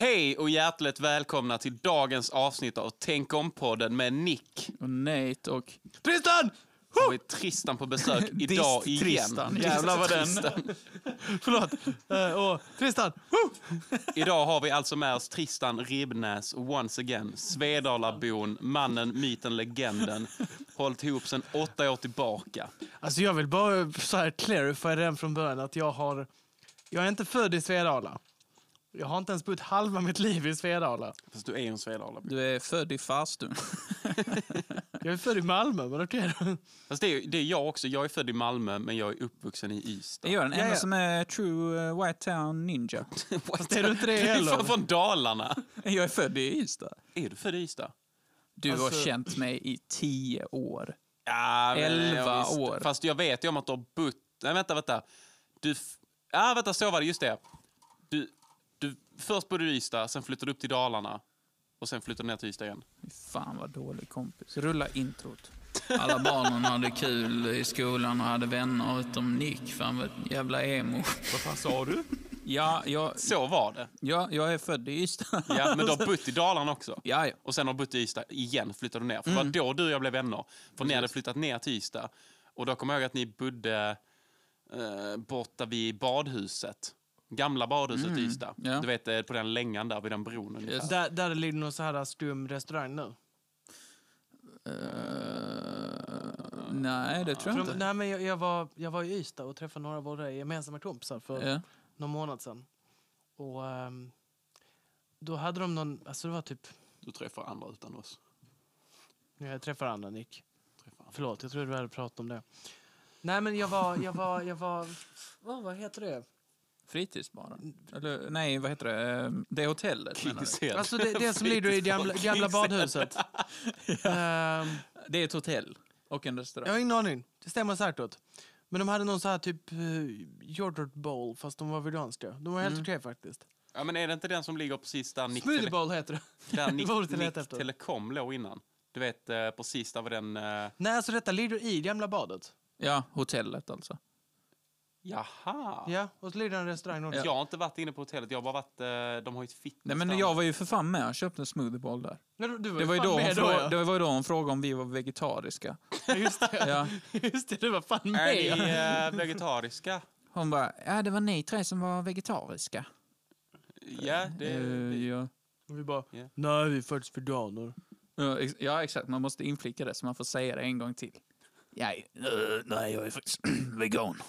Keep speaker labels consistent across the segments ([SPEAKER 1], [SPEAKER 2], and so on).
[SPEAKER 1] Hej och hjärtligt välkomna till dagens avsnitt av Tänk om-podden med Nick.
[SPEAKER 2] Och Nate och...
[SPEAKER 1] Tristan! Har vi Tristan på besök idag igen.
[SPEAKER 2] Tristan. Jävlar vad den... Förlåt. Eh, och Tristan!
[SPEAKER 1] Idag har vi alltså med oss Tristan Ribbnäs, once again. Svedalabon, mannen, myten, legenden. Hållit ihop sedan åtta år tillbaka.
[SPEAKER 2] Alltså jag vill bara så här clarify redan från början att jag har... Jag är inte född i Svedala. Jag har inte ens bott halva mitt liv i Svedala.
[SPEAKER 1] Fast du är ju en Svedalabo.
[SPEAKER 3] Du är född i farstun.
[SPEAKER 2] Jag är född i Malmö, men okej då.
[SPEAKER 1] Fast det är, det är jag också. Jag är född i Malmö, men jag är uppvuxen i Ystad.
[SPEAKER 3] Det är jag den enda
[SPEAKER 2] Ja, ja.
[SPEAKER 3] som är true eh, White Town Ninja.
[SPEAKER 1] Fast
[SPEAKER 2] är du inte det heller?
[SPEAKER 1] från Dalarna.
[SPEAKER 3] Jag är född i Ystad.
[SPEAKER 1] Är du född i Ystad?
[SPEAKER 3] Du
[SPEAKER 2] Alltså-
[SPEAKER 3] har känt mig i tio år.
[SPEAKER 1] Ja, men
[SPEAKER 3] Elva
[SPEAKER 1] ja, visst.
[SPEAKER 3] år.
[SPEAKER 1] Fast jag vet ju om att du har bott... Nej, vänta, vänta. Du... f- Ja, vänta, så var det. Just det. Du, du, först bodde du i Ystad, sen flyttade du upp till Dalarna. Och sen flyttade du ner till Ystad igen.
[SPEAKER 3] Fy Fan vad dålig kompis. Rulla introt.
[SPEAKER 4] Alla barnen hade kul i skolan och hade vänner utom Nick, för han var ett jävla emo.
[SPEAKER 3] Ja, jag,
[SPEAKER 1] Så var det.
[SPEAKER 3] ja, jag är född i Ystad.
[SPEAKER 1] Ja, men du har bott i Dalarna också.
[SPEAKER 3] Ja, ja.
[SPEAKER 1] Och sen har du bott i Ystad igen, flyttade du ner. För det
[SPEAKER 3] Mm.
[SPEAKER 1] var då du och jag blev vänner. För ni hade flyttat ner till Ystad. Och då kommer jag ihåg att ni bodde eh, borta vid badhuset. Gamla badhuset i Ystad.
[SPEAKER 3] Mm. ja.
[SPEAKER 1] Du vet, eh, på den längan där, vid den bron ungefär.
[SPEAKER 3] Just
[SPEAKER 2] Där, där det ligger någon så här stum restaurang nu.
[SPEAKER 3] Eh, nej, det tror
[SPEAKER 2] För
[SPEAKER 3] jag
[SPEAKER 2] de,
[SPEAKER 3] inte.
[SPEAKER 2] nej, men jag, jag, var, jag var i Ystad och träffade några av våra gemensamma kompisar för
[SPEAKER 3] Ja.
[SPEAKER 2] någon månad sedan. Och ehm, då hade de någon... Alltså det var typ...
[SPEAKER 1] Du träffar andra utan oss.
[SPEAKER 2] Nu jag träffar andra, Nick.
[SPEAKER 1] Träffar andra.
[SPEAKER 2] Förlåt, jag trodde vi hade pratat om det. Nej, men jag var... Jag var, jag var vad, vad heter det?
[SPEAKER 3] Fritidsbaren? Eller nej, vad heter det? Eh, Det hotellet menar du?
[SPEAKER 1] Kingshead.
[SPEAKER 2] Alltså det, det som ligger i gamla, gamla badhuset. Ehm,
[SPEAKER 3] Det är ett hotell och en restaurang.
[SPEAKER 2] jag har ingen aning. Det stämmer säkert. Men de hade någon så här typ eh, yoghurt bowl fast de var veganska. De var helt okej faktiskt.
[SPEAKER 1] Ja, men är det inte den som ligger precis där Nick,
[SPEAKER 2] Smoothie bowl heter det.
[SPEAKER 1] där Nick,
[SPEAKER 2] Det var ordet jag
[SPEAKER 1] Nick
[SPEAKER 2] letade efter.
[SPEAKER 1] Telecom låg innan? Du vet, eh, precis där var den... Eh,
[SPEAKER 2] Nej, alltså detta ligger i gamla badet.
[SPEAKER 3] Ja, hotellet alltså.
[SPEAKER 1] jaha!
[SPEAKER 2] Ja, och så ligger det en restaurang också.
[SPEAKER 1] Jag har inte varit inne på hotellet, jag har bara varit... Eh, de har ju ett fitness
[SPEAKER 3] Nej, men
[SPEAKER 1] där.
[SPEAKER 3] jag var ju för fan med. Jag köpte en smoothieball där.
[SPEAKER 2] Men du- du
[SPEAKER 3] Det var ju
[SPEAKER 2] fan
[SPEAKER 3] då hon,
[SPEAKER 2] med då,
[SPEAKER 3] frå-
[SPEAKER 2] ja.
[SPEAKER 3] det var ju då hon frågade om vi var vegetariska.
[SPEAKER 2] Ja, Just det.
[SPEAKER 3] Ja.
[SPEAKER 2] Just det, du var fan
[SPEAKER 1] Är
[SPEAKER 2] med. ja.
[SPEAKER 1] ni eh, vegetariska?
[SPEAKER 3] Hon bara, ja det var ni tre som var vegetariska.
[SPEAKER 1] Ja, det...
[SPEAKER 3] Eh, ja.
[SPEAKER 2] Och vi bara,
[SPEAKER 1] Ja.
[SPEAKER 2] nej vi är faktiskt veganer.
[SPEAKER 3] Ja, ex- ja exakt, man måste inflicka det så man får säga det en gång till. Ja, eh, nej, jag är faktiskt vegan.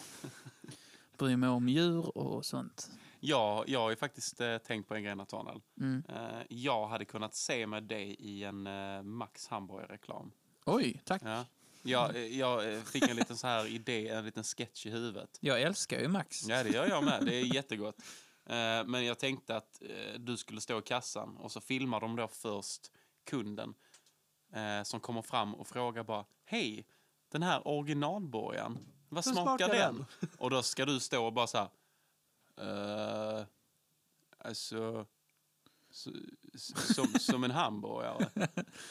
[SPEAKER 3] Bryr mig om djur och sånt.
[SPEAKER 1] Ja, jag har ju faktiskt eh, tänkt på en grej, Nathaniel.
[SPEAKER 3] Mm.
[SPEAKER 1] Eh, jag hade kunnat se med dig i en eh, Max hamburgerreklam.
[SPEAKER 3] Oj, tack.
[SPEAKER 1] Ja. Jag, eh, jag eh, fick en liten så här idé, en liten sketch i huvudet.
[SPEAKER 3] Jag älskar ju Max.
[SPEAKER 1] Ja, det gör jag med. Det är jättegott. Eh, Men jag tänkte att eh, du skulle stå i kassan och så filmar de då först kunden eh, som kommer fram och frågar bara Hej, den här originalborgaren, vad
[SPEAKER 2] Hur
[SPEAKER 1] smakar,
[SPEAKER 2] smakar
[SPEAKER 1] den?
[SPEAKER 2] den?
[SPEAKER 1] Och då ska du stå och bara så här "Eh, Alltså, så, s- som, som en hamburgare.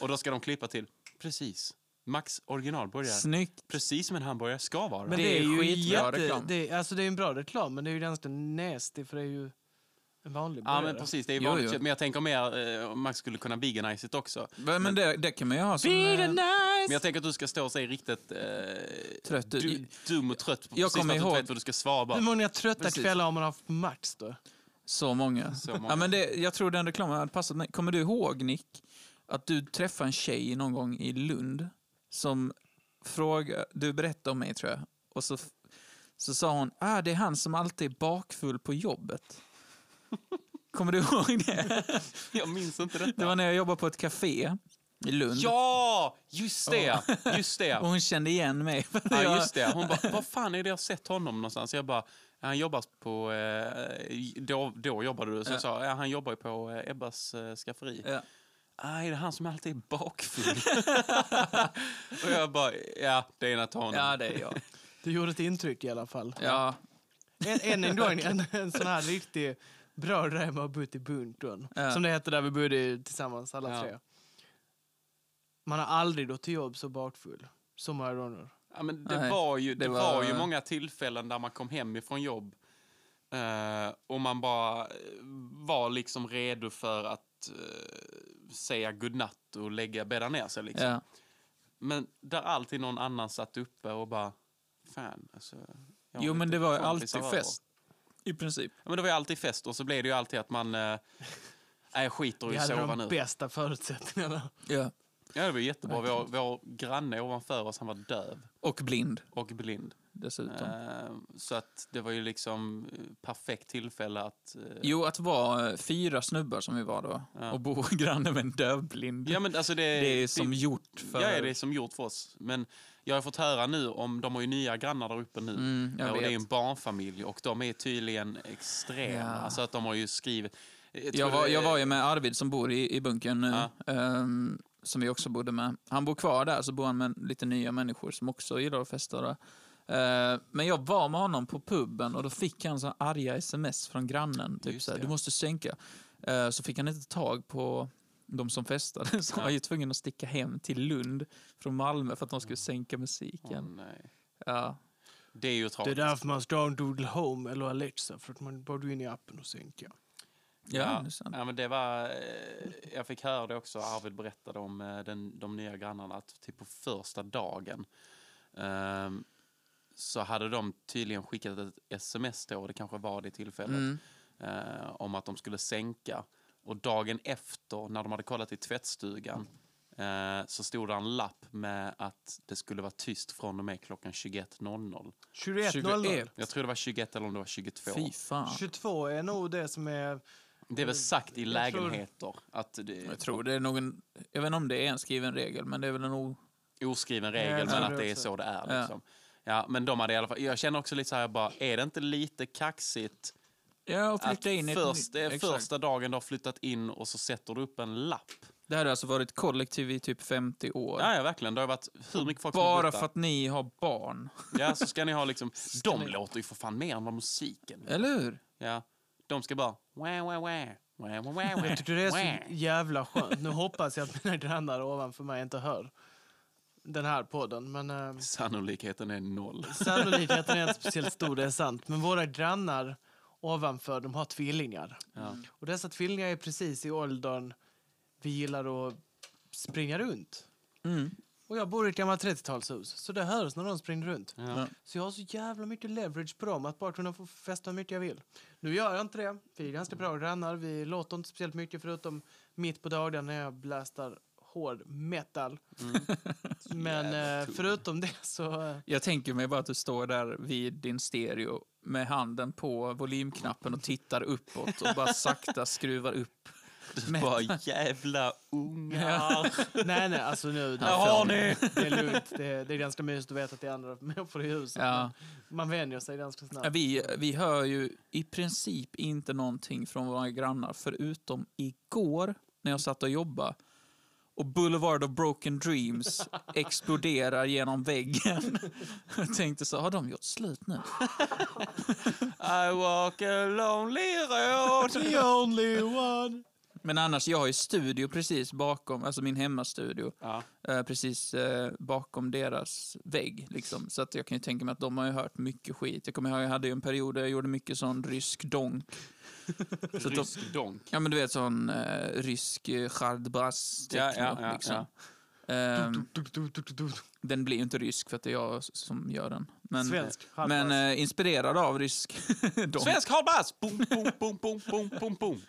[SPEAKER 1] Och då ska de klippa till Precis, Max originalburgare.
[SPEAKER 3] Snyggt.
[SPEAKER 1] Precis som en hamburgare ska vara.
[SPEAKER 2] Men det,
[SPEAKER 3] Det
[SPEAKER 2] är,
[SPEAKER 3] är
[SPEAKER 2] ju
[SPEAKER 3] skitbra
[SPEAKER 2] jätte,
[SPEAKER 3] reklam.
[SPEAKER 2] Det, är- alltså det är en bra reklam, men det är ju ganska nasty för det är ju en vanlig
[SPEAKER 1] Ja,
[SPEAKER 2] burgare.
[SPEAKER 1] men precis. Det är
[SPEAKER 3] Jo,
[SPEAKER 1] vanligt.
[SPEAKER 3] jo.
[SPEAKER 1] kött. Men jag tänker mer eh, om man skulle kunna veganize it också.
[SPEAKER 3] Men, men det, det kan man ju ha som... eh,
[SPEAKER 1] Men jag tänker att du ska stå och säga riktigt eh,
[SPEAKER 3] Trött ut.
[SPEAKER 1] du, dum och trött.
[SPEAKER 3] Jag
[SPEAKER 1] precis för
[SPEAKER 3] kommer
[SPEAKER 1] att du inte
[SPEAKER 3] ihåg-
[SPEAKER 1] vet vad du ska svara
[SPEAKER 2] Hur
[SPEAKER 1] bara.
[SPEAKER 2] många trötta
[SPEAKER 3] Precis.
[SPEAKER 2] kvällar har man haft på Max då?
[SPEAKER 3] Så många.
[SPEAKER 1] Så många.
[SPEAKER 3] Ja, men det, jag tror den reklamen hade passat mig. Kommer du ihåg, Nick, att du träffade en tjej någon gång i Lund som frågade... Du berättade om mig, tror jag. Och så, så sa hon, ah, det är han som alltid är bakfull på jobbet. Kommer du ihåg det?
[SPEAKER 1] Jag minns inte detta.
[SPEAKER 3] Det var när jag jobbade på ett café i Lund.
[SPEAKER 1] Ja, just det! Just det.
[SPEAKER 3] Och hon kände igen mig. för att
[SPEAKER 1] Ja,
[SPEAKER 3] jag-
[SPEAKER 1] just det. Hon bara, vad fan är det jag har sett honom någonstans? Jag bara, han jobbar på... Eh, då, då jobbade du. Så jag sa, ja, han jobbar ju på eh, Ebbas eh, skafferi.
[SPEAKER 3] Ja.
[SPEAKER 1] Nej, det är han som alltid är bakfull. och jag bara, ja, det är Nathaniel.
[SPEAKER 3] Ja, det är jag.
[SPEAKER 2] Det gjorde ett intryck i alla fall.
[SPEAKER 3] Ja,
[SPEAKER 2] Än, än en gång, en, en sån här riktig bra grej med att bo i Buntun.
[SPEAKER 3] Ja.
[SPEAKER 2] Som det hette där vi bodde tillsammans, alla
[SPEAKER 1] Ja.
[SPEAKER 2] tre. Man har aldrig gått till jobb så bakfull. Så många gånger.
[SPEAKER 1] Ja, men det,
[SPEAKER 3] Nej,
[SPEAKER 1] var ju, det,
[SPEAKER 3] det
[SPEAKER 1] var...
[SPEAKER 3] var-
[SPEAKER 1] ju många tillfällen där man kom hem ifrån jobb Eh, och man bara eh, var liksom redo för att eh, säga godnatt och lägga bädda ner sig. Liksom.
[SPEAKER 3] Ja.
[SPEAKER 1] Men där alltid någon annan satt uppe och bara, fan alltså. jag har
[SPEAKER 3] Jo, men
[SPEAKER 1] lite
[SPEAKER 3] det var ju
[SPEAKER 1] kompisar
[SPEAKER 3] alltid
[SPEAKER 1] över."
[SPEAKER 3] fest. I princip.
[SPEAKER 1] Ja, men det var ju alltid fest och så blev det ju alltid att man, eh, nej jag skiter
[SPEAKER 2] Vi
[SPEAKER 1] i att
[SPEAKER 2] hade
[SPEAKER 1] sova
[SPEAKER 2] de
[SPEAKER 1] nu.
[SPEAKER 2] bästa förutsättningarna.
[SPEAKER 3] Ja.
[SPEAKER 1] Ja, det var jättebra. Vår, vår granne ovanför oss, han var döv
[SPEAKER 3] Och blind
[SPEAKER 1] och blind.
[SPEAKER 3] dessutom.
[SPEAKER 1] Eh, så att det var ju liksom eh, perfekt tillfälle att... eh,
[SPEAKER 3] Jo, att vara eh, fyra snubbar som vi var då
[SPEAKER 1] Ja.
[SPEAKER 3] och bo granne med en dövblind.
[SPEAKER 1] Ja, men alltså det,
[SPEAKER 3] det är som gjort för...
[SPEAKER 1] Ja, ja, det är som gjort för oss. Men jag har fått höra nu om, de har ju nya grannar där uppe nu.
[SPEAKER 3] Mm, jag
[SPEAKER 1] Eh, och
[SPEAKER 3] vet.
[SPEAKER 1] det är en barnfamilj och de är tydligen extrema.
[SPEAKER 3] Ja.
[SPEAKER 1] Alltså att de har ju skrivit... Jag, tror
[SPEAKER 3] Jag var,
[SPEAKER 1] det-
[SPEAKER 3] jag var ju med Arvid som bor i, i bunkern nu, ehm, som vi också bodde med. Han bor kvar där, så bor han med lite nya människor som också gillar att festa. Då. Eh, men jag var med honom på puben och då fick han så arga sms från grannen. Typ
[SPEAKER 1] Just
[SPEAKER 3] så här,
[SPEAKER 1] det.
[SPEAKER 3] du måste sänka. Eh, så fick han inte tag på de som festade, så han var ju tvungen att sticka hem till Lund från Malmö för att de skulle
[SPEAKER 1] Mm.
[SPEAKER 3] sänka
[SPEAKER 1] Åh,
[SPEAKER 3] musiken.
[SPEAKER 1] nej.
[SPEAKER 3] Ja.
[SPEAKER 1] Det är ju
[SPEAKER 2] Det är
[SPEAKER 1] tragiskt.
[SPEAKER 2] därför man ska ha en Doodle Home eller Alexa, för att man bara går in i appen och sänker.
[SPEAKER 3] Ja, det är sant.
[SPEAKER 1] ja, men det var, eh, jag fick höra det också, Arvid berättade om eh, den, de nya grannarna, att typ på första dagen ehm, så hade de tydligen skickat ett sms då, det kanske var det tillfället,
[SPEAKER 3] Mm.
[SPEAKER 1] eh, om att de skulle sänka. Och dagen efter, när de hade kollat i tvättstugan, eh, så stod det en lapp med att det skulle vara tyst från och med klockan 21.00.
[SPEAKER 2] 21.00.
[SPEAKER 1] Jag tror det var 21 eller om det var 22.
[SPEAKER 3] Fy fan.
[SPEAKER 2] 22 är nog det som är...
[SPEAKER 1] Det är väl sagt i
[SPEAKER 2] Jag tror-
[SPEAKER 1] lägenheter att det
[SPEAKER 3] Jag tror det är någon, jag vet inte om det är en skriven regel, men det är väl en o...
[SPEAKER 1] oskriven
[SPEAKER 2] jag
[SPEAKER 1] regel,
[SPEAKER 2] tror
[SPEAKER 1] men att
[SPEAKER 2] det
[SPEAKER 1] det är
[SPEAKER 2] också.
[SPEAKER 1] så det är.
[SPEAKER 3] Ja.
[SPEAKER 1] Liksom. Ja, men de hade i alla fall, jag känner också lite så här, bara, är det inte lite kaxigt
[SPEAKER 3] Ja, och
[SPEAKER 1] att
[SPEAKER 3] flytta in i ett
[SPEAKER 1] först, det
[SPEAKER 3] nytt-
[SPEAKER 1] är
[SPEAKER 3] Exakt.
[SPEAKER 1] första dagen du har flyttat in och så sätter du upp en lapp?
[SPEAKER 3] Det här har alltså varit kollektiv i typ 50 år.
[SPEAKER 1] Ja, ja verkligen. Det har varit hur mycket folk som har
[SPEAKER 3] Bara
[SPEAKER 1] bott där.
[SPEAKER 3] för att ni har barn.
[SPEAKER 1] Ja, så ska ni ha liksom, de
[SPEAKER 3] ni-
[SPEAKER 1] låter ju för fan mer än vad musiken gör.
[SPEAKER 3] Eller hur?
[SPEAKER 1] Ja, de ska bara, wah, wah, wah. Wah, wah, wah,
[SPEAKER 2] Jag tycker det är
[SPEAKER 1] wah.
[SPEAKER 2] så jävla skönt. Nu hoppas jag att mina grannar ovanför mig inte hör den här podden, men... eh,
[SPEAKER 1] Sannolikheten är noll.
[SPEAKER 2] Sannolikheten är inte speciellt stor, det är sant. Men våra grannar ovanför, de har tvillingar.
[SPEAKER 1] Ja.
[SPEAKER 2] Och dessa tvillingar är precis i åldern vi gillar att springa runt.
[SPEAKER 3] Mm.
[SPEAKER 2] Och jag bor i ett gammalt 30-talshus, så det hörs när de springer runt.
[SPEAKER 1] Ja.
[SPEAKER 2] Så jag har så jävla mycket leverage på dem att bara kunna få festa hur mycket jag vill. Nu gör jag inte det. Vi är ganska bra grannar. Vi låter inte speciellt mycket förutom mitt på dagen när jag blastar hård metal. Men eh,
[SPEAKER 1] tung.
[SPEAKER 2] förutom det så... eh,
[SPEAKER 3] Jag tänker mig bara att du står där vid din stereo med handen på volymknappen och tittar uppåt och bara sakta skruvar upp. Men-
[SPEAKER 1] Bara jävla ungar.
[SPEAKER 2] Nej, nej, alltså nu...
[SPEAKER 1] Där har ni!
[SPEAKER 2] Det är lugnt. Det är, det är ganska mysigt att veta att det är andra människor i huset.
[SPEAKER 3] Ja.
[SPEAKER 2] men Man vänjer sig ganska snabbt.
[SPEAKER 3] Vi, vi hör ju i princip inte någonting från våra grannar förutom igår när jag satt och jobbade och Boulevard of Broken Dreams exploderar genom väggen. Jag tänkte så, har de gjort slut nu?
[SPEAKER 1] I walk a lonely road.
[SPEAKER 2] The only one.
[SPEAKER 3] Men annars, jag har ju studio precis bakom, alltså min hemmastudio,
[SPEAKER 1] Ja.
[SPEAKER 3] eh, precis eh, bakom deras vägg. Liksom. Så att jag kan ju tänka mig att de har ju hört mycket skit. Jag kommer ihåg, jag hade ju en period där jag gjorde mycket sån rysk donk. Så att de,
[SPEAKER 1] Rysk donk.
[SPEAKER 3] ja men du vet sån eh, rysk eh, chardbas
[SPEAKER 1] Ja,
[SPEAKER 3] techno.
[SPEAKER 1] ja, ja,
[SPEAKER 3] liksom.
[SPEAKER 1] ja.
[SPEAKER 3] Ehm,
[SPEAKER 2] Du, du, du, du, du.
[SPEAKER 3] den blir ju inte rysk för att det är jag som gör den. Men,
[SPEAKER 2] Svensk.
[SPEAKER 3] men
[SPEAKER 2] halvdags.
[SPEAKER 3] eh, inspirerad av rysk donk.
[SPEAKER 1] Svensk hardbass! Boom, boom, boom, boom, boom, boom, boom.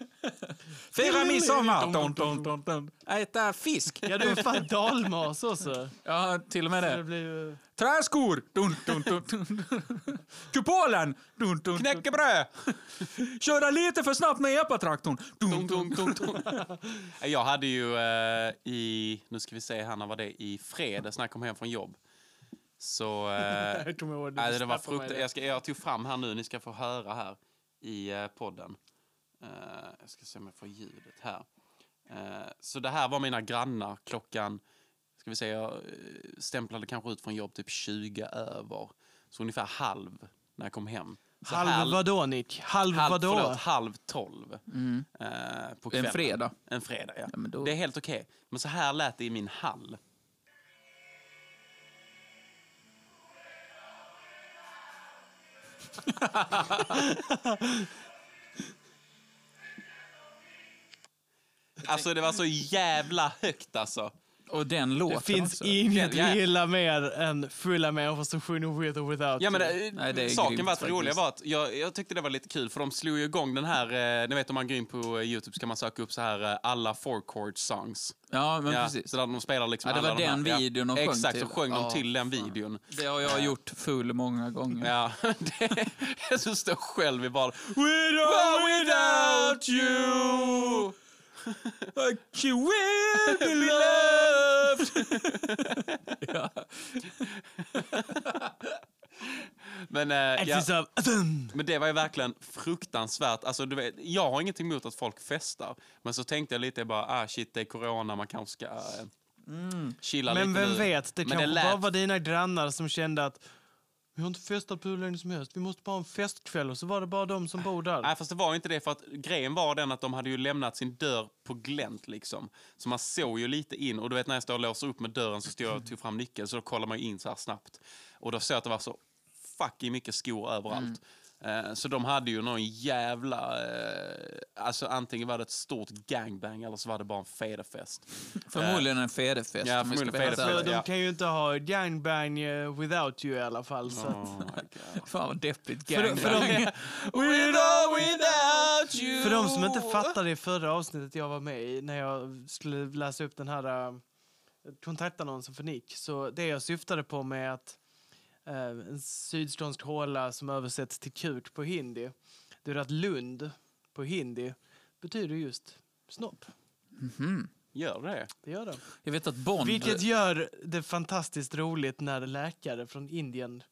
[SPEAKER 3] Fira midsommar! Don, don, don, don. Äta fisk!
[SPEAKER 2] Ja, du är fan dalmas också.
[SPEAKER 3] Ja, till och med
[SPEAKER 2] Det
[SPEAKER 3] det.
[SPEAKER 2] blir ju...
[SPEAKER 3] Träskor! Dun, dun, dun, dun. Kupolen! Dun, dun, dun.
[SPEAKER 1] Knäckebröd!
[SPEAKER 3] Köra lite för snabbt med epatraktorn! Dun,
[SPEAKER 1] Dun,
[SPEAKER 3] dun.
[SPEAKER 1] dun, dun, dun. Jag hade ju eh, i, nu ska vi se här, när var det? I fredags när jag kom hem från jobb. Så, eh,
[SPEAKER 2] Jag kommer ihåg. du
[SPEAKER 1] nej, det var
[SPEAKER 2] snappade mig
[SPEAKER 1] frukt,
[SPEAKER 2] det.
[SPEAKER 1] jag, ska, jag tog fram här nu, ni ska få höra här i eh, podden. Eh, jag ska se om jag får ljudet här. Eh, så det här var mina grannar klockan, ska vi säga, jag eh, stämplade kanske ut från jobb typ 20 över. Så ungefär halv när jag kom hem. Så
[SPEAKER 2] Halv
[SPEAKER 1] halv,
[SPEAKER 2] vadå, Nick? Halv,
[SPEAKER 1] halv,
[SPEAKER 2] vadå?
[SPEAKER 1] förlåt, halv tolv.
[SPEAKER 3] Mm.
[SPEAKER 1] eh, på
[SPEAKER 3] En
[SPEAKER 1] kvällen.
[SPEAKER 3] fredag.
[SPEAKER 1] En fredag, ja.
[SPEAKER 3] Ja, men då...
[SPEAKER 1] Det är helt okej. Men så här lät det i min hall. Alltså det var så jävla högt alltså.
[SPEAKER 3] Och den låten
[SPEAKER 2] Det finns
[SPEAKER 3] också.
[SPEAKER 2] inget
[SPEAKER 1] Ja, ja.
[SPEAKER 2] jag gillar mer än Thriller Man of Assumption With or Without
[SPEAKER 1] Ja, men,
[SPEAKER 2] You.
[SPEAKER 1] eh,
[SPEAKER 3] Nej, det är
[SPEAKER 1] saken
[SPEAKER 3] grymt
[SPEAKER 1] var att det roliga
[SPEAKER 3] faktiskt.
[SPEAKER 1] var att jag, jag tyckte det var lite kul för de slog ju igång den här, eh, ni vet om man går in på eh, Youtube så kan man söka upp så här eh, alla four chord songs.
[SPEAKER 3] Ja, men
[SPEAKER 1] ja,
[SPEAKER 3] precis.
[SPEAKER 1] Så där de spelar liksom
[SPEAKER 3] Ja, det var
[SPEAKER 1] alla de
[SPEAKER 3] den
[SPEAKER 1] här,
[SPEAKER 3] videon de
[SPEAKER 1] ja.
[SPEAKER 3] sjöng
[SPEAKER 1] Exakt, så
[SPEAKER 3] till.
[SPEAKER 1] sjöng
[SPEAKER 3] Ja,
[SPEAKER 1] de till den videon.
[SPEAKER 3] Det har jag gjort full många gånger.
[SPEAKER 1] Ja, det, du står själv i baren. Without, without you
[SPEAKER 3] She will
[SPEAKER 1] be loved.
[SPEAKER 3] Ja.
[SPEAKER 1] Men, eh, ja,
[SPEAKER 2] Axis of Atom.
[SPEAKER 1] men det var ju verkligen fruktansvärt. Alltså, du vet, jag har ingenting emot att folk festar. Men så tänkte jag lite bara, ah shit det är corona, man kanske ska eh, chilla
[SPEAKER 2] Mm. Men
[SPEAKER 1] lite
[SPEAKER 2] vem
[SPEAKER 1] nu.
[SPEAKER 2] vet, det
[SPEAKER 1] Men
[SPEAKER 2] kanske
[SPEAKER 1] lät-
[SPEAKER 2] bara var dina grannar som kände att vi har inte festat på hur länge som helst, vi måste bara ha en festkväll och så var det bara de som bor där.
[SPEAKER 1] Nej, fast det var ju inte det. För att grejen var den att de hade ju lämnat sin dörr på glänt liksom. Så man såg ju lite in. Och du vet när jag står och låser upp med dörren så stod jag och tog fram nyckeln. Så då kollar man ju in så här snabbt. Och då såg jag att det var så fucking mycket skor överallt.
[SPEAKER 2] Mm.
[SPEAKER 1] Eh, Så de hade ju någon jävla... Eh, alltså antingen var det ett stort gangbang eller så var det bara en federfest.
[SPEAKER 3] Förmodligen en federfest. om vi ska
[SPEAKER 1] förmodligen
[SPEAKER 3] vara helt
[SPEAKER 1] federfest.
[SPEAKER 2] Alltså,
[SPEAKER 3] ärliga.
[SPEAKER 2] de
[SPEAKER 1] ja.
[SPEAKER 2] kan ju inte ha gangbang eh, without you i alla fall. Så att,
[SPEAKER 1] Oh my God.
[SPEAKER 3] Fan vad deppigt
[SPEAKER 2] för,
[SPEAKER 3] gang.
[SPEAKER 2] för, de,
[SPEAKER 1] Without, without you.
[SPEAKER 2] för de som inte fattade i förra avsnittet jag var med i när jag skulle läsa upp den här eh, kontaktannonsen för Nick. Så det jag syftade på med att eh, en sydskånsk håla som översätts till kuk på hindi, det är att Lund på hindi betyder just snopp.
[SPEAKER 3] Mhm.
[SPEAKER 1] Gör det?
[SPEAKER 2] Det gör det.
[SPEAKER 3] Jag vet att Bond...
[SPEAKER 2] Vilket gör det fantastiskt roligt när läkare från Indien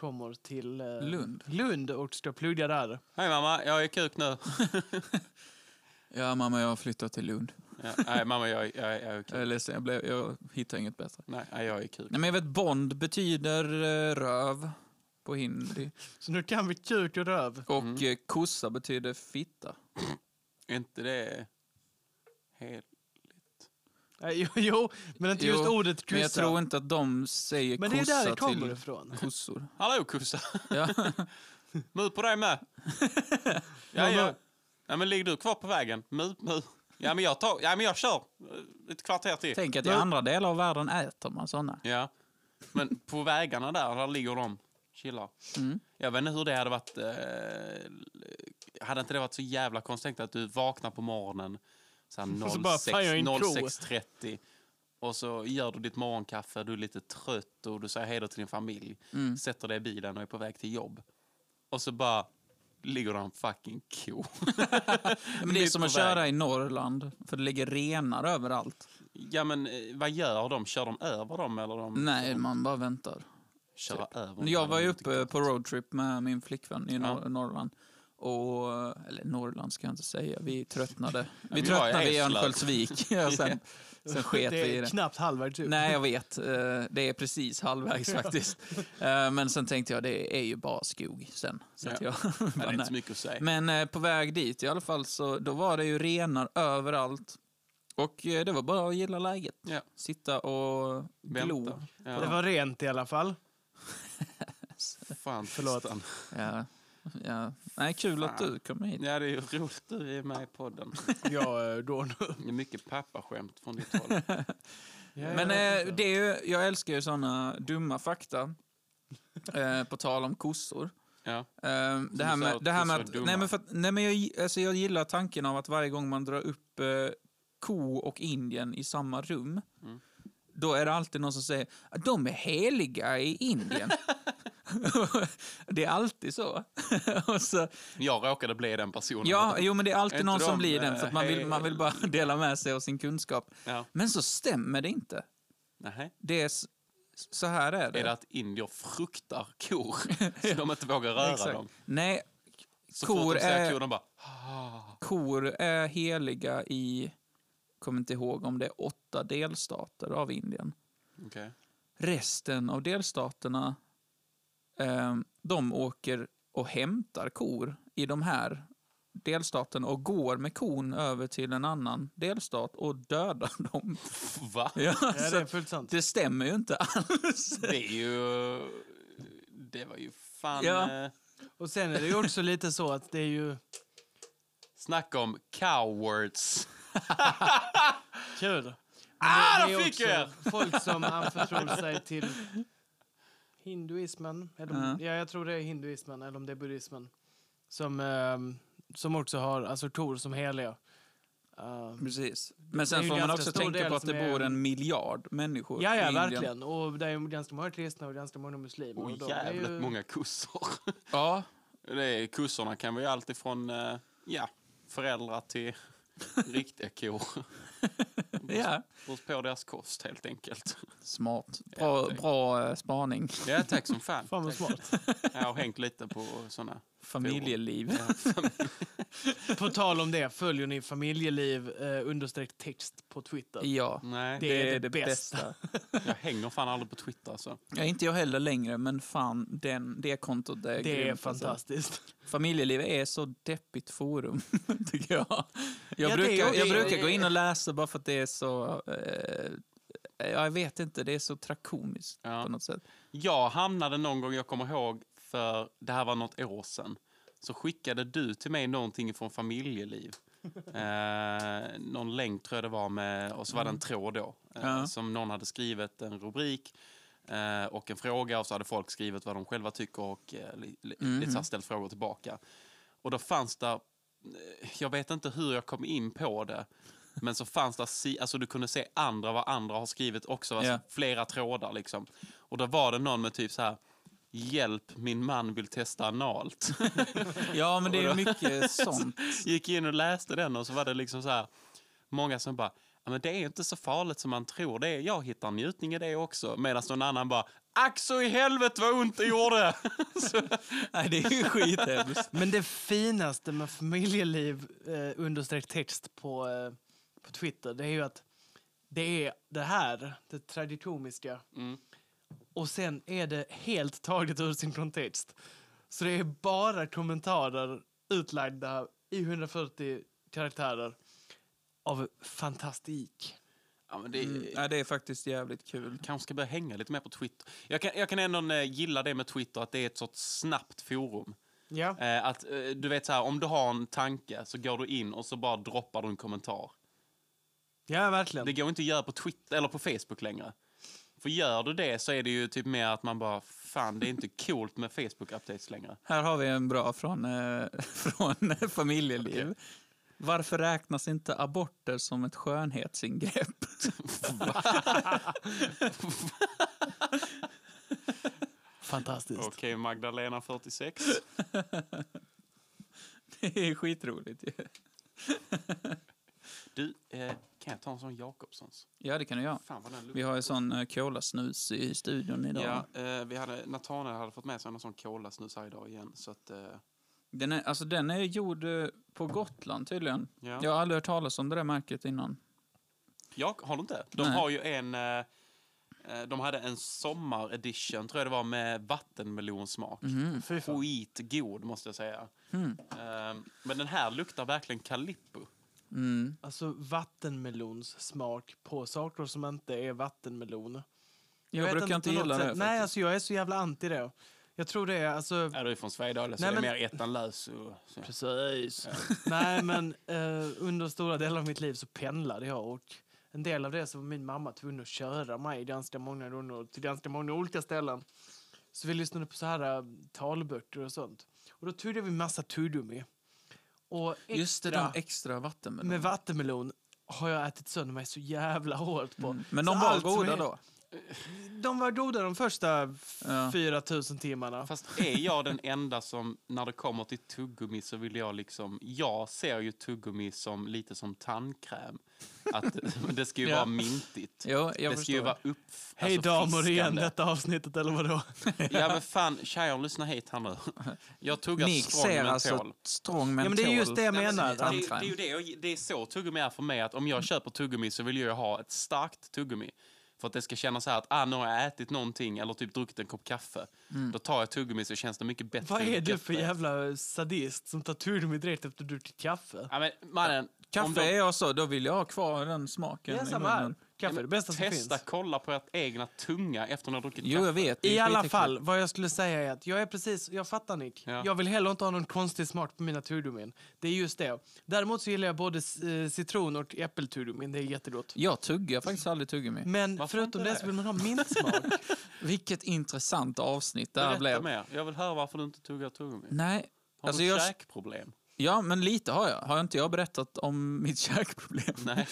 [SPEAKER 2] kommer till eh,
[SPEAKER 3] Lund.
[SPEAKER 2] Lund och ska plugga där.
[SPEAKER 1] Hej mamma, jag är kuk nu.
[SPEAKER 3] Ja, mamma, jag har flyttat till Lund.
[SPEAKER 1] Ja, nej mamma, jag, är- jag, är- jag är kuk.
[SPEAKER 2] Eh.
[SPEAKER 3] Jag är ledsen, jag, blev, jag hittar inget bättre.
[SPEAKER 1] Nej, nej, jag är kuk.
[SPEAKER 3] Nej, men jag vet Bond betyder eh, röv på hindi.
[SPEAKER 2] Så nu kan vi kuk och röv.
[SPEAKER 3] Och eh, kossa betyder fitta.
[SPEAKER 1] Är inte det helt...
[SPEAKER 2] Nej, Jo, jo men inte just
[SPEAKER 3] Jo,
[SPEAKER 2] ordet
[SPEAKER 3] Men jag
[SPEAKER 2] kryssa.
[SPEAKER 3] tror inte att de säger
[SPEAKER 2] Men det är där
[SPEAKER 3] kossa
[SPEAKER 2] det kommer
[SPEAKER 3] till
[SPEAKER 2] ifrån.
[SPEAKER 3] kossor.
[SPEAKER 1] Hallå kossa!
[SPEAKER 3] Ja.
[SPEAKER 1] Mu på dig med! ja, ja. ja, men ligger du kvar på vägen? Mu, mu. Ja, men jag tar... Ja, men jag kör! Eh, Ett kvarter till.
[SPEAKER 3] Tänk att i andra delar av världen äter man såna.
[SPEAKER 1] Ja. Men på vägarna där, där ligger de. Chillar.
[SPEAKER 3] Mm.
[SPEAKER 1] Jag vet inte hur det hade varit... Eh, hade inte det varit så jävla konstigt Tänk dig att du vaknar på morgonen så här
[SPEAKER 2] Och så bara,
[SPEAKER 1] 06
[SPEAKER 2] fan, jag är en ko.
[SPEAKER 1] 06.30 och så gör du ditt morgonkaffe, du är lite trött och du säger hej då till din familj.
[SPEAKER 3] Mm.
[SPEAKER 1] Sätter dig i bilen och är på väg till jobb. Och så bara ligger det en fucking ko.
[SPEAKER 3] Men det är
[SPEAKER 1] Mitt
[SPEAKER 3] som
[SPEAKER 1] på
[SPEAKER 3] att köra i Norrland, för det ligger renar överallt.
[SPEAKER 1] Ja men eh, vad gör de? Kör de över dem eller de liksom
[SPEAKER 3] Nej, man bara väntar.
[SPEAKER 1] köra över dem?
[SPEAKER 3] Jag var ju
[SPEAKER 1] Inte
[SPEAKER 3] uppe
[SPEAKER 1] gott.
[SPEAKER 3] på roadtrip med min flickvän i Nor- Norrland. Och, eller Norrland ska jag inte säga, vi tröttnade. Vi
[SPEAKER 1] var
[SPEAKER 3] tröttnade
[SPEAKER 1] i
[SPEAKER 3] vid
[SPEAKER 1] Eslöv.
[SPEAKER 3] Örnsköldsvik. Ja, sen, sen sket vi
[SPEAKER 2] det
[SPEAKER 3] i
[SPEAKER 2] är
[SPEAKER 3] det.
[SPEAKER 2] knappt halvvägs upp.
[SPEAKER 3] Nej, jag vet. Eh, Det är precis halvvägs faktiskt. Eh, Men sen tänkte jag, det är ju bara skog sen. Så att
[SPEAKER 1] Ja.
[SPEAKER 3] jag
[SPEAKER 1] Nej, det
[SPEAKER 3] bara,
[SPEAKER 1] är inte
[SPEAKER 3] nej.
[SPEAKER 1] så mycket att säga.
[SPEAKER 3] Men eh, på väg dit i alla fall, så då var det ju renar överallt. Och eh, det var bara att gilla läget.
[SPEAKER 1] Ja.
[SPEAKER 3] Sitta och glo.
[SPEAKER 1] Vänta. Ja.
[SPEAKER 2] Det var rent i alla fall.
[SPEAKER 1] Fan,
[SPEAKER 2] Förlåt.
[SPEAKER 1] Tristan.
[SPEAKER 3] Ja. Ja. Nej, kul att
[SPEAKER 1] Fan.
[SPEAKER 3] du kom hit.
[SPEAKER 1] Ja, det är ju roligt du är med i podden.
[SPEAKER 2] Jag eh, går nu.
[SPEAKER 1] Det är mycket pappaskämt från ditt håll.
[SPEAKER 3] Men eh, det är ju, jag älskar ju såna dumma fakta. eh, på tal om kossor.
[SPEAKER 1] Ja.
[SPEAKER 3] Eh, det, här
[SPEAKER 1] du sa
[SPEAKER 3] med,
[SPEAKER 1] att
[SPEAKER 3] det här med
[SPEAKER 1] kossor
[SPEAKER 3] att...
[SPEAKER 1] är dumma.
[SPEAKER 3] Nej, men, för att, nej, men jag, gi- alltså, jag gillar tanken av att varje gång man drar upp eh, ko och Indien i samma rum,
[SPEAKER 1] Mm.
[SPEAKER 3] då är det alltid någon som säger att de är heliga i Indien. det är alltid så. och så
[SPEAKER 1] Jag råkade bli den personen.
[SPEAKER 3] ja, jo, men det är alltid
[SPEAKER 1] Är
[SPEAKER 3] någon
[SPEAKER 1] inte
[SPEAKER 3] som
[SPEAKER 1] de,
[SPEAKER 3] blir den, för att man vill,
[SPEAKER 1] eh,
[SPEAKER 3] man vill bara dela med sig av sin kunskap.
[SPEAKER 1] ja.
[SPEAKER 3] Men så stämmer det inte.
[SPEAKER 1] Nej.
[SPEAKER 3] Det är, s- så här är det.
[SPEAKER 1] Är det att indier fruktar kor så de inte vågar röra
[SPEAKER 3] Exakt.
[SPEAKER 1] dem?
[SPEAKER 3] Nej,
[SPEAKER 1] Så fort
[SPEAKER 3] kor
[SPEAKER 1] de ser
[SPEAKER 3] är,
[SPEAKER 1] kor, de bara... "Ah."
[SPEAKER 3] kor är heliga i, kommer inte ihåg om det är åtta delstater av Indien.
[SPEAKER 1] Okej.
[SPEAKER 3] Resten av delstaterna, eh, de åker och hämtar kor i de här delstaterna och går med kon över till en annan delstat och dödar dem.
[SPEAKER 1] Va?
[SPEAKER 3] Ja, så
[SPEAKER 2] Ja, det är
[SPEAKER 3] att
[SPEAKER 2] fullt sant.
[SPEAKER 3] alltså, det stämmer ju inte alls.
[SPEAKER 1] Det är ju... Det var ju fan...
[SPEAKER 3] Ja.
[SPEAKER 1] eh,
[SPEAKER 2] Och sen är det ju också lite så att det är ju...
[SPEAKER 1] Snacka om cowards.
[SPEAKER 2] Kul. Men
[SPEAKER 1] Ah,
[SPEAKER 2] det
[SPEAKER 1] där
[SPEAKER 2] är
[SPEAKER 1] fick
[SPEAKER 2] också
[SPEAKER 1] jag
[SPEAKER 2] Folk som anförtror sig till hinduismen. Eller, om-
[SPEAKER 3] Ja.
[SPEAKER 2] Ja, jag tror det är hinduismen eller om det är buddhismen. Som, ehm, som också har assortor som heliga. Ehm,
[SPEAKER 3] Precis. Men
[SPEAKER 2] Det är
[SPEAKER 3] sen
[SPEAKER 2] ju
[SPEAKER 3] får man
[SPEAKER 2] ganska
[SPEAKER 3] också
[SPEAKER 2] stor
[SPEAKER 3] tänka
[SPEAKER 2] del
[SPEAKER 3] på att det
[SPEAKER 2] som är-
[SPEAKER 3] bor en miljard människor
[SPEAKER 2] ja,
[SPEAKER 3] i
[SPEAKER 2] ja,
[SPEAKER 3] Indien.
[SPEAKER 2] verkligen. Och det är ju ganska många kristna och ganska många muslimer.
[SPEAKER 1] Och
[SPEAKER 2] och de är
[SPEAKER 1] jävligt
[SPEAKER 2] ju...
[SPEAKER 1] många kossor.
[SPEAKER 3] Ja,
[SPEAKER 1] Det är, kossorna kan vara allt ifrån eh, ja, föräldrar till riktiga kor.
[SPEAKER 3] ja.
[SPEAKER 1] Beror på deras kost helt enkelt.
[SPEAKER 3] Smart. Bra,
[SPEAKER 1] tack.
[SPEAKER 3] bra eh, spaning.
[SPEAKER 1] Ja, tack som fan.
[SPEAKER 2] Fan vad smart.
[SPEAKER 1] Jag har hängt lite på såna.
[SPEAKER 3] Familjeliv.
[SPEAKER 2] på tal om det, följer ni familjeliv eh, understreck text på Twitter?
[SPEAKER 3] Ja,
[SPEAKER 1] Nej,
[SPEAKER 2] Det är det bästa.
[SPEAKER 1] jag hänger fan aldrig på Twitter. Så.
[SPEAKER 3] Ja, inte jag heller längre, men fan, den, det kontot är
[SPEAKER 2] Det är
[SPEAKER 3] grymt, alltså.
[SPEAKER 2] fantastiskt.
[SPEAKER 3] Familjeliv är så deppigt forum, tycker jag. Jag,
[SPEAKER 2] det är
[SPEAKER 3] brukar,
[SPEAKER 2] ju-
[SPEAKER 3] jag
[SPEAKER 2] det-
[SPEAKER 3] brukar gå in och läsa bara för att det är så... Eh, ja, jag vet inte, det är så trakomiskt
[SPEAKER 1] Ja.
[SPEAKER 3] på något sätt.
[SPEAKER 1] Jag hamnade någon gång, jag kommer ihåg, för det här var något år sedan. Så skickade du till mig någonting från familjeliv. Eh, någon länk tror jag det var med, och så var det en tråd då. Eh,
[SPEAKER 3] Ja.
[SPEAKER 1] Som någon hade skrivit en rubrik eh, och en fråga och så hade folk skrivit vad de själva tycker och eh, li, li,
[SPEAKER 3] Mhm.
[SPEAKER 1] lite så här ställt frågor tillbaka. Och då fanns det, eh, jag vet inte hur jag kom in på det, men så fanns det, si- alltså du kunde se andra vad andra har skrivit också, alltså
[SPEAKER 3] Ja.
[SPEAKER 1] flera trådar liksom. Och då var det någon med typ så här, hjälp min man vill testa analt.
[SPEAKER 3] Ja, men det är mycket sånt.
[SPEAKER 1] Gick in och läste den och så var det liksom så här, många som bara, ja men det är ju inte så farligt som man tror, det är, jag hittar njutning i det också. Medan någon annan bara, ack så i helvete vad ont det gjorde! så,
[SPEAKER 3] Nej, det är ju skithemskt.
[SPEAKER 2] Men det finaste med familjeliv eh, understreck text på, eh, på Twitter det är ju att det är det här, det traditomiska
[SPEAKER 1] Mm.
[SPEAKER 2] och sen är det helt taget ur sin kontext. Så det är bara kommentarer utlagda i 140 karaktärer av fantastik.
[SPEAKER 1] ja, men det,
[SPEAKER 3] Mm, ja, det är faktiskt jävligt kul.
[SPEAKER 1] kanske ska börja hänga lite mer på Twitter. Jag kan, jag kan ändå eh, gilla det med Twitter, att det är ett sorts snabbt forum.
[SPEAKER 2] Ja.
[SPEAKER 1] Eh, att, eh, du vet så här, om du har en tanke så går du in och så bara droppar du en kommentar.
[SPEAKER 2] ja, verkligen.
[SPEAKER 1] Det går inte att göra på Twitter eller på Facebook längre. För gör du det så är det ju typ mer att man bara, fan det är inte coolt med Facebook-updates längre.
[SPEAKER 3] Här har vi en bra från, eh, från eh, familjeliv.
[SPEAKER 1] Okej.
[SPEAKER 3] Varför räknas inte aborter som ett skönhetsingrepp?
[SPEAKER 2] Fantastiskt.
[SPEAKER 1] Okej Magdalena 46.
[SPEAKER 3] Det är skitroligt ju.
[SPEAKER 1] Du, eh, kan jag ta en sån Jakobssons?
[SPEAKER 3] Ja, det kan du göra.
[SPEAKER 1] Fan vad den luktar.
[SPEAKER 3] Vi har ju sån eh, colasnus i studion idag.
[SPEAKER 1] Ja, eh, vi hade, Nathanael hade fått med sig någon sån kolasnus här idag igen. Så att, eh,
[SPEAKER 3] Den, är, alltså, den är gjord eh, på Gotland tydligen.
[SPEAKER 1] ja.
[SPEAKER 3] Jag har aldrig hört talas om det där märket innan.
[SPEAKER 1] Ja, har du inte? De
[SPEAKER 3] Nej.
[SPEAKER 1] har ju en... eh, eh, De hade en sommaredition, tror jag det var, med vattenmelonsmak.
[SPEAKER 3] Mhm.
[SPEAKER 2] Fy fan.
[SPEAKER 1] Skitgod, måste jag säga.
[SPEAKER 3] Mm.
[SPEAKER 1] Ehm, Men den här luktar verkligen Calippo.
[SPEAKER 3] Mm.
[SPEAKER 2] Alltså vattenmelons smak på saker som inte är vattenmelon.
[SPEAKER 3] Jag,
[SPEAKER 2] vet
[SPEAKER 3] brukar inte
[SPEAKER 2] på något
[SPEAKER 3] gilla det.
[SPEAKER 2] sätt. Nej,
[SPEAKER 3] faktiskt.
[SPEAKER 2] alltså jag är så jävla anti det. Jag tror det är alltså...
[SPEAKER 1] Ja, du är från Svedala, så
[SPEAKER 2] Nej,
[SPEAKER 1] det är
[SPEAKER 2] men-
[SPEAKER 1] mer ettan lös. Och, så.
[SPEAKER 2] Precis. Nej, men eh, under stora delar av mitt liv så pendlade jag och en del av det så var min mamma tvungen att köra mig ganska många gånger till ganska många olika ställen. Så vi lyssnade på så här eh, talböcker och sånt. Och då tuggade vi massa tuggummi. Och extra
[SPEAKER 3] Just det, de extra vattenmelonerna.
[SPEAKER 2] med vattenmelon har jag ätit sönder mig så jävla hårt på.
[SPEAKER 3] Mm. Men
[SPEAKER 2] Så
[SPEAKER 3] de var
[SPEAKER 2] allt som
[SPEAKER 3] goda
[SPEAKER 2] är-
[SPEAKER 3] då?
[SPEAKER 2] De var goda de första
[SPEAKER 3] Ja.
[SPEAKER 2] 4000 timmarna.
[SPEAKER 1] Fast är jag den enda som, när det kommer till tuggummi så vill jag liksom... Jag ser ju tuggummi som lite som tandkräm. Att det ska ju
[SPEAKER 3] Ja.
[SPEAKER 1] vara mintigt.
[SPEAKER 3] Jo,
[SPEAKER 1] det
[SPEAKER 3] jag
[SPEAKER 1] ska ju
[SPEAKER 3] förstår.
[SPEAKER 1] vara upp...
[SPEAKER 2] Hej
[SPEAKER 1] alltså
[SPEAKER 2] damer igen,
[SPEAKER 1] fiskande.
[SPEAKER 2] detta avsnittet eller vadå?
[SPEAKER 1] Ja men fan, tjejer lyssna hit här nu. Jag tuggar
[SPEAKER 3] Nick
[SPEAKER 1] strong
[SPEAKER 3] ser
[SPEAKER 1] mentol.
[SPEAKER 3] alltså strong mentol.
[SPEAKER 2] Ja, men det är just det jag
[SPEAKER 1] Nej, men
[SPEAKER 2] menar. Mm.
[SPEAKER 1] Det, det, är ju- det, är ju det, jag- det är så tuggummi är för mig. Att om jag köper tuggummi så vill jag ha ett starkt tuggummi. För att det ska kännas så här att ah, nu har jag ätit någonting eller typ druckit en kopp kaffe. Då tar jag tuggummi så känns det mycket bättre.
[SPEAKER 2] Mm. Vad är
[SPEAKER 1] i
[SPEAKER 2] du för
[SPEAKER 1] göttet.
[SPEAKER 2] jävla sadist som tar tuggummi direkt efter du druckit kaffe?
[SPEAKER 1] Ja, men, mannen, om
[SPEAKER 3] Kaffe
[SPEAKER 1] de-
[SPEAKER 3] är jag så, då vill jag ha kvar den smaken
[SPEAKER 2] Ja,
[SPEAKER 3] i
[SPEAKER 2] samma här.
[SPEAKER 3] munnen.
[SPEAKER 2] Kaffe, det bästa som finns.
[SPEAKER 1] Testa kolla på ert egna tunga efter ni har druckit
[SPEAKER 3] Jo, jag
[SPEAKER 1] kaffe.
[SPEAKER 3] vet. det är
[SPEAKER 2] I alla
[SPEAKER 3] skitäckligt.
[SPEAKER 2] fall, vad jag skulle säga är att jag är precis, jag fattar Nick.
[SPEAKER 1] Ja.
[SPEAKER 2] Jag vill heller inte ha någon konstig smak på mina turdumin. Det är just det. Däremot så gillar jag både eh, citron och äppelturdumin, det är jättegott.
[SPEAKER 3] Jag tuggar faktiskt aldrig tuggummi.
[SPEAKER 2] Men
[SPEAKER 1] Varför
[SPEAKER 2] förutom
[SPEAKER 1] inte
[SPEAKER 2] det
[SPEAKER 1] det?
[SPEAKER 2] så vill man ha mintsmak.
[SPEAKER 3] Vilket intressant avsnitt det här
[SPEAKER 1] Berätta
[SPEAKER 3] blev.
[SPEAKER 1] mer. Jag vill höra varför du inte tuggar tuggummi.
[SPEAKER 3] Nej,
[SPEAKER 1] Har
[SPEAKER 3] alltså
[SPEAKER 1] du
[SPEAKER 3] jag-
[SPEAKER 1] käkproblem?
[SPEAKER 3] ja men lite har jag. Har inte jag berättat om mitt käkproblem?
[SPEAKER 1] Nej.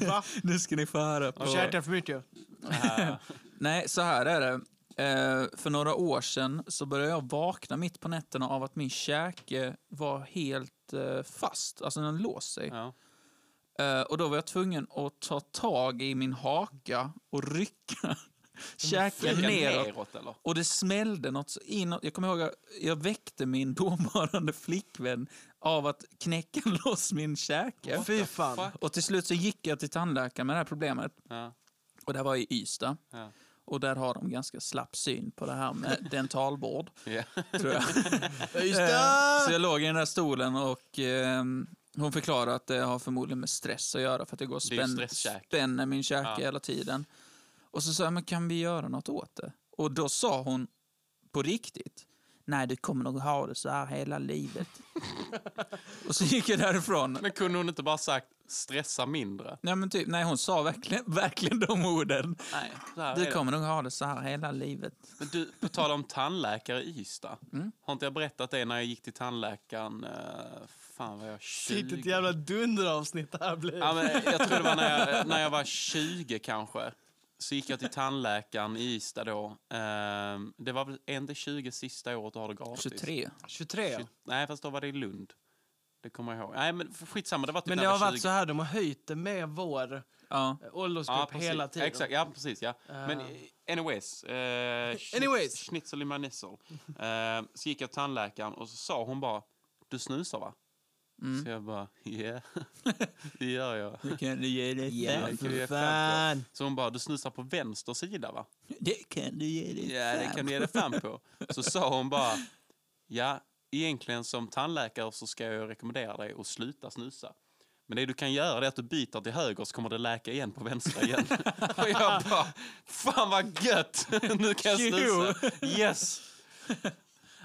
[SPEAKER 2] Va?
[SPEAKER 3] Nu ska ni få höra på...
[SPEAKER 2] Kärt är för mycket.
[SPEAKER 1] Äh,
[SPEAKER 3] Nej, så här är det. Eh, för några år sedan så började jag vakna mitt på nätterna av att min käke var helt eh, fast. Alltså den låste sig.
[SPEAKER 1] ja.
[SPEAKER 3] Eh, och då var jag tvungen att ta tag i min haka och rycka käken
[SPEAKER 1] Tugga
[SPEAKER 3] neråt.
[SPEAKER 1] neråt eller?
[SPEAKER 3] Och det smällde något så inåt. Jag kommer ihåg att jag väckte min dåvarande flickvän av att knäcka loss min käke.
[SPEAKER 2] Fy fan.
[SPEAKER 1] fuck?
[SPEAKER 3] Och till slut så gick jag till tandläkaren med det här problemet.
[SPEAKER 1] Ja.
[SPEAKER 3] Och det var i Ystad.
[SPEAKER 1] Ja.
[SPEAKER 3] Och där har de ganska slapp syn på det här med dentalvård,
[SPEAKER 1] Ja.
[SPEAKER 3] tror jag. Eh, Så jag låg i den där stolen och ehm, hon förklarade att det har förmodligen med stress att göra för att det går och
[SPEAKER 1] Det är ju
[SPEAKER 3] spänn,
[SPEAKER 1] stresskäk.
[SPEAKER 3] spänner min käke
[SPEAKER 1] Ja.
[SPEAKER 3] hela tiden. Och så sa jag, men kan vi göra något åt det? Och då sa hon på riktigt, nej du kommer nog ha det så här hela livet. och så gick jag därifrån.
[SPEAKER 1] Men kunde hon inte bara sagt stressa mindre?
[SPEAKER 3] Nej, men typ, nej hon sa verkligen, verkligen de orden.
[SPEAKER 1] Nej, så här är
[SPEAKER 3] Du
[SPEAKER 1] det.
[SPEAKER 3] kommer nog ha det så här hela livet.
[SPEAKER 1] Men du, på tal om tandläkare i Ystad.
[SPEAKER 2] Mm.
[SPEAKER 1] Har inte jag berättat det när jag gick till tandläkaren? eh, fan vad jag 20.
[SPEAKER 2] Vilket jävla dunderavsnitt det här
[SPEAKER 1] Ja,
[SPEAKER 2] blir.
[SPEAKER 1] men jag tror det var när jag, när jag var 20 kanske. Så gick jag till tandläkaren i Ystad då. Ehm, det var väl inte 20 sista året du har det gratis.
[SPEAKER 3] 23.
[SPEAKER 2] 23.
[SPEAKER 1] Shit, Nej, fast då var det i Lund. Det kommer jag ihåg. Nej, men skitsamma. Det var typ
[SPEAKER 2] Men
[SPEAKER 1] när
[SPEAKER 2] det
[SPEAKER 1] jag
[SPEAKER 2] har
[SPEAKER 1] var
[SPEAKER 2] varit
[SPEAKER 1] 20.
[SPEAKER 2] så här, de har höjt det med vår eh,
[SPEAKER 3] Ja.
[SPEAKER 2] åldersgrupp
[SPEAKER 1] precis.
[SPEAKER 2] hela tiden.
[SPEAKER 1] Exakt, ja, precis. Ja. Men
[SPEAKER 2] Eh.
[SPEAKER 1] eh, anyways. eh, schni-
[SPEAKER 2] Anyways.
[SPEAKER 1] Schnitzel i manissel. Eh, så gick jag till tandläkaren och så sa hon bara, du snusar va?
[SPEAKER 2] Mm.
[SPEAKER 3] Mm.
[SPEAKER 1] Så jag bara, yeah, det gör jag.
[SPEAKER 3] kan du ge dig
[SPEAKER 1] Ja, det kan vi ge fan på. Så hon bara, du snusar på vänster sida va?
[SPEAKER 3] Det kan du ge dig
[SPEAKER 1] Ja, det kan du ge dig fan på. Så sa hon bara, ja, egentligen som tandläkare så ska jag rekommendera dig att sluta snusa. Men det du kan göra det är att du byter till höger så kommer det läka igen på vänstra igen. Och jag bara, fan vad gött! Nu kan jag snusa. Yes!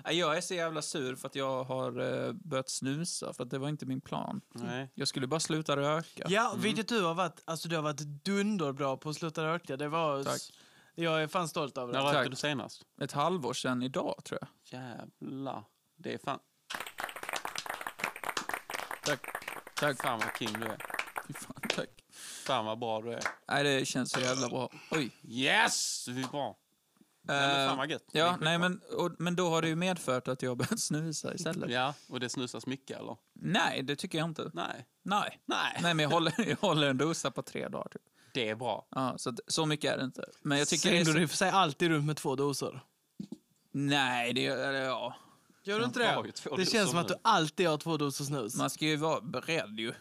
[SPEAKER 3] Ja, Jag är så jävla sur för att jag har eh, börjat snusa, för att det var inte min plan.
[SPEAKER 1] Nej.
[SPEAKER 3] Jag skulle bara sluta röka.
[SPEAKER 2] Ja, vilket du har varit, alltså du har varit dunderbra på att sluta röka. Det var...
[SPEAKER 3] Tack.
[SPEAKER 2] Jag är fan stolt över det.
[SPEAKER 1] När rökte
[SPEAKER 3] Tack.
[SPEAKER 1] du senast?
[SPEAKER 3] Ett halvår sedan idag, tror jag.
[SPEAKER 1] Jävlar. Det är fan,
[SPEAKER 3] Tack. Tack.
[SPEAKER 1] fan vad king du är.
[SPEAKER 3] Fy fan, tack.
[SPEAKER 1] Fan vad bra du är.
[SPEAKER 3] Nej, det känns så jävla bra. Oj.
[SPEAKER 1] Yes! Du är bra. Nej, men fan vad gött. Det är
[SPEAKER 3] Eh, Ja,
[SPEAKER 1] skitbra.
[SPEAKER 3] nej, men, och, men då har det ju medfört att jag har börjat snusa istället.
[SPEAKER 1] Ja, och det snusas mycket eller?
[SPEAKER 3] Nej, det tycker jag inte.
[SPEAKER 1] Nej.
[SPEAKER 3] Nej.
[SPEAKER 1] Nej.
[SPEAKER 3] Nej, men jag håller, jag håller en dosa på tre dagar, typ.
[SPEAKER 1] Det är bra.
[SPEAKER 3] Ja, så, att- så mycket är det inte. Men jag tycker...
[SPEAKER 2] Ser
[SPEAKER 3] det är
[SPEAKER 2] du
[SPEAKER 3] så-
[SPEAKER 2] dig för sig alltid runt med två doser?
[SPEAKER 3] Nej, det... Eller, ja.
[SPEAKER 2] Gör du inte
[SPEAKER 1] Jag har ju
[SPEAKER 2] det?
[SPEAKER 1] två
[SPEAKER 2] Det
[SPEAKER 1] doser
[SPEAKER 2] känns som att
[SPEAKER 1] nu.
[SPEAKER 2] du alltid har två doser snus.
[SPEAKER 3] Man ska ju vara beredd ju.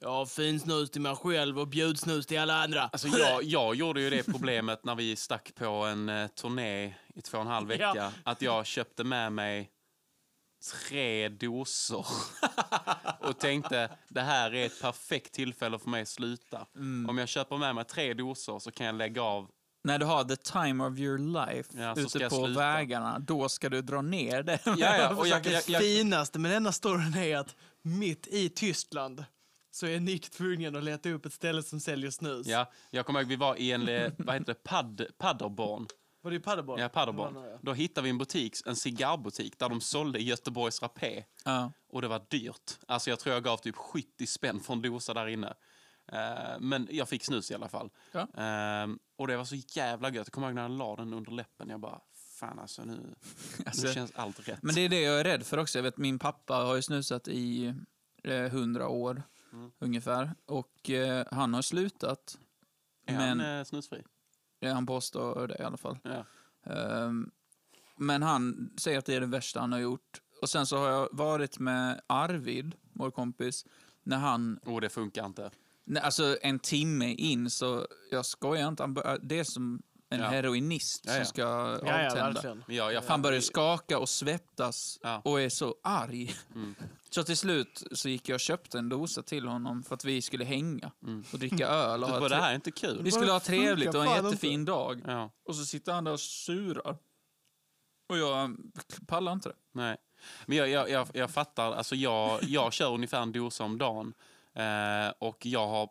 [SPEAKER 2] Jag har finsnus till mig själv och bjudsnus till alla andra.
[SPEAKER 1] Alltså jag, jag gjorde ju det problemet när vi stack på en eh, turné i två och en halv vecka.
[SPEAKER 2] Ja.
[SPEAKER 1] Att jag köpte med mig tre doser och tänkte det här är ett perfekt tillfälle för mig att sluta. Om jag köper med mig tre doser så kan jag lägga av.
[SPEAKER 3] När du har the time of your life
[SPEAKER 1] Ja, så ska
[SPEAKER 3] ute
[SPEAKER 1] jag
[SPEAKER 3] på
[SPEAKER 1] sluta.
[SPEAKER 3] vägarna, då ska du dra ner det. Ja,
[SPEAKER 1] ja, och jag-
[SPEAKER 2] det finaste med denna storyn är att mitt i Tyskland så är Nick tvungen att leta upp ett ställe som säljer snus.
[SPEAKER 1] Ja, jag kommer ihåg vi var i en, eh, vad heter det, Pad, Paderborn.
[SPEAKER 2] Var det i Paderborn?
[SPEAKER 1] Ja,
[SPEAKER 2] Det var några,
[SPEAKER 1] Paderborn.
[SPEAKER 2] ja.
[SPEAKER 1] Då hittade vi en butik, en cigarrbutik där de sålde Göteborgs Rapé. Och det var dyrt. Alltså jag tror jag gav typ 70 spänn för en dosa där inne. Eh, men jag fick snus i alla fall.
[SPEAKER 3] Ja.
[SPEAKER 1] Eh, och det var så jävla gött. Jag kommer ihåg när jag la den under läppen. Jag bara, fan alltså nu,
[SPEAKER 3] Alltså,
[SPEAKER 1] nu känns allt rätt.
[SPEAKER 3] Men det är det jag är rädd för också. Jag vet, min pappa har ju snusat i eh, hundra år
[SPEAKER 1] Mm.
[SPEAKER 3] ungefär. Och eh, han har slutat.
[SPEAKER 1] är
[SPEAKER 3] men-
[SPEAKER 1] han eh, snusfri?
[SPEAKER 3] Eh, Han påstår det i alla fall.
[SPEAKER 1] Ja.
[SPEAKER 3] Ehm, men han säger att det är det värsta han har gjort. Och sen så har jag varit med Arvid, vår kompis, när han
[SPEAKER 1] Och det funkar inte.
[SPEAKER 3] Nej, alltså en timme in så, jag skojar inte, han bör, det är som en
[SPEAKER 1] Ja.
[SPEAKER 3] heroinist
[SPEAKER 1] Ja, ja.
[SPEAKER 3] som ska
[SPEAKER 2] Ja, ja,
[SPEAKER 3] avtända.
[SPEAKER 2] verkligen.
[SPEAKER 1] Men jag, jag
[SPEAKER 3] Han börjar skaka och svettas
[SPEAKER 1] Ja.
[SPEAKER 3] och är så arg.
[SPEAKER 1] Mm.
[SPEAKER 3] Så till slut så gick jag och köpte en dosa till honom för att vi skulle hänga
[SPEAKER 1] Mm.
[SPEAKER 3] och dricka öl. Och
[SPEAKER 1] Du
[SPEAKER 3] ha
[SPEAKER 1] bara, det här
[SPEAKER 3] tre-
[SPEAKER 1] är inte kul.
[SPEAKER 3] vi skulle ha
[SPEAKER 2] Bara funkar
[SPEAKER 3] trevligt och
[SPEAKER 2] fan
[SPEAKER 3] en
[SPEAKER 2] inte.
[SPEAKER 3] jättefin dag.
[SPEAKER 1] Ja,
[SPEAKER 3] Och så sitter han där och surar. Och jag mm, pallar inte det.
[SPEAKER 1] nej. Men jag, jag, jag, jag fattar, alltså jag, jag kör ungefär en dosa om dagen. Eh, och jag har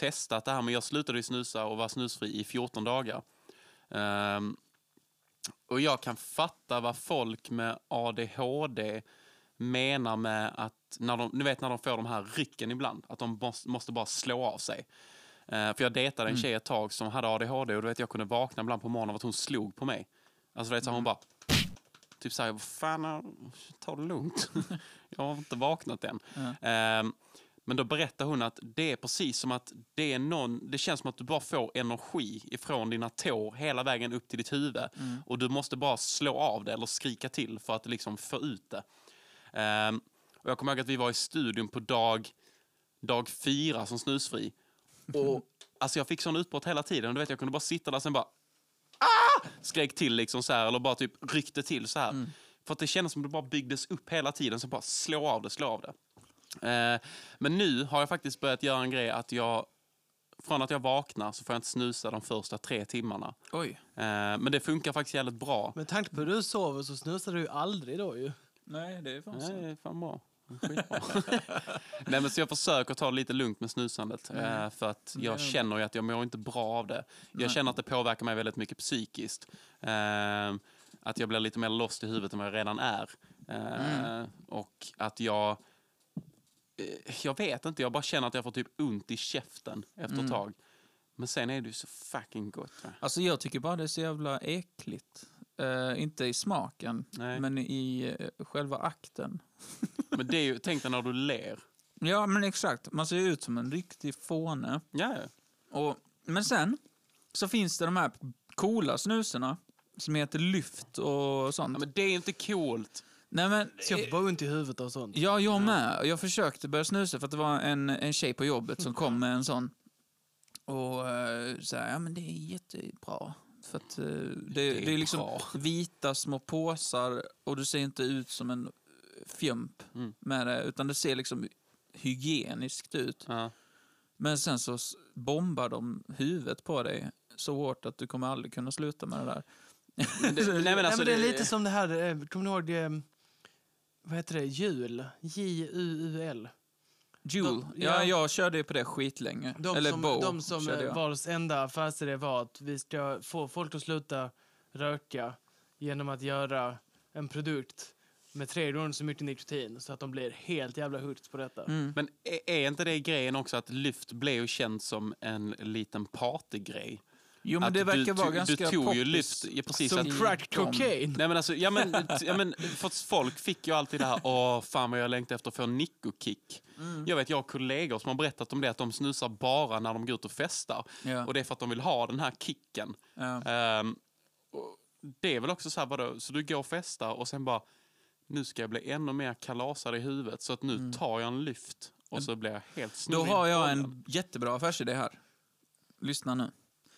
[SPEAKER 1] testat det här, men jag slutade ju snusa och var snusfri i 14 dagar. Ehm, och jag kan fatta vad folk med ADHD menar med att, när de, ni vet när de får de här rycken ibland, att de måste, måste bara slå av sig. Eh, för jag dejtade en tjej ett tag som hade ADHD och du vet jag kunde vakna ibland på morgonen av att hon slog på mig. Alltså du vet så här, hon bara, typ såhär, vad fan, har- ta det lugnt. jag har inte vaknat än. Ehm, men då berättar hon att det är precis som att det är någon, det känns som att du bara får energi ifrån dina tår hela vägen upp till ditt huvud. Och du måste bara slå av det eller skrika till för att liksom få ut det. Ehm, och jag kommer ihåg att vi var i studion på dag, dag fyra som snusfri. Och alltså jag fick sån utbrott hela tiden. Du vet, jag kunde bara sitta där och sen bara ah! skrek till liksom så här, eller bara typ ryckte till så här. För att det kändes som att det bara byggdes upp hela tiden. Så bara slå av det, slå av det. Eh, men nu har jag faktiskt börjat göra en grej att jag från att jag vaknar så får jag inte snusa de första tre timmarna.
[SPEAKER 3] Oj.
[SPEAKER 1] Eh, men det funkar faktiskt jävligt bra.
[SPEAKER 2] Med tanke på hur du sover så snusar du ju aldrig då ju.
[SPEAKER 3] Nej, det är fan
[SPEAKER 1] Nej,
[SPEAKER 3] så.
[SPEAKER 1] det är fan bra. Skitbra. Nej, men så jag försöker ta det lite lugnt med snusandet. eh, För att jag
[SPEAKER 3] Nej.
[SPEAKER 1] känner ju att jag mår inte bra av det. Jag
[SPEAKER 3] Nej.
[SPEAKER 1] känner att det påverkar mig väldigt mycket psykiskt. Eh, Att jag blir lite mer lost i huvudet än vad jag redan är. Eh, Och att jag... eh, Jag vet inte, jag bara känner att jag får typ ont i käften efter ett tag. Men sen är det ju så fucking gott. Va?
[SPEAKER 3] Alltså jag tycker bara det är så jävla äckligt. Eh, inte i smaken,
[SPEAKER 1] Nej.
[SPEAKER 3] men i eh, själva akten.
[SPEAKER 1] Men det är ju, tänk dig när du ler.
[SPEAKER 3] Ja, men exakt. Man ser ju ut som en riktig fåne.
[SPEAKER 1] Ja, ja.
[SPEAKER 3] Och, men sen så finns det de här coola snuserna som heter lyft och sånt.
[SPEAKER 1] Ja, men det är ju inte coolt.
[SPEAKER 3] Nej, men,
[SPEAKER 2] Så jag får bara ont i huvudet och sånt.
[SPEAKER 3] Ja, jag med. Jag försökte börja snusa för att det var en, en tjej på jobbet som kom med en sån. Och eh, så här, ja men det är jättebra. För att eh, det, det är liksom
[SPEAKER 1] bra.
[SPEAKER 3] vita små påsar och du ser inte ut som en fjump
[SPEAKER 1] Mm.
[SPEAKER 3] med det. Utan det ser liksom hygieniskt ut.
[SPEAKER 1] Ja.
[SPEAKER 3] Men sen så s- bombar de huvudet på dig så hårt att du kommer aldrig kunna sluta med det där.
[SPEAKER 1] Det, nej, men alltså,
[SPEAKER 2] Nej, men det är lite som det här, eh, kommer ni ihåg det, eh, vad heter det, jul? J-U-U-L.
[SPEAKER 3] Jule,
[SPEAKER 2] De-
[SPEAKER 3] ja.
[SPEAKER 2] ja.
[SPEAKER 3] jag körde på det skitlänge.
[SPEAKER 2] De
[SPEAKER 3] Eller
[SPEAKER 2] som,
[SPEAKER 3] Bo
[SPEAKER 2] de som
[SPEAKER 3] körde
[SPEAKER 2] eh,
[SPEAKER 3] jag.
[SPEAKER 2] vars enda affärsidé var att vi ska få folk att sluta röka genom att göra en produkt med tre gånger så mycket nikotin så att de blir helt jävla hooked på detta.
[SPEAKER 3] Mm.
[SPEAKER 1] Men är- är inte det grejen också att lyft blev ju känt som en liten partygrej?
[SPEAKER 3] Jo, men
[SPEAKER 1] Att
[SPEAKER 3] det
[SPEAKER 1] du
[SPEAKER 3] verkar
[SPEAKER 1] tog-
[SPEAKER 3] vara
[SPEAKER 1] du
[SPEAKER 3] ganska
[SPEAKER 1] tog ju
[SPEAKER 3] poppis
[SPEAKER 1] lyft- ja, precis,
[SPEAKER 3] som
[SPEAKER 1] att-
[SPEAKER 2] Crack
[SPEAKER 3] de-
[SPEAKER 2] cocaine!
[SPEAKER 1] Nej men alltså, ja men, t- ja, men för att folk fick ju alltid det här, åh fan vad jag längtar efter att få en nickokick. Jag vet, jag har kollegor som har berättat om det, att de snusar bara när de går ut och festar.
[SPEAKER 3] Ja.
[SPEAKER 1] Och det är för att de vill ha den här kicken.
[SPEAKER 3] Ja.
[SPEAKER 1] Ehm, och det är väl också så här, vadå, så du går och festar och sen bara, nu ska jag bli ännu mer kalasad i huvudet så att nu tar jag en lyft och så blir jag helt
[SPEAKER 3] Mm.
[SPEAKER 1] snurrig.
[SPEAKER 3] Då
[SPEAKER 1] i
[SPEAKER 3] har jag
[SPEAKER 1] bollen.
[SPEAKER 3] en jättebra affärsidé här. Lyssna nu.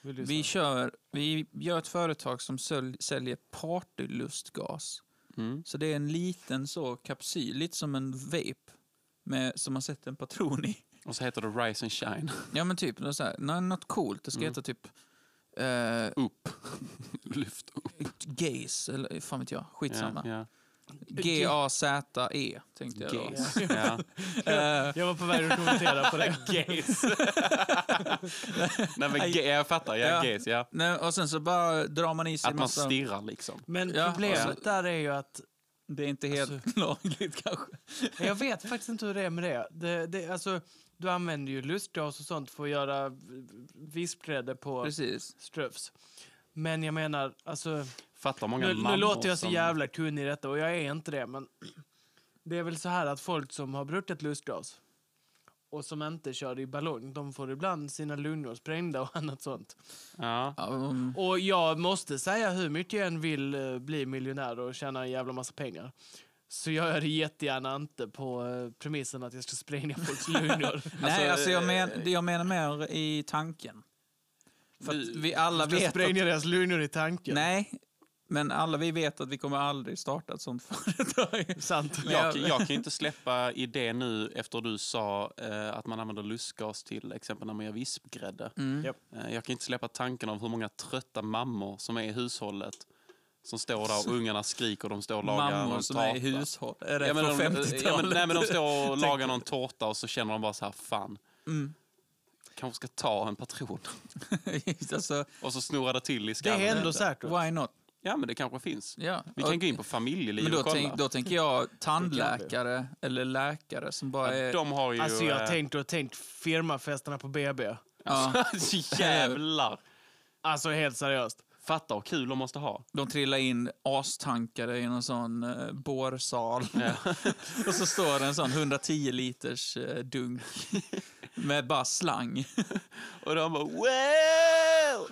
[SPEAKER 2] Vill du
[SPEAKER 3] Vi,
[SPEAKER 2] säga?
[SPEAKER 3] kör, vi gör ett företag som söl- säljer partylustgas.
[SPEAKER 1] Mm.
[SPEAKER 3] Så det är en liten så kapsyl, lite som en vape, med, som man sätter en patron i.
[SPEAKER 1] Och så heter det Rise and Shine.
[SPEAKER 3] Ja men typ, något, så här, nå- något coolt. Det ska
[SPEAKER 1] Mm.
[SPEAKER 3] heta typ eh,
[SPEAKER 1] Upp. Lyft upp.
[SPEAKER 3] Gaze, eller fan vet jag. Skitsamma.
[SPEAKER 1] Ja,
[SPEAKER 3] G-A-Z-E E, tänkte jag då.
[SPEAKER 1] Gays. ja.
[SPEAKER 3] Eh,
[SPEAKER 2] Jag var på väg att kommentera på det.
[SPEAKER 1] Gays. Nej, men ge- jag fattar.
[SPEAKER 3] Ja.
[SPEAKER 1] Ja, gays. Ja.
[SPEAKER 3] nej, och sen så bara drar man i sig
[SPEAKER 1] Att man
[SPEAKER 3] massa...
[SPEAKER 1] stirrar liksom.
[SPEAKER 2] Men
[SPEAKER 3] Ja,
[SPEAKER 2] problemet
[SPEAKER 1] alltså-
[SPEAKER 2] där är ju att
[SPEAKER 3] Det är inte helt lagligt kanske.
[SPEAKER 2] Men Jag vet faktiskt inte hur det är med det. det, det alltså, du använder ju lustgas och sånt för att göra v- vispgrädde på
[SPEAKER 3] Precis.
[SPEAKER 2] ströfs. Men jag menar, alltså,
[SPEAKER 1] Fattar många
[SPEAKER 2] nu, nu
[SPEAKER 1] mammor
[SPEAKER 2] låter jag så
[SPEAKER 1] som-
[SPEAKER 2] jävla kunnig i detta och jag är inte det, men det är väl så här att folk som har brukat lustgas och som inte kör i ballong, de får ibland sina lungor sprängda och annat sånt.
[SPEAKER 1] Ja.
[SPEAKER 3] Ja,
[SPEAKER 1] Mm.
[SPEAKER 3] um,
[SPEAKER 2] Och jag måste säga, hur mycket jag än vill eh, bli miljonär och tjäna en jävla massa pengar så gör jag det jättegärna inte på eh, premissen att jag ska spränga folks lungor.
[SPEAKER 3] nej, alltså jag,
[SPEAKER 1] eh,
[SPEAKER 3] men, jag menar mer i tanken. För att
[SPEAKER 1] Du-
[SPEAKER 3] vi alla
[SPEAKER 2] Jag
[SPEAKER 3] vet att,
[SPEAKER 2] spränger deras lungor i tanken.
[SPEAKER 3] Nej, men alla vi vet att vi kommer aldrig starta ett sånt företag.
[SPEAKER 2] Sant.
[SPEAKER 3] Men
[SPEAKER 1] Jag,
[SPEAKER 3] jag-
[SPEAKER 1] jag kan ju inte släppa idén nu efter du sa eh, att man använder lustgas till exempel när man gör vispgrädde.
[SPEAKER 3] Mm.
[SPEAKER 2] Japp.
[SPEAKER 1] Eh, jag kan inte släppa tanken av hur många trötta mammor som är i hushållet som står där och ungarna skriker och de står och lagar
[SPEAKER 3] Mammor
[SPEAKER 1] någon
[SPEAKER 3] som
[SPEAKER 1] tårta.
[SPEAKER 3] är i hushåll. Är det
[SPEAKER 1] Ja, men
[SPEAKER 3] från
[SPEAKER 1] de, ja, men,
[SPEAKER 3] 50-talet?
[SPEAKER 1] nej, men de står och
[SPEAKER 3] Tänker-
[SPEAKER 1] lagar någon tårta och så känner de bara så här, fan,
[SPEAKER 3] Mm.
[SPEAKER 1] kanske ska ta en patron.
[SPEAKER 3] alltså,
[SPEAKER 1] Och så snurrar det till i
[SPEAKER 2] Det
[SPEAKER 1] skallen.
[SPEAKER 2] är ändå säkert.
[SPEAKER 3] why not?
[SPEAKER 1] Ja, men det kanske finns.
[SPEAKER 3] Ja.
[SPEAKER 1] Vi kan
[SPEAKER 3] Och-
[SPEAKER 1] gå in på familjeliv
[SPEAKER 3] men då,
[SPEAKER 1] och kolla.
[SPEAKER 3] tänk, då tänker jag tandläkare eller läkare som bara är...
[SPEAKER 1] ja, de har ju...
[SPEAKER 2] Alltså jag
[SPEAKER 1] eh,
[SPEAKER 2] tänkte och tänkt firmafesterna på BB.
[SPEAKER 3] ja,
[SPEAKER 1] alltså, Jävlar!
[SPEAKER 2] Alltså helt seriöst.
[SPEAKER 1] Fatta vad kul de måste ha.
[SPEAKER 3] de trillar in astankade i någon sån eh, bårsal. och så står det en sån 110 liters eh, dunk med bara slang.
[SPEAKER 1] Och de bara wow!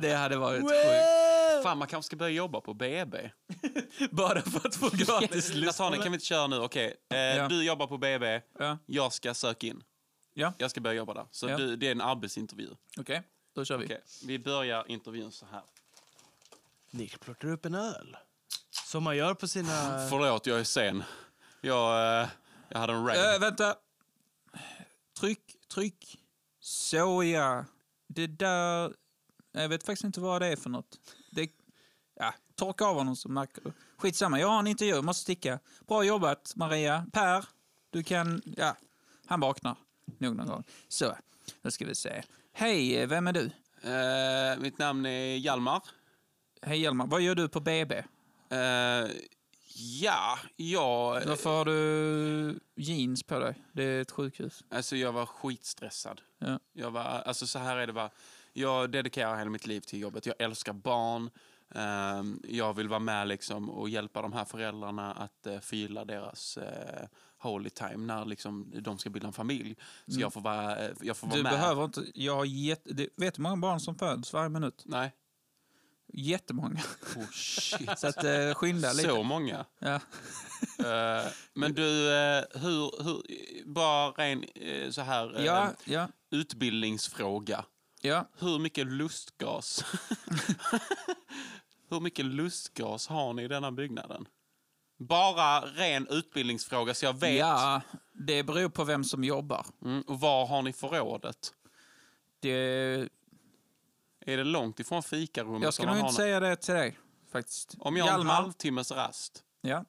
[SPEAKER 3] Det hade varit sjukt.
[SPEAKER 1] Fan, man kanske ska börja jobba på BB.
[SPEAKER 3] Bara för att få gratis lust.
[SPEAKER 1] Nathaniel, kan vi inte köra nu? Okej, eh,
[SPEAKER 3] Ja.
[SPEAKER 1] du jobbar på BB,
[SPEAKER 3] Ja,
[SPEAKER 1] jag ska söka in.
[SPEAKER 3] Ja.
[SPEAKER 1] Jag ska börja jobba där. Så
[SPEAKER 3] Ja.
[SPEAKER 1] du, det är en arbetsintervju.
[SPEAKER 3] Okej, då kör vi.
[SPEAKER 1] Okej, vi börjar intervjun så här.
[SPEAKER 3] Eh.
[SPEAKER 2] Nick plockar upp en öl. Som man gör på sina...
[SPEAKER 1] Förlåt, jag är sen. Jag, eh, jag hade en rain.
[SPEAKER 3] Eh, vänta. Tryck, tryck. Såja. Det där... Jag vet faktiskt inte vad det är för något. Det... Ja, torka av honom så märker du. Skitsamma, jag har en intervju, måste sticka. Bra jobbat, Maria. Per, du kan... Ja, han vaknar nog någon gång. Så, då ska vi se. Hej, vem är du?
[SPEAKER 1] Eh, mitt namn är Hjalmar.
[SPEAKER 3] Hej Hjalmar, vad gör du på BB?
[SPEAKER 1] Eh, ja, jag...
[SPEAKER 3] Varför har du jeans på dig? Det är ett sjukhus.
[SPEAKER 1] Alltså jag var skitstressad.
[SPEAKER 3] Ja.
[SPEAKER 1] Jag var, alltså så här är det bara. Jag dedikerar hela mitt liv till jobbet. Jag älskar barn. Ehm, jag vill vara med liksom och hjälpa de här föräldrarna att uh, förgylla deras eh, holy time när liksom, de ska bilda en familj. Så
[SPEAKER 3] Mm.
[SPEAKER 1] jag får vara, eh, jag får vara
[SPEAKER 3] Du
[SPEAKER 1] med.
[SPEAKER 3] behöver inte... Jag har jätte... det- Vet du hur många barn som föds varje minut?
[SPEAKER 1] Nej.
[SPEAKER 3] Jättemånga.
[SPEAKER 1] Oh, shit.
[SPEAKER 3] Så att, eh, skynda lite.
[SPEAKER 1] Så många.
[SPEAKER 3] Ja.
[SPEAKER 1] Eh, men du, eh, hur, hur, bara ren eh, så här eh,
[SPEAKER 3] Ja, ja,
[SPEAKER 1] utbildningsfråga.
[SPEAKER 3] ja.
[SPEAKER 1] Hur mycket lustgas? Hur mycket lustgas har ni i denna byggnaden? Bara ren utbildningsfråga så jag vet.
[SPEAKER 3] ja, det beror på vem som jobbar.
[SPEAKER 1] Mm, och var har ni förrådet?
[SPEAKER 3] Det,
[SPEAKER 1] Är det långt ifrån fikarummet?
[SPEAKER 3] jag ska
[SPEAKER 1] som
[SPEAKER 3] nog
[SPEAKER 1] man har
[SPEAKER 3] inte
[SPEAKER 1] nå-
[SPEAKER 3] säga det till dig, faktiskt.
[SPEAKER 1] Om jag har en
[SPEAKER 3] Hjalmar,
[SPEAKER 1] halvtimmes rast,
[SPEAKER 3] Ja.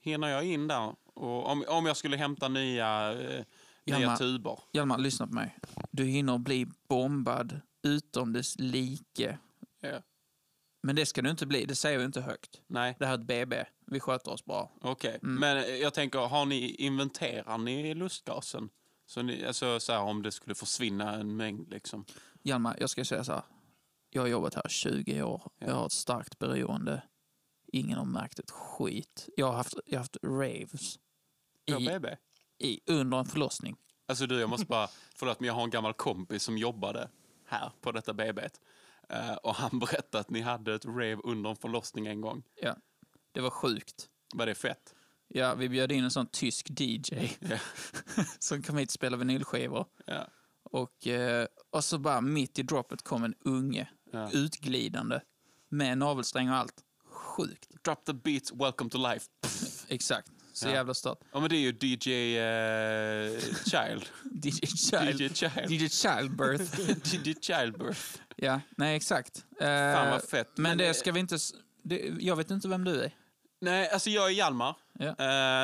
[SPEAKER 1] hinner jag in där? Och om, om jag skulle hämta nya, eh, nya
[SPEAKER 3] Hjalmar.
[SPEAKER 1] tuber?
[SPEAKER 3] Hjalmar, lyssna på mig. Du hinner bli bombad utom dess like.
[SPEAKER 1] Ja.
[SPEAKER 3] Men det ska du inte bli, det säger vi inte högt.
[SPEAKER 1] Nej,
[SPEAKER 3] Det här är ett BB, vi sköter oss bra.
[SPEAKER 1] okej.
[SPEAKER 3] Mm.
[SPEAKER 1] Men eh, jag tänker, har ni, inventerar ni lustgasen? Så, ni, alltså, så här, om det skulle försvinna en mängd liksom.
[SPEAKER 3] Hjalmar, jag ska säga så här. Jag har jobbat här 20 år. Jag har ett starkt beroende. Ingen har märkt ett skit. Jag har haft, jag har haft raves
[SPEAKER 1] På
[SPEAKER 3] i,
[SPEAKER 1] BB?
[SPEAKER 3] i, under en förlossning.
[SPEAKER 1] Alltså du, jag måste bara... Förlåt, men jag har en gammal kompis som jobbade här på detta BB. Eh, och han berättade att ni hade ett rave under en förlossning en gång.
[SPEAKER 3] Ja. Det var sjukt.
[SPEAKER 1] Var det fett?
[SPEAKER 3] Ja, vi bjöd in en sån tysk DJ
[SPEAKER 1] Ja.
[SPEAKER 3] som kom hit och spelade vinylskivor.
[SPEAKER 1] Ja.
[SPEAKER 3] Och, eh, och så bara mitt i droppet kom en unge,
[SPEAKER 1] Ja.
[SPEAKER 3] utglidande, med navelsträng och allt. Sjukt.
[SPEAKER 1] Drop the beats, welcome to life. Pff.
[SPEAKER 3] Exakt. Så
[SPEAKER 1] Ja.
[SPEAKER 3] jävla stört.
[SPEAKER 1] Ja, men det är ju DJ eh, Child.
[SPEAKER 3] DJ Child.
[SPEAKER 1] DJ Child.
[SPEAKER 3] DJ Childbirth.
[SPEAKER 1] DJ Childbirth.
[SPEAKER 3] Ja, nej exakt.
[SPEAKER 1] Fan
[SPEAKER 3] Eh,
[SPEAKER 1] vad fett.
[SPEAKER 3] men det
[SPEAKER 1] eh,
[SPEAKER 3] ska vi inte... s- Det, jag vet inte vem du är.
[SPEAKER 1] Nej, alltså jag är Hjalmar.
[SPEAKER 3] Ja.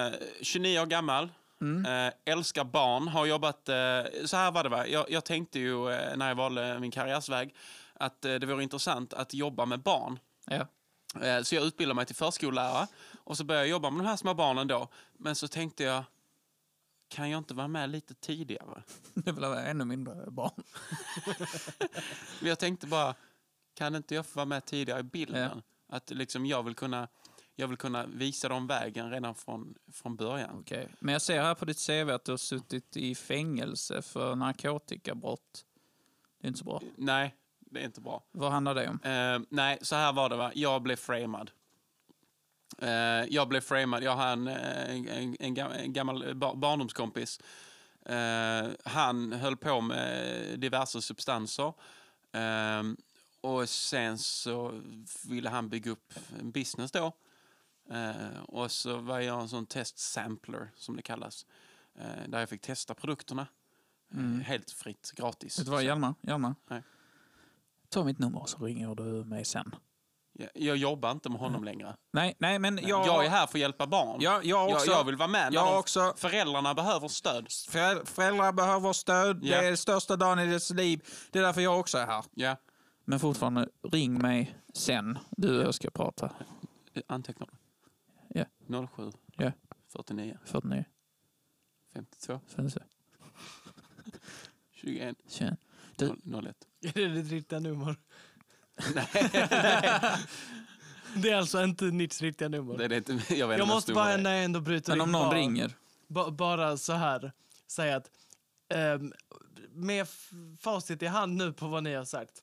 [SPEAKER 1] Eh, 29 år gammal.
[SPEAKER 3] Mm.
[SPEAKER 1] Eh, älskar barn, har jobbat... Eh, så här var det, va? Jag, jag tänkte ju eh, när jag valde min karriärsväg att eh, det vore intressant att jobba med barn.
[SPEAKER 3] Ja.
[SPEAKER 1] Eh, så jag utbildade mig till förskollärare och så började jag jobba med de här små barnen då. Men så tänkte jag, kan jag inte vara med lite tidigare?
[SPEAKER 3] Det vill vara ännu mindre barn.
[SPEAKER 1] Men jag tänkte bara, kan inte jag få vara med tidigare i bilden? Att liksom jag vill kunna... Jag vill kunna visa dem vägen redan från, från början.
[SPEAKER 3] Okay. Men jag ser här på ditt CV att du har suttit i fängelse för narkotikabrott. Det är inte så bra.
[SPEAKER 1] Nej, det är inte bra.
[SPEAKER 3] Vad handlar det om?
[SPEAKER 1] Eh, nej, så här var det. Va? Jag blev framad. Eh, jag blev framad. Jag har en, eh, en, en, gam- en gammal ba- barndomskompis Eh, han höll på med diverse substanser. Eh, och sen så ville han bygga upp en business då. Eh, och så var jag en sån test sampler som det kallas. Eh, där jag fick testa produkterna. eh,
[SPEAKER 3] Mm.
[SPEAKER 1] Helt fritt, gratis.
[SPEAKER 3] Vet du vad,
[SPEAKER 1] Så-
[SPEAKER 3] Hjalmar? Hjalmar?
[SPEAKER 1] Nej.
[SPEAKER 3] Ta mitt nummer så ringer du mig sen.
[SPEAKER 1] jag, jag jobbar inte med
[SPEAKER 3] Mm.
[SPEAKER 1] honom längre.
[SPEAKER 3] Nej, nej men jag...
[SPEAKER 1] Jag är här för att hjälpa barn.
[SPEAKER 3] Jag, jag
[SPEAKER 1] jag,
[SPEAKER 3] också.
[SPEAKER 1] jag vill vara med när
[SPEAKER 3] jag
[SPEAKER 1] de-
[SPEAKER 3] också.
[SPEAKER 1] föräldrarna behöver stöd.
[SPEAKER 3] Förä- Föräldrar behöver stöd.
[SPEAKER 1] Ja.
[SPEAKER 3] Det är största dagen i deras liv. Det är därför jag också är här.
[SPEAKER 1] Ja,
[SPEAKER 3] Men fortfarande, ring mig sen. Du och jag ska prata.
[SPEAKER 1] antecknar du?
[SPEAKER 3] Ja.
[SPEAKER 1] 07
[SPEAKER 3] Ja.
[SPEAKER 1] 49
[SPEAKER 3] 49,
[SPEAKER 1] 52
[SPEAKER 3] 50,
[SPEAKER 1] 21
[SPEAKER 3] 21.
[SPEAKER 1] 01.
[SPEAKER 2] Är det ditt riktiga nummer?
[SPEAKER 1] Nej, nej,
[SPEAKER 2] Det är alltså inte ditt riktiga nummer.
[SPEAKER 1] det är det inte. Jag vet inte
[SPEAKER 2] jag
[SPEAKER 1] hur
[SPEAKER 2] måste
[SPEAKER 1] stora
[SPEAKER 2] bara,
[SPEAKER 1] det är.
[SPEAKER 2] när jag ändå bryter
[SPEAKER 3] Men
[SPEAKER 2] in,
[SPEAKER 3] om någon
[SPEAKER 2] bara,
[SPEAKER 3] ringer.
[SPEAKER 2] ba- bara så här, säga att ehm, med f- facit i hand nu på vad ni har sagt.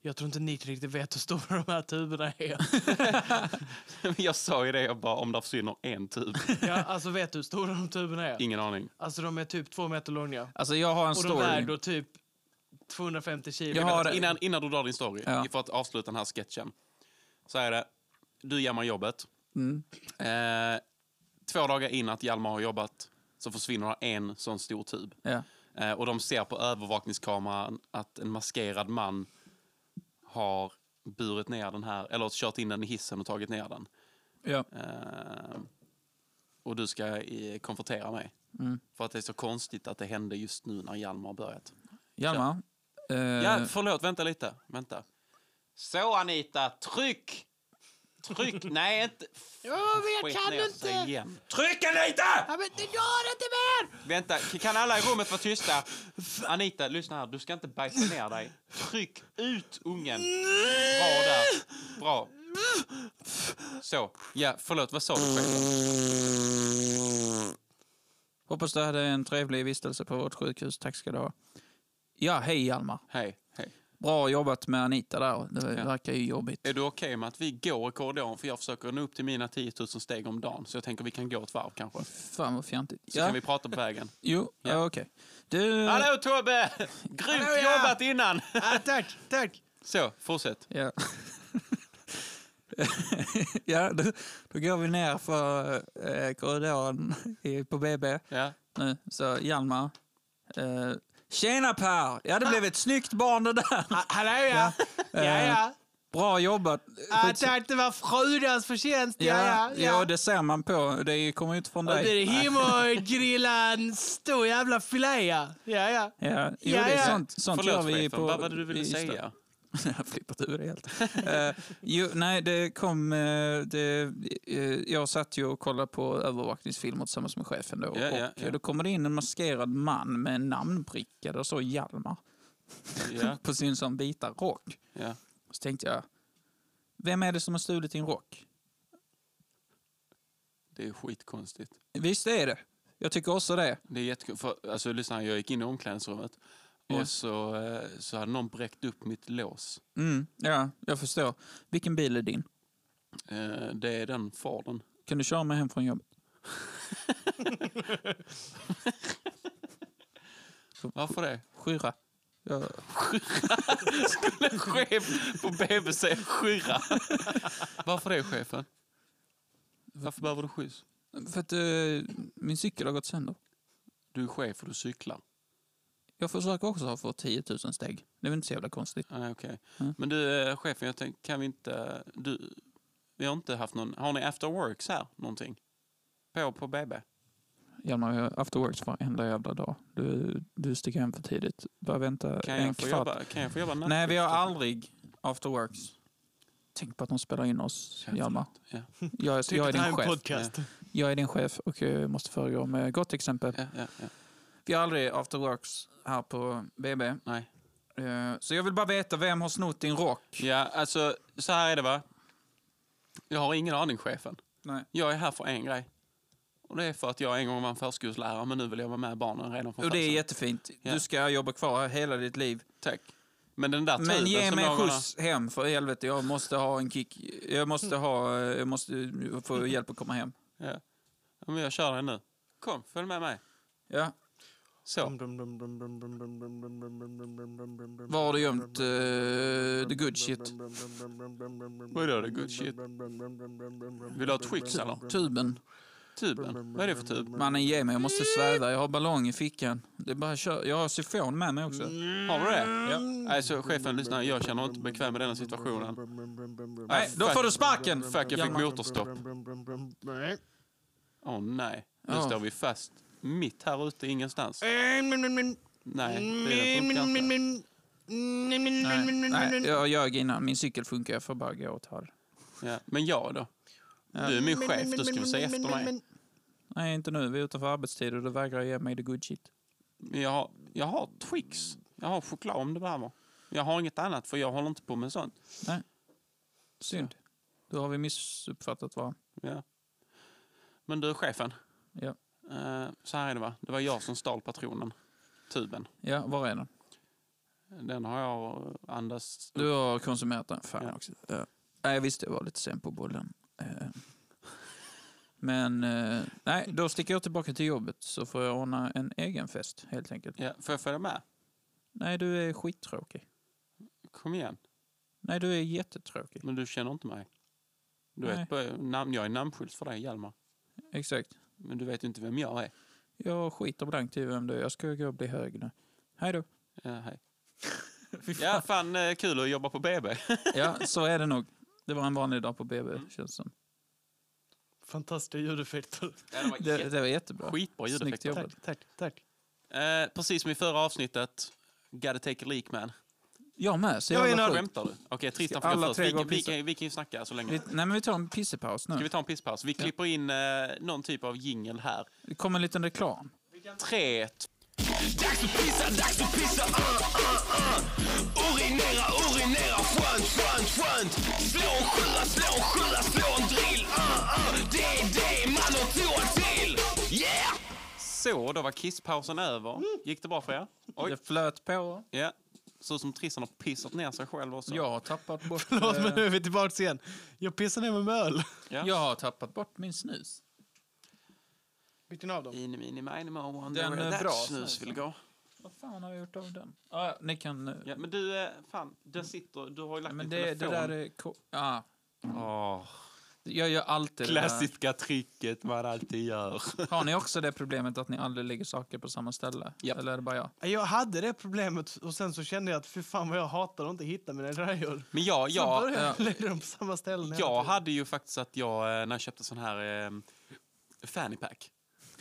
[SPEAKER 2] Jag tror inte ni riktigt vet hur stora de här tuberna är.
[SPEAKER 1] Jag sa ju det, jag bara om det försvinner en tub.
[SPEAKER 2] Ja, alltså vet du hur stora de tuberna är?
[SPEAKER 1] Ingen aning.
[SPEAKER 2] Alltså de är typ två meter långa.
[SPEAKER 3] Alltså jag har en
[SPEAKER 2] Och de väger
[SPEAKER 3] story.
[SPEAKER 2] då typ 250 kilo.
[SPEAKER 3] Jag har- det.
[SPEAKER 1] Innan, innan du drar din story,
[SPEAKER 3] Ja.
[SPEAKER 1] för att avsluta den här sketchen. Så är det, du jammar jobbet.
[SPEAKER 3] Mm.
[SPEAKER 1] Eh, två dagar innan att Hjalmar har jobbat så försvinner en sån stor tub.
[SPEAKER 3] Ja.
[SPEAKER 1] Eh, och de ser på övervakningskameran att en maskerad man har burit ner den här, eller kört in den i hissen och tagit ner den.
[SPEAKER 3] Ja.
[SPEAKER 1] Eh, och du ska eh, konfrontera mig.
[SPEAKER 3] Mm.
[SPEAKER 1] För att det är så konstigt att det hände just nu när Hjalmar har börjat.
[SPEAKER 3] Hjalmar. Eh,
[SPEAKER 1] Ja, förlåt, vänta lite. Vänta. Så Anita, tryck! Tryck, nej inte...
[SPEAKER 2] Ja, men
[SPEAKER 1] Skit
[SPEAKER 2] jag kan
[SPEAKER 1] ner sig
[SPEAKER 2] inte!
[SPEAKER 1] Igen.
[SPEAKER 2] Ja, men det går inte mer!
[SPEAKER 1] Vänta, kan alla i rummet vara tysta? Anita, lyssna här. Du ska inte bajsa ner dig. Tryck ut ungen. Bra där. Bra. Så. Ja, förlåt. Vad sa du? Peter?
[SPEAKER 3] Hoppas du hade en trevlig vistelse på vårt sjukhus. Tack ska du ha. Ja, hej Hjalmar.
[SPEAKER 1] Hej. Hej.
[SPEAKER 3] Bra jobbat med Anita där. Det verkar ju jobbigt.
[SPEAKER 1] Är du okej med att vi går i korridoren? För jag försöker nå upp till mina 10 000 steg om dagen. Så jag tänker vi kan gå ett varv kanske. Så
[SPEAKER 3] Fan vad fjantigt.
[SPEAKER 1] kan
[SPEAKER 3] Ja,
[SPEAKER 1] vi prata på vägen.
[SPEAKER 3] jo,
[SPEAKER 1] Ja.
[SPEAKER 3] ja, okej. Du...
[SPEAKER 1] Hallå Tobbe! Grymt
[SPEAKER 2] Hallå, ja.
[SPEAKER 1] jobbat innan!
[SPEAKER 2] Ah, tack, tack!
[SPEAKER 1] Så, fortsätt.
[SPEAKER 3] Ja. ja, då, då går vi ner för eh, korridoren i, på BB
[SPEAKER 1] Ja.
[SPEAKER 3] nu. Så Hjalmar. Eh, tjena Per! Ja, det blev ett snyggt barn det där. Eh,
[SPEAKER 2] Ah, hallå ja! Ja, ja.
[SPEAKER 3] Bra jobbat.
[SPEAKER 2] Ah,
[SPEAKER 3] Skits-
[SPEAKER 2] tack, det var Frudas förtjänst. Ja, ja,
[SPEAKER 3] ja, det ser man på. Det kommer ju inte från
[SPEAKER 2] Och det
[SPEAKER 3] dig.
[SPEAKER 2] är hem och grilla en stor jävla filé, ja. Ja, ja.
[SPEAKER 3] Ja, jo,
[SPEAKER 2] Ja,
[SPEAKER 3] det
[SPEAKER 2] ja.
[SPEAKER 3] är sånt, sånt gör
[SPEAKER 1] Förlåt
[SPEAKER 3] vi
[SPEAKER 1] chefen,
[SPEAKER 3] på...
[SPEAKER 1] vad var det du ville
[SPEAKER 3] i Ystad.
[SPEAKER 1] säga?
[SPEAKER 3] Jag har flippat ur det helt. Eh, jo, nej, det kom... eh, det, eh, jag satt ju och kollade på övervakningsfilmer tillsammans med chefen då.
[SPEAKER 1] Ja, ja,
[SPEAKER 3] och eh,
[SPEAKER 1] ja.
[SPEAKER 3] då kommer det in en maskerad man med en namnbricka. Där står Hjalmar
[SPEAKER 1] Ja,
[SPEAKER 3] på sin sån vita rock.
[SPEAKER 1] ja.
[SPEAKER 3] Så tänkte jag, vem är det som har stulit din rock?
[SPEAKER 1] Det är skitkonstigt.
[SPEAKER 3] Visst är det. Jag tycker också det.
[SPEAKER 1] Det är jättekul. För, alltså, lyssna, här, jag gick in i omklädningsrummet
[SPEAKER 3] Ja.
[SPEAKER 1] och så, eh, så hade någon bräckt upp mitt lås.
[SPEAKER 3] Mm, ja, jag förstår. Vilken bil är din?
[SPEAKER 1] Eh, Det är den fadern.
[SPEAKER 3] Kan du köra mig hem från jobbet?
[SPEAKER 1] Varför det?
[SPEAKER 3] Skyra. Jag,
[SPEAKER 1] En chef på BB säger skyrra. Varför det, chefen? Varför behöver du skjuts?
[SPEAKER 3] för att eh, min cykel har gått sönder.
[SPEAKER 1] Du är chef och du cyklar.
[SPEAKER 3] Jag försöker också ha fått 10 000 steg. Det är väl inte så jävla konstigt.
[SPEAKER 1] Ah, okej.
[SPEAKER 3] Mm.
[SPEAKER 1] Men du, eh, chefen, jag tänkte, kan vi inte... Du, vi har inte haft någon... Har ni after works här, någonting? På, på BB?
[SPEAKER 3] Hjalmar, jag har after works varenda jävla dag. Du, du sticker hem för tidigt. Bara vänta
[SPEAKER 1] Kan
[SPEAKER 3] en
[SPEAKER 1] jag, få
[SPEAKER 3] kvart.
[SPEAKER 1] jobba, kan jag få jobba natt?
[SPEAKER 3] Nej, vi har aldrig after works. Tänk på att de spelar in oss,
[SPEAKER 1] Ja,
[SPEAKER 3] Hjalmar.
[SPEAKER 1] förlåt.
[SPEAKER 3] Jag, är- jag, är
[SPEAKER 2] det här
[SPEAKER 3] din
[SPEAKER 2] är en
[SPEAKER 3] chef.
[SPEAKER 2] podcast.
[SPEAKER 3] jag är din chef och eh, måste föregå med gott exempel.
[SPEAKER 1] Ja, ja, ja.
[SPEAKER 3] Vi har aldrig after works här på BB.
[SPEAKER 1] Nej.
[SPEAKER 3] Eh, Så jag vill bara veta, vem har snott din rock?
[SPEAKER 1] Ja, alltså så här är det va. Jag har ingen aning chefen.
[SPEAKER 3] Nej.
[SPEAKER 1] Jag är här för en grej. Och det är för att jag en gång var en förskollärare men nu vill jag vara med barnen redan från
[SPEAKER 3] Och det är
[SPEAKER 1] födseln.
[SPEAKER 3] jättefint.
[SPEAKER 1] Ja.
[SPEAKER 3] Du ska jobba kvar här hela ditt liv.
[SPEAKER 1] Tack. Men den där
[SPEAKER 3] Men ge
[SPEAKER 1] som
[SPEAKER 3] mig
[SPEAKER 1] någon har-
[SPEAKER 3] skjuts hem för helvete. Jag måste ha en kick. Jag måste ha... Jag måste få hjälp att komma hem.
[SPEAKER 1] Ja. ja, men jag kör den nu. Kom, följ med mig.
[SPEAKER 3] Ja.
[SPEAKER 1] Så.
[SPEAKER 3] Var har du gömt eh, the good shit?
[SPEAKER 1] Vad är det, good shit? Vill du ha Twix eller?
[SPEAKER 3] Tuben.
[SPEAKER 1] Tuben? Vad är det för tub?
[SPEAKER 3] Mannen ge mig, jag måste sväva. Jag har ballong i fickan. Det är bara att köra. Jag har syfon med mig också.
[SPEAKER 1] Har du det? Ja. Nej, så chefen lyssnar. Jag känner mig inte bekväm med denna situationen.
[SPEAKER 3] Nej, då
[SPEAKER 1] fuck.
[SPEAKER 3] får du sparken!
[SPEAKER 1] Fuck, jag fick
[SPEAKER 3] Hjalmar.
[SPEAKER 1] motorstopp. Åh nej. Nu
[SPEAKER 3] Ja.
[SPEAKER 1] står vi fast mitt här ute ingenstans. Nej, det funkar inte.
[SPEAKER 3] Nej, nej, jag ljög innan. Min cykel funkar. Jag får bara gå åt här.
[SPEAKER 1] Ja. Men jag då? Du är min chef, du ska väl säga efter mig.
[SPEAKER 3] Nej, inte nu. Vi är utanför arbetstid och du vägrar ge mig the good shit.
[SPEAKER 1] Jag har, jag har Twix. Jag har choklad om det behöver. Jag har inget annat för jag håller inte på med sånt.
[SPEAKER 3] Synd. Då har vi missuppfattat varandra.
[SPEAKER 1] Ja. Men du chefen.
[SPEAKER 3] Ja.
[SPEAKER 1] Eh, så här är det va. Det var jag som stal patronen. Tuben.
[SPEAKER 3] Ja, var är den?
[SPEAKER 1] Den har jag eh, andats
[SPEAKER 3] Du har konsumerat den. Fan
[SPEAKER 1] Ja.
[SPEAKER 3] också. Ja. Nej, jag visste jag var lite sen på bollen. Eh. Men eh, nej, då sticker jag tillbaka till jobbet så får jag ordna en egen fest helt enkelt.
[SPEAKER 1] Ja, får jag följa med?
[SPEAKER 3] Nej, du är skittråkig.
[SPEAKER 1] Kom igen.
[SPEAKER 3] Nej, du är jättetråkig.
[SPEAKER 1] Men du känner inte mig. Du
[SPEAKER 3] Nej.
[SPEAKER 1] vet, på- namn, jag är namnskylt för dig, Hjalmar.
[SPEAKER 3] Exakt.
[SPEAKER 1] Men du vet ju inte vem jag är.
[SPEAKER 3] Jag skiter blankt i vem du är. Jag ska gå och bli hög nu. Hej då.
[SPEAKER 1] Ja, hej. ja, fan eh, kul att jobba på BB.
[SPEAKER 3] Ja, så är det nog. Det var en vanlig dag på BB, känns som.
[SPEAKER 2] Fantastiska ljudeffekter.
[SPEAKER 1] det var
[SPEAKER 3] Det, det var jättebra.
[SPEAKER 1] skitbra
[SPEAKER 3] Snyggt
[SPEAKER 1] ljudeffekter.
[SPEAKER 3] jobbat.
[SPEAKER 2] Tack, tack, tack.
[SPEAKER 1] Eh, precis som i förra avsnittet, Gotta take a leak man.
[SPEAKER 3] Jag med, så
[SPEAKER 2] Jag är
[SPEAKER 3] jävla
[SPEAKER 2] nörd.
[SPEAKER 3] sjukt.
[SPEAKER 1] Skämtar du? Okej, Tristan
[SPEAKER 3] Ska
[SPEAKER 1] får gå
[SPEAKER 3] alla
[SPEAKER 1] först.
[SPEAKER 3] tre
[SPEAKER 1] Vi,
[SPEAKER 3] gå och
[SPEAKER 1] vi,
[SPEAKER 3] pissa?
[SPEAKER 1] kan, vi kan ju snacka så länge.
[SPEAKER 3] Vi, nej, men vi tar en pissepaus
[SPEAKER 1] Ska
[SPEAKER 3] nu.
[SPEAKER 1] vi ta en pisspaus? Vi klipper in eh, någon typ av jingle här.
[SPEAKER 3] Det kommer en liten reklam.
[SPEAKER 1] Tre, t-
[SPEAKER 5] Dags att pissa, dags att pissa, uh, uh, uh. Urinera, urinera, skönt, skönt, skönt. Slå en sjua, slå en sjua, slå en drill, uh, uh. Det är det man har toa till. Yeah!
[SPEAKER 1] så, då var kisspausen över.
[SPEAKER 3] Mm.
[SPEAKER 1] Gick det bra för er? Oj.
[SPEAKER 3] Det flöt på.
[SPEAKER 1] Ja. Så som Tristan har pissat ner sig själv också.
[SPEAKER 3] Jag har tappat bort...
[SPEAKER 2] Förlåt,
[SPEAKER 3] eh,
[SPEAKER 2] men nu är vi tillbaka igen. Jag pissar ner mig med öl.
[SPEAKER 1] Ja.
[SPEAKER 3] Jag har tappat bort min snus.
[SPEAKER 2] Vilken av dem?
[SPEAKER 1] Mini, mini, mini, mo, wonder
[SPEAKER 3] Den
[SPEAKER 1] where
[SPEAKER 3] är
[SPEAKER 1] that
[SPEAKER 3] bra,
[SPEAKER 1] snus
[SPEAKER 3] snus.
[SPEAKER 1] vill gå.
[SPEAKER 3] Vad fan har jag gjort av den? Ah, ja, ni kan... eh,
[SPEAKER 1] Ja, men du, eh, fan, där sitter, du har ju lagt
[SPEAKER 3] men
[SPEAKER 1] din
[SPEAKER 3] det, det
[SPEAKER 1] telefon.
[SPEAKER 3] där är... ko- Ah,
[SPEAKER 1] Åh,
[SPEAKER 3] jag gör alltid det där.
[SPEAKER 1] klassiska tricket man alltid gör.
[SPEAKER 3] Har ni också det problemet att ni aldrig lägger saker på samma ställe?
[SPEAKER 1] Japp.
[SPEAKER 3] Eller är det bara jag?
[SPEAKER 2] Eh, Jag hade det problemet och sen så kände jag att fy fan vad jag hatar att inte hitta mina grejor.
[SPEAKER 1] Men jag,
[SPEAKER 2] Så
[SPEAKER 1] jag,
[SPEAKER 2] började jag
[SPEAKER 3] ja.
[SPEAKER 2] lägga dem på samma ställe. hela
[SPEAKER 1] jag
[SPEAKER 2] tiden.
[SPEAKER 1] hade ju faktiskt att jag, eh, när jag köpte sån här eh, fanny pack,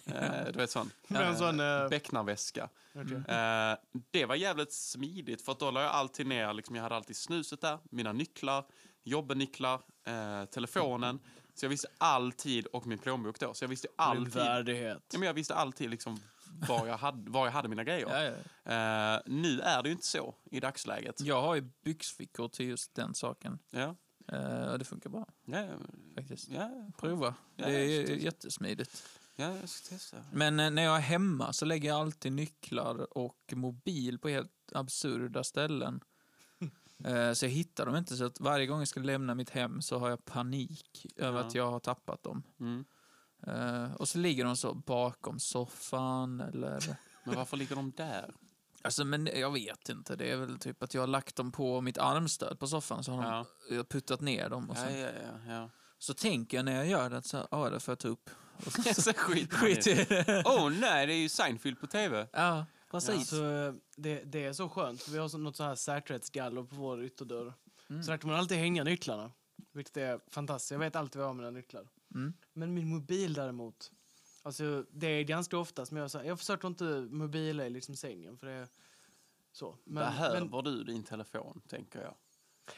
[SPEAKER 1] eh, du vet sån,
[SPEAKER 2] Det var en sån... eh,
[SPEAKER 1] becknarväska.
[SPEAKER 2] vet jag.
[SPEAKER 1] Eh, det var jävligt smidigt för att då la jag alltid ner, liksom, jag hade alltid snuset där, mina nycklar, jobbenycklar, eh, telefonen. Så jag visste alltid, och min plånbok då, så jag visste alltid, ja,
[SPEAKER 2] värdighet.
[SPEAKER 1] men jag visste alltid liksom var jag hade, var jag hade mina grejer.
[SPEAKER 3] Ja, ja.
[SPEAKER 1] Eh, nu är det ju inte så i dagsläget.
[SPEAKER 3] Jag har ju byxfickor till just den saken.
[SPEAKER 1] Ja,
[SPEAKER 3] Eh, och det funkar bra,
[SPEAKER 1] ja,
[SPEAKER 3] faktiskt.
[SPEAKER 1] ja,
[SPEAKER 3] Prova.
[SPEAKER 1] Ja,
[SPEAKER 3] det är
[SPEAKER 1] just det.
[SPEAKER 3] jättesmidigt.
[SPEAKER 1] ja jag ska testa.
[SPEAKER 3] Men eh, när jag är hemma så lägger jag alltid nycklar och mobil på helt absurda ställen. Eh, Så jag hittar dem inte, så att varje gång jag ska lämna mitt hem så har jag panik över
[SPEAKER 1] Ja.
[SPEAKER 3] att jag har tappat dem.
[SPEAKER 1] Mm.
[SPEAKER 3] Eh, Och så ligger de så bakom soffan eller...
[SPEAKER 1] Men varför ligger de där?
[SPEAKER 3] Alltså, men jag vet inte. Det är väl typ att jag har lagt dem på mitt armstöd på soffan så har
[SPEAKER 1] Ja.
[SPEAKER 3] de, jag har puttat ner dem. Och
[SPEAKER 1] Ja,
[SPEAKER 3] sen,
[SPEAKER 1] ja, ja, ja.
[SPEAKER 3] Så tänker jag när jag gör det att så här, ja, det får jag ta upp. Och så, så,
[SPEAKER 1] Så skit
[SPEAKER 3] skit i det.
[SPEAKER 1] Åh oh, nej, det är ju Seinfeld på tv.
[SPEAKER 3] Ja,
[SPEAKER 2] Precis.
[SPEAKER 3] precis.
[SPEAKER 2] Så, eh, det, det är så skönt, för vi har så, något så här säkerhetsgaller på vår ytterdörr.
[SPEAKER 3] Mm.
[SPEAKER 2] Så där kan man alltid hänga nycklarna, vilket är fantastiskt. Jag vet alltid var jag har mina nycklar.
[SPEAKER 3] Mm.
[SPEAKER 2] Men min mobil däremot, alltså det är ganska ofta som jag säger, jag försöker inte mobila i liksom sängen för det är så.
[SPEAKER 1] Behöver
[SPEAKER 2] men
[SPEAKER 1] du din telefon, tänker jag.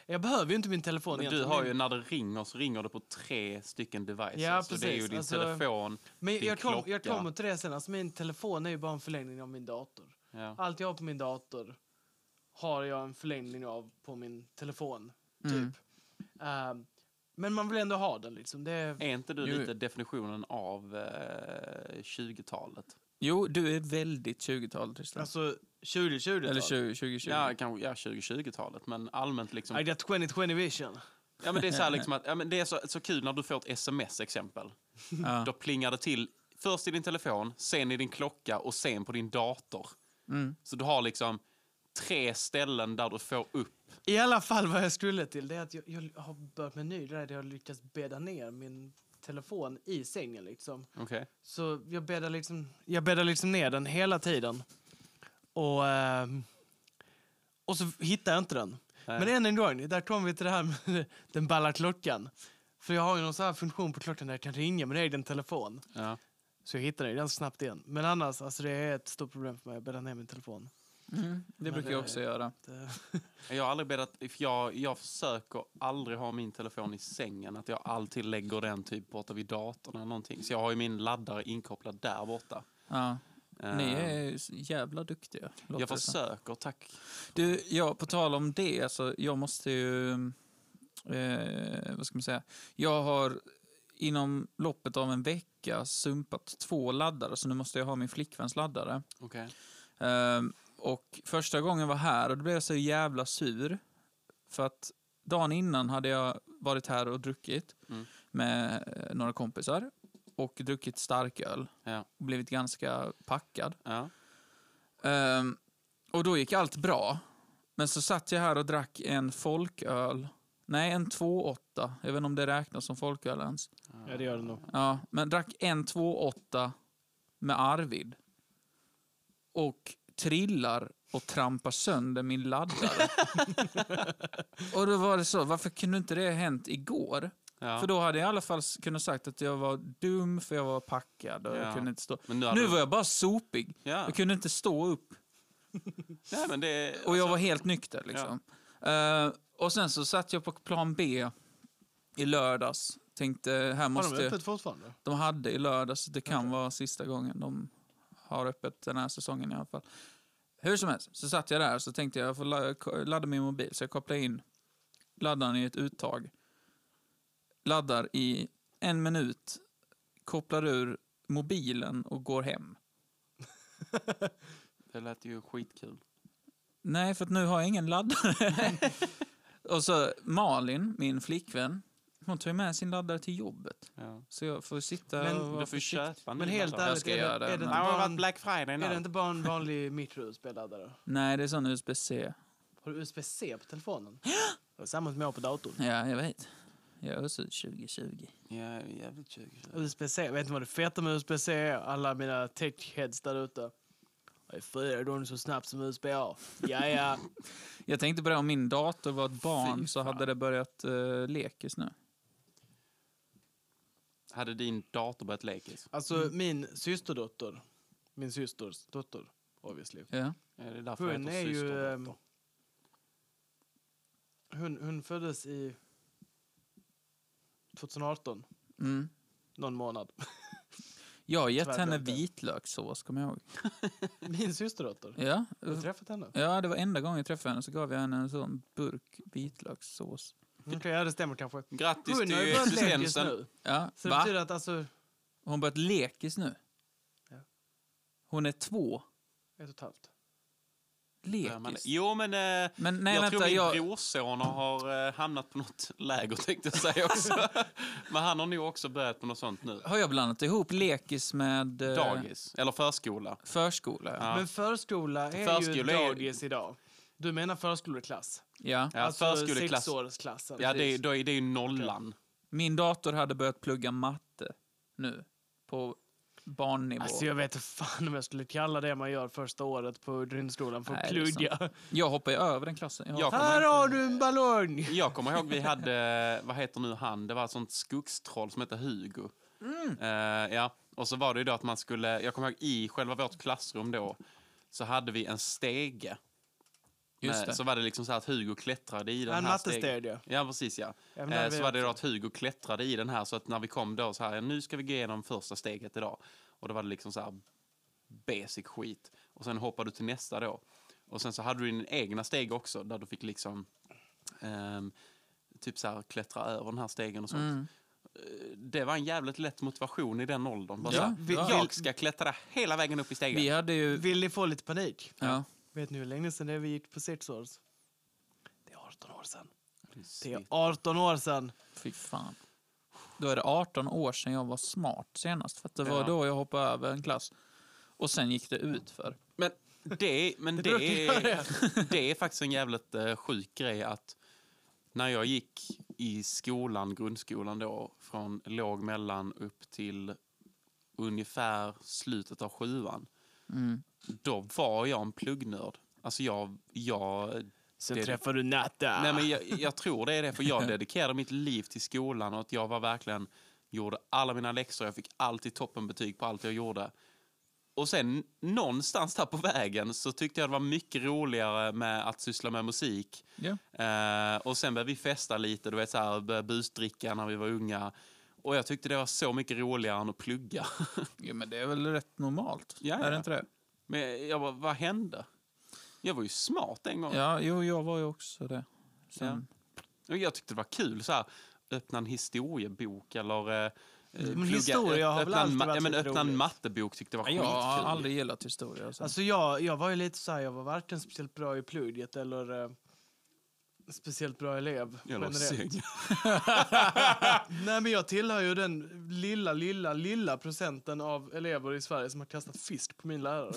[SPEAKER 2] jag behöver ju inte min telefon
[SPEAKER 1] Men du
[SPEAKER 2] egentligen.
[SPEAKER 1] har ju, när det ringer så ringer det på tre stycken devices.
[SPEAKER 2] Ja,
[SPEAKER 1] Så det är ju
[SPEAKER 2] precis.
[SPEAKER 1] din
[SPEAKER 2] Alltså-
[SPEAKER 1] telefon.
[SPEAKER 2] men
[SPEAKER 1] din
[SPEAKER 2] jag, kom, jag
[SPEAKER 1] klocka.
[SPEAKER 2] kommer till det sen, alltså min telefon är ju bara en förlängning av min dator.
[SPEAKER 1] Ja.
[SPEAKER 2] Allt jag har på min dator har jag en förlängning av på min telefon. Typ.
[SPEAKER 3] Mm.
[SPEAKER 2] Ehm, men man vill ändå ha den. Liksom. Det är,
[SPEAKER 1] Är inte du
[SPEAKER 3] Jo.
[SPEAKER 1] lite definitionen av eh, 20-talet?
[SPEAKER 3] Jo, du är väldigt 20-tal, Tristan.
[SPEAKER 2] alltså 2020
[SPEAKER 3] Eller 20, 2020.
[SPEAKER 1] Ja, kanske ja, 2020-talet, men allmänt liksom.
[SPEAKER 2] I got 2020 vision.
[SPEAKER 1] Ja, men det är, så här liksom att, ja, men det är så, så kul när du får ett sms-exempel.
[SPEAKER 3] Ja.
[SPEAKER 1] Då plingar det till först i din telefon, sen i din klocka och sen på din dator.
[SPEAKER 3] Mm.
[SPEAKER 1] Så du har liksom tre ställen där du får upp.
[SPEAKER 2] I alla fall vad jag skulle till det är att jag, jag har börjat med en ny grej där jag har lyckats bädda ner min telefon i sängen liksom.
[SPEAKER 1] Okej.
[SPEAKER 2] Så jag bäddar liksom, jag bäddar liksom ner den hela tiden. Och, ehm, och så hittar jag inte den.
[SPEAKER 1] Nej.
[SPEAKER 2] Men än en gång, där kommer vi till det här med den balla klockan. För jag har ju någon sån här funktion på klockan där jag kan ringa min egen telefon.
[SPEAKER 1] Ja.
[SPEAKER 2] Så jag hittar den ju ganska snabbt igen. Men annars, alltså det är ett stort problem för mig att bädda ner min telefon.
[SPEAKER 3] Det brukar jag också göra.
[SPEAKER 2] Det,
[SPEAKER 1] Jag har aldrig bäddat, för jag, jag försöker aldrig ha min telefon i sängen. Att jag alltid lägger den typ borta vid datorn eller någonting. Så jag har ju min laddare inkopplad där borta.
[SPEAKER 3] Ja. Ni
[SPEAKER 1] Eh,
[SPEAKER 3] är så jävla duktiga. låter
[SPEAKER 1] jag
[SPEAKER 3] det som.
[SPEAKER 1] försöker, tack.
[SPEAKER 3] Du, ja, på tal om det, alltså, jag måste ju... Eh, vad ska man säga? Jag har inom loppet av en vecka sumpat två laddare, så nu måste jag ha min flickväns laddare.
[SPEAKER 1] Okej.
[SPEAKER 3] Ehm, och första gången jag var här och då blev jag så jävla sur. För att dagen innan hade jag varit här och druckit
[SPEAKER 1] Mm.
[SPEAKER 3] med eh, några kompisar och druckit starköl
[SPEAKER 1] Ja.
[SPEAKER 3] och blivit ganska packad.
[SPEAKER 1] Ja.
[SPEAKER 3] Ehm, och då gick allt bra. Men så satt jag här och drack en folköl. Nej, en 2,8. Jag vet inte om det räknas som folköl ens.
[SPEAKER 2] ja, det gör det nog.
[SPEAKER 3] Ja, men drack en 2,8 med Arvid. Och trillar och trampar sönder min laddare. och då var det så, varför kunde inte det ha hänt igår?
[SPEAKER 1] Ja.
[SPEAKER 3] För då hade jag i alla fall s- kunnat sagt att jag var dum för jag var packad och
[SPEAKER 1] Ja.
[SPEAKER 3] jag kunde inte stå.
[SPEAKER 1] Men nu, har
[SPEAKER 3] Nu
[SPEAKER 1] du-
[SPEAKER 3] var jag bara sopig.
[SPEAKER 1] Ja.
[SPEAKER 3] Jag kunde inte stå upp.
[SPEAKER 1] Nej, men det...
[SPEAKER 3] Och jag var helt nykter. Liksom. Eh, och sen så satt jag på plan B i lördags. Tänkte, här
[SPEAKER 2] Har de
[SPEAKER 3] måste...
[SPEAKER 2] öppet fortfarande?
[SPEAKER 3] De hade i lördags, det kan vara sista gången de har öppet den här säsongen i alla fall. Hur som helst, så satt jag där så tänkte jag, jag får la- ko- ladda min mobil. Så jag kopplade in laddaren i ett uttag. Laddar i en minut, kopplar ur mobilen och går hem.
[SPEAKER 1] Det lät ju skitkul.
[SPEAKER 3] Nej, för att nu har jag ingen laddare. och så Malin, min flickvän, hon tar ju med sin laddare till jobbet.
[SPEAKER 1] Ja.
[SPEAKER 3] Så jag får sitta
[SPEAKER 2] Men
[SPEAKER 3] och vara
[SPEAKER 1] Du får ju
[SPEAKER 3] försiktig.
[SPEAKER 1] köpa en
[SPEAKER 2] Men
[SPEAKER 1] ny
[SPEAKER 2] helt
[SPEAKER 1] laddare.
[SPEAKER 2] ärligt,
[SPEAKER 3] ska
[SPEAKER 2] är det,
[SPEAKER 3] göra det,
[SPEAKER 2] är, det
[SPEAKER 3] men-
[SPEAKER 1] Det
[SPEAKER 2] inte
[SPEAKER 1] har
[SPEAKER 2] bara
[SPEAKER 1] varit
[SPEAKER 2] en,
[SPEAKER 1] Black Friday
[SPEAKER 2] är det
[SPEAKER 1] nu.
[SPEAKER 2] inte bara en vanlig mikro-USB-laddare?
[SPEAKER 3] Nej, det är sån USB-C.
[SPEAKER 2] Har du USB-C på telefonen? Det var samma som jag har på datorn.
[SPEAKER 3] Ja, jag vet. Jag är också 2020.
[SPEAKER 1] Ja, jävligt tjugo.
[SPEAKER 2] USB-C, vet ni vad det feta med USB-C är? Alla mina tech-heads där ute. Det är fyra gånger så snabbt som USB-A. Ja, ja.
[SPEAKER 3] Jag tänkte på det, om min dator var ett barn
[SPEAKER 1] Fy
[SPEAKER 3] så
[SPEAKER 1] fan.
[SPEAKER 3] hade det börjat uh, lekis nu.
[SPEAKER 1] Hade din dator börjat lekis?
[SPEAKER 2] Alltså, min systerdotter, min systers dotter, obviously.
[SPEAKER 3] Ja.
[SPEAKER 1] Är det därför
[SPEAKER 2] Hon
[SPEAKER 1] jag
[SPEAKER 2] är
[SPEAKER 1] heter
[SPEAKER 2] ju... ehm,
[SPEAKER 1] systerdotter?
[SPEAKER 2] hon, hon föddes i 2018,
[SPEAKER 3] Mm.
[SPEAKER 2] någon månad.
[SPEAKER 3] Jag har gett
[SPEAKER 2] Tyvärr
[SPEAKER 3] henne
[SPEAKER 2] inte.
[SPEAKER 3] vitlökssås, kommer jag ihåg.
[SPEAKER 2] Min systerdotter.
[SPEAKER 3] Ja.
[SPEAKER 2] Har du träffat henne?
[SPEAKER 3] ja, det var enda gången jag träffade henne så gav jag henne en sån burk vitlökssås.
[SPEAKER 2] Okej, ja det stämmer kanske.
[SPEAKER 1] Grattis
[SPEAKER 2] Hon
[SPEAKER 1] till
[SPEAKER 2] har ju börjat lekis
[SPEAKER 1] existensen.
[SPEAKER 2] nu.
[SPEAKER 3] Ja,
[SPEAKER 2] Så det
[SPEAKER 3] va?
[SPEAKER 2] betyder att alltså,
[SPEAKER 3] Har Hon börjat lekis nu.
[SPEAKER 2] Ja.
[SPEAKER 3] Hon är två.
[SPEAKER 2] ett och ett halvt.
[SPEAKER 1] Ja, men-
[SPEAKER 3] Lekis.
[SPEAKER 1] Jo, men... eh,
[SPEAKER 3] Men nej,
[SPEAKER 1] jag tror
[SPEAKER 3] vänta,
[SPEAKER 1] min
[SPEAKER 3] jag...
[SPEAKER 1] brorson har eh, hamnat på något läger tänkte jag säga också. Men han har nog också börjat på något sånt nu.
[SPEAKER 3] Har jag blandat ihop lekis med eh,
[SPEAKER 1] Dagis, eller förskola.
[SPEAKER 3] förskola? Ja.
[SPEAKER 1] Ja.
[SPEAKER 2] Men förskola är
[SPEAKER 1] Förskola
[SPEAKER 2] ju
[SPEAKER 1] är-
[SPEAKER 2] dagis idag. Du menar förskoleklass?
[SPEAKER 3] ja.
[SPEAKER 1] Ja, förskoleklass.
[SPEAKER 2] sexårsklassen.
[SPEAKER 1] Ja, det, är-
[SPEAKER 2] alltså, precis.
[SPEAKER 1] då är det är ju nollan.
[SPEAKER 3] Min dator hade börjat plugga matte nu på barnnivå.
[SPEAKER 2] Alltså jag vet inte fan om jag skulle kalla det man gör första året på grundskolan för att
[SPEAKER 3] Nej, det är
[SPEAKER 2] plugga.
[SPEAKER 3] Jag hoppar ju över den klassen. Jag
[SPEAKER 1] Jag
[SPEAKER 3] hoppar-
[SPEAKER 1] kommer
[SPEAKER 2] Här har du en ballong!
[SPEAKER 1] Jag kommer ihåg vi hade, eh, vad heter nu han, det var ett sånt skogstroll som hette Hugo.
[SPEAKER 3] Mm.
[SPEAKER 1] Eh, ja. Och så var det ju då att man skulle, jag kommer ihåg i själva vårt klassrum då, så hade vi en stege.
[SPEAKER 3] Just
[SPEAKER 1] Eh,
[SPEAKER 3] det.
[SPEAKER 1] Så var det liksom så här att Hugo klättrade i den
[SPEAKER 2] En
[SPEAKER 1] här stegen.
[SPEAKER 2] mattestudie.
[SPEAKER 1] Ja, precis ja.
[SPEAKER 2] Ja, men det
[SPEAKER 1] Eh,
[SPEAKER 2] hade
[SPEAKER 1] så
[SPEAKER 2] vi
[SPEAKER 1] var det då att Hugo klättrade i den här så att när vi kom då så här, ja, nu ska vi gå igenom första steget idag. Och då var det liksom så här basic skit. Och sen hoppade du till nästa då. Och sen så hade du din egna steg också där du fick liksom ehm, typ så här klättra över den här stegen och sånt.
[SPEAKER 3] Mm.
[SPEAKER 1] Eh, Det var en jävligt lätt motivation i den åldern. Bara
[SPEAKER 3] Ja,
[SPEAKER 1] så här,
[SPEAKER 2] vi-
[SPEAKER 1] jag ska klättra hela vägen upp i stegen.
[SPEAKER 3] Vi hade ju...
[SPEAKER 2] Vill ni få lite panik?
[SPEAKER 3] Ja.
[SPEAKER 2] Vet ni hur länge sedan det är vi gick på sexårs? Det är 18 år sedan. Det är
[SPEAKER 1] Shit.
[SPEAKER 2] 18 år sedan.
[SPEAKER 3] Fy fan. då är det 18 år sedan jag var smart senast. För att det var
[SPEAKER 1] Ja.
[SPEAKER 3] då jag hoppade över en klass. Och sen gick det ut för.
[SPEAKER 1] Men det, men det,
[SPEAKER 2] brukar göra
[SPEAKER 1] är, det är faktiskt en jävligt eh, sjuk grej att när jag gick i skolan, grundskolan då, från låg mellan upp till ungefär slutet av sjuan, Mm. då var jag en pluggnörd. Alltså jag, jag
[SPEAKER 2] Sen
[SPEAKER 1] Det-
[SPEAKER 2] träffar du Natta.
[SPEAKER 1] Nej, men jag, jag tror det är det, för jag dedikerade mitt liv till skolan och att jag var verkligen gjorde alla mina läxor. Jag fick alltid toppenbetyg på allt jag gjorde. Och sen någonstans där på vägen så tyckte jag det var mycket roligare med att syssla med musik.
[SPEAKER 3] Ja.
[SPEAKER 1] Eh, och sen började vi festa lite, du vet så här, började busdricka när vi var unga. Och jag tyckte det var så mycket roligare än att plugga.
[SPEAKER 3] ja, men det är väl rätt normalt?
[SPEAKER 1] Ja,
[SPEAKER 3] Är det
[SPEAKER 1] ja.
[SPEAKER 3] inte det?
[SPEAKER 1] Men jag bara, vad hände? Jag var ju smart en gång.
[SPEAKER 3] Ja, jo, jag var ju också det. Sen,
[SPEAKER 1] Och Jag tyckte det var kul. Så här, öppna en historiebok eller... eh, plugga-
[SPEAKER 2] historia har väl
[SPEAKER 1] öppna en
[SPEAKER 2] alltid
[SPEAKER 1] ma-
[SPEAKER 2] varit
[SPEAKER 1] ja, men
[SPEAKER 2] lite
[SPEAKER 1] öppna en
[SPEAKER 2] roligt.
[SPEAKER 1] mattebok tyckte det var
[SPEAKER 3] Jag har
[SPEAKER 1] skitkul.
[SPEAKER 3] aldrig gillat historia. Så.
[SPEAKER 2] Alltså jag, jag var ju lite så här, jag var varken speciellt bra i plugget eller eh, speciellt bra elev.
[SPEAKER 1] Jag låg i
[SPEAKER 2] generellt.
[SPEAKER 1] säng.
[SPEAKER 2] Nej men jag tillhör ju den lilla, lilla, lilla procenten av elever i Sverige som har kastat fisk på min lärare.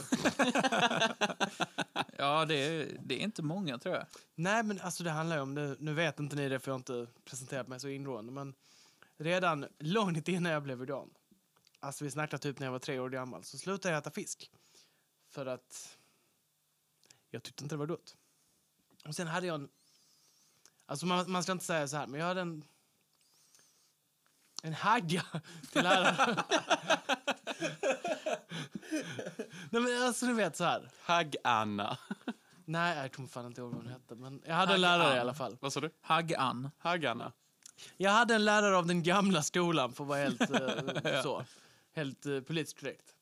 [SPEAKER 3] Ja, det är, det är inte många tror jag.
[SPEAKER 2] Nej, men alltså det handlar ju om... Det. Nu vet inte ni det, för jag har inte presenterat mig så ingående. Men redan långt innan jag blev vegan, alltså vi snackar typ när jag var tre år gammal, så slutade jag äta fisk. För att jag tyckte inte det var gott. Och sen hade jag en... Alltså man, man ska inte säga så här, men jag hade en... En hagga till läraren. Nej men alltså du vet så här.
[SPEAKER 1] Hagg-Anna.
[SPEAKER 2] Nej, jag kommer fan inte ihåg vad hon hette. Men jag hade en
[SPEAKER 3] Haggan.
[SPEAKER 2] lärare i alla fall.
[SPEAKER 1] Vad sa du?
[SPEAKER 3] Hagg-Ann.
[SPEAKER 1] Hagg-Anna.
[SPEAKER 2] Jag hade en lärare av den gamla skolan, för att vara helt eh, så. Helt eh, politiskt korrekt.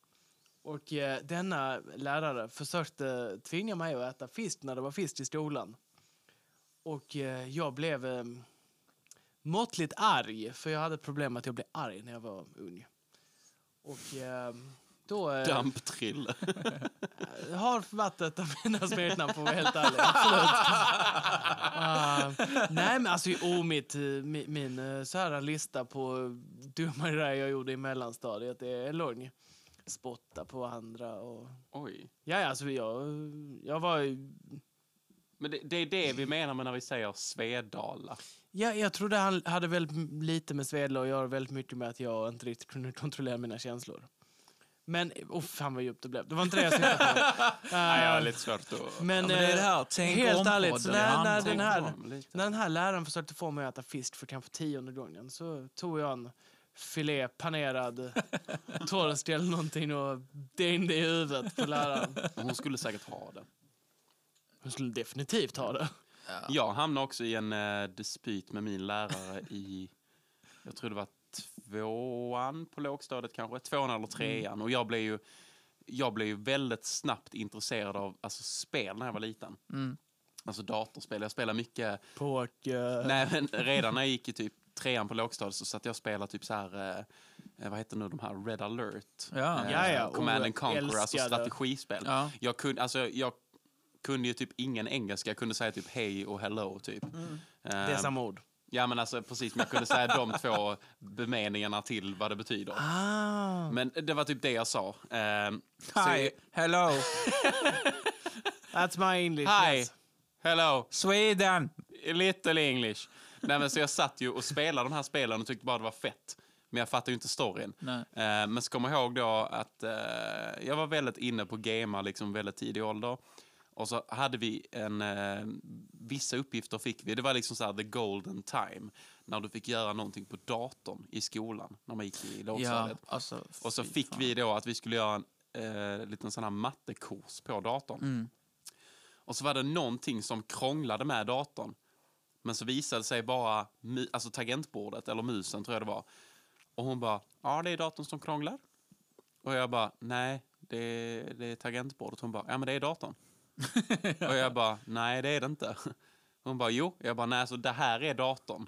[SPEAKER 2] Och eh, denna lärare försökte tvinga mig att äta fisk när det var fisk i skolan. Och eh, jag blev eh, måttligt arg, för jag hade problem med att jag blev arg när jag var ung. Och eh, då... eh,
[SPEAKER 1] Damptrill.
[SPEAKER 2] jag har varit ett av mina smeknamn för att vara helt ärlig. Absolut. Ah, nej men alltså, oh, mitt, eh, mi- min eh, så här lista på eh, dumma grejer jag gjorde i mellanstadiet är lång. Spotta på andra och...
[SPEAKER 1] Oj.
[SPEAKER 2] Ja, ja, alltså jag, jag var ju-
[SPEAKER 1] Men det, det är det vi menar med när vi säger Svedala.
[SPEAKER 2] Ja, jag tror det han- hade väldigt m- lite med Svedla att göra, väldigt mycket med att jag inte riktigt kunde kontrollera mina känslor. Men, oh, fan vad djupt det blev. Det var inte det jag syftade på.
[SPEAKER 1] Nej, jag
[SPEAKER 2] Ah,
[SPEAKER 1] har lite svårt att...
[SPEAKER 2] men,
[SPEAKER 3] Ja, men det är det här,
[SPEAKER 2] eh,
[SPEAKER 3] tänk
[SPEAKER 2] helt
[SPEAKER 3] om
[SPEAKER 2] ärligt,
[SPEAKER 3] podden,
[SPEAKER 2] så
[SPEAKER 3] det
[SPEAKER 2] när,
[SPEAKER 3] handlar
[SPEAKER 2] när
[SPEAKER 3] om
[SPEAKER 2] den här,
[SPEAKER 1] Tänk om lite.
[SPEAKER 2] när den här läraren försökte få mig att äta fisk för kanske tionde gången så tog jag en filé panerad torsk eller någonting och dängde i huvudet på läraren.
[SPEAKER 1] Hon skulle säkert ha det.
[SPEAKER 2] Hon skulle definitivt ha det.
[SPEAKER 1] Jag hamnade också i en eh, dispyt med min lärare i, jag tror det var tvåan på lågstadiet kanske, tvåan
[SPEAKER 2] Mm.
[SPEAKER 1] eller trean. Och jag blev ju, jag blev ju väldigt snabbt intresserad av alltså, spel när jag var liten.
[SPEAKER 3] Mm.
[SPEAKER 1] Alltså datorspel. Jag spelade mycket,
[SPEAKER 2] Poker.
[SPEAKER 1] nej men redan när jag gick i typ trean på lågstadiet så satt jag och spelade typ så här, eh, vad heter nu de här, Red alert.
[SPEAKER 3] Ja.
[SPEAKER 1] Eh,
[SPEAKER 2] Ja, ja.
[SPEAKER 1] Command
[SPEAKER 2] Oh,
[SPEAKER 1] and Conquer, alltså
[SPEAKER 2] älskade.
[SPEAKER 1] strategispel.
[SPEAKER 3] Ja.
[SPEAKER 1] Jag, kunde, alltså, jag kunde ju typ ingen engelska. Jag kunde säga typ hej och hello. Typ.
[SPEAKER 2] Mm. Det är
[SPEAKER 1] Eh,
[SPEAKER 2] samma ord.
[SPEAKER 1] Ja, men alltså, precis. Men jag kunde säga de två bemeningarna till vad det betyder.
[SPEAKER 2] Ah.
[SPEAKER 1] Men det var typ det jag sa. Eh, så-
[SPEAKER 3] Hi, hello,
[SPEAKER 2] That's my English.
[SPEAKER 1] Hi!
[SPEAKER 2] yes.
[SPEAKER 1] Hello!
[SPEAKER 3] Sweden!
[SPEAKER 1] Little English. Nej, men, så jag satt ju och spelade de här spelen och tyckte bara det var fett. Men jag fattade ju inte storyn.
[SPEAKER 3] Nej.
[SPEAKER 1] Eh, men så kommer jag ihåg då att eh, jag var väldigt inne på gamar liksom väldigt tidig ålder. Och så hade vi en, eh, vissa uppgifter fick vi. Det var liksom så här the golden time. När du fick göra någonting på datorn i skolan. När man gick i
[SPEAKER 3] Ja,
[SPEAKER 1] lågstadiet.
[SPEAKER 3] alltså,
[SPEAKER 1] Och så
[SPEAKER 3] fy
[SPEAKER 1] fick
[SPEAKER 3] fan.
[SPEAKER 1] vi då att vi skulle göra en eh, liten sån här mattekurs på datorn.
[SPEAKER 2] Mm.
[SPEAKER 1] Och så var det någonting som krånglade med datorn. Men så visade sig bara mu- alltså tangentbordet, eller musen tror jag det var. Och hon bara, ja det är datorn som krånglar. Och jag bara, nej det är, det är tangentbordet. Hon bara, ja men det är datorn. Och jag bara, nej det är det inte. Hon bara, jo. Jag bara, nej så det här är datorn.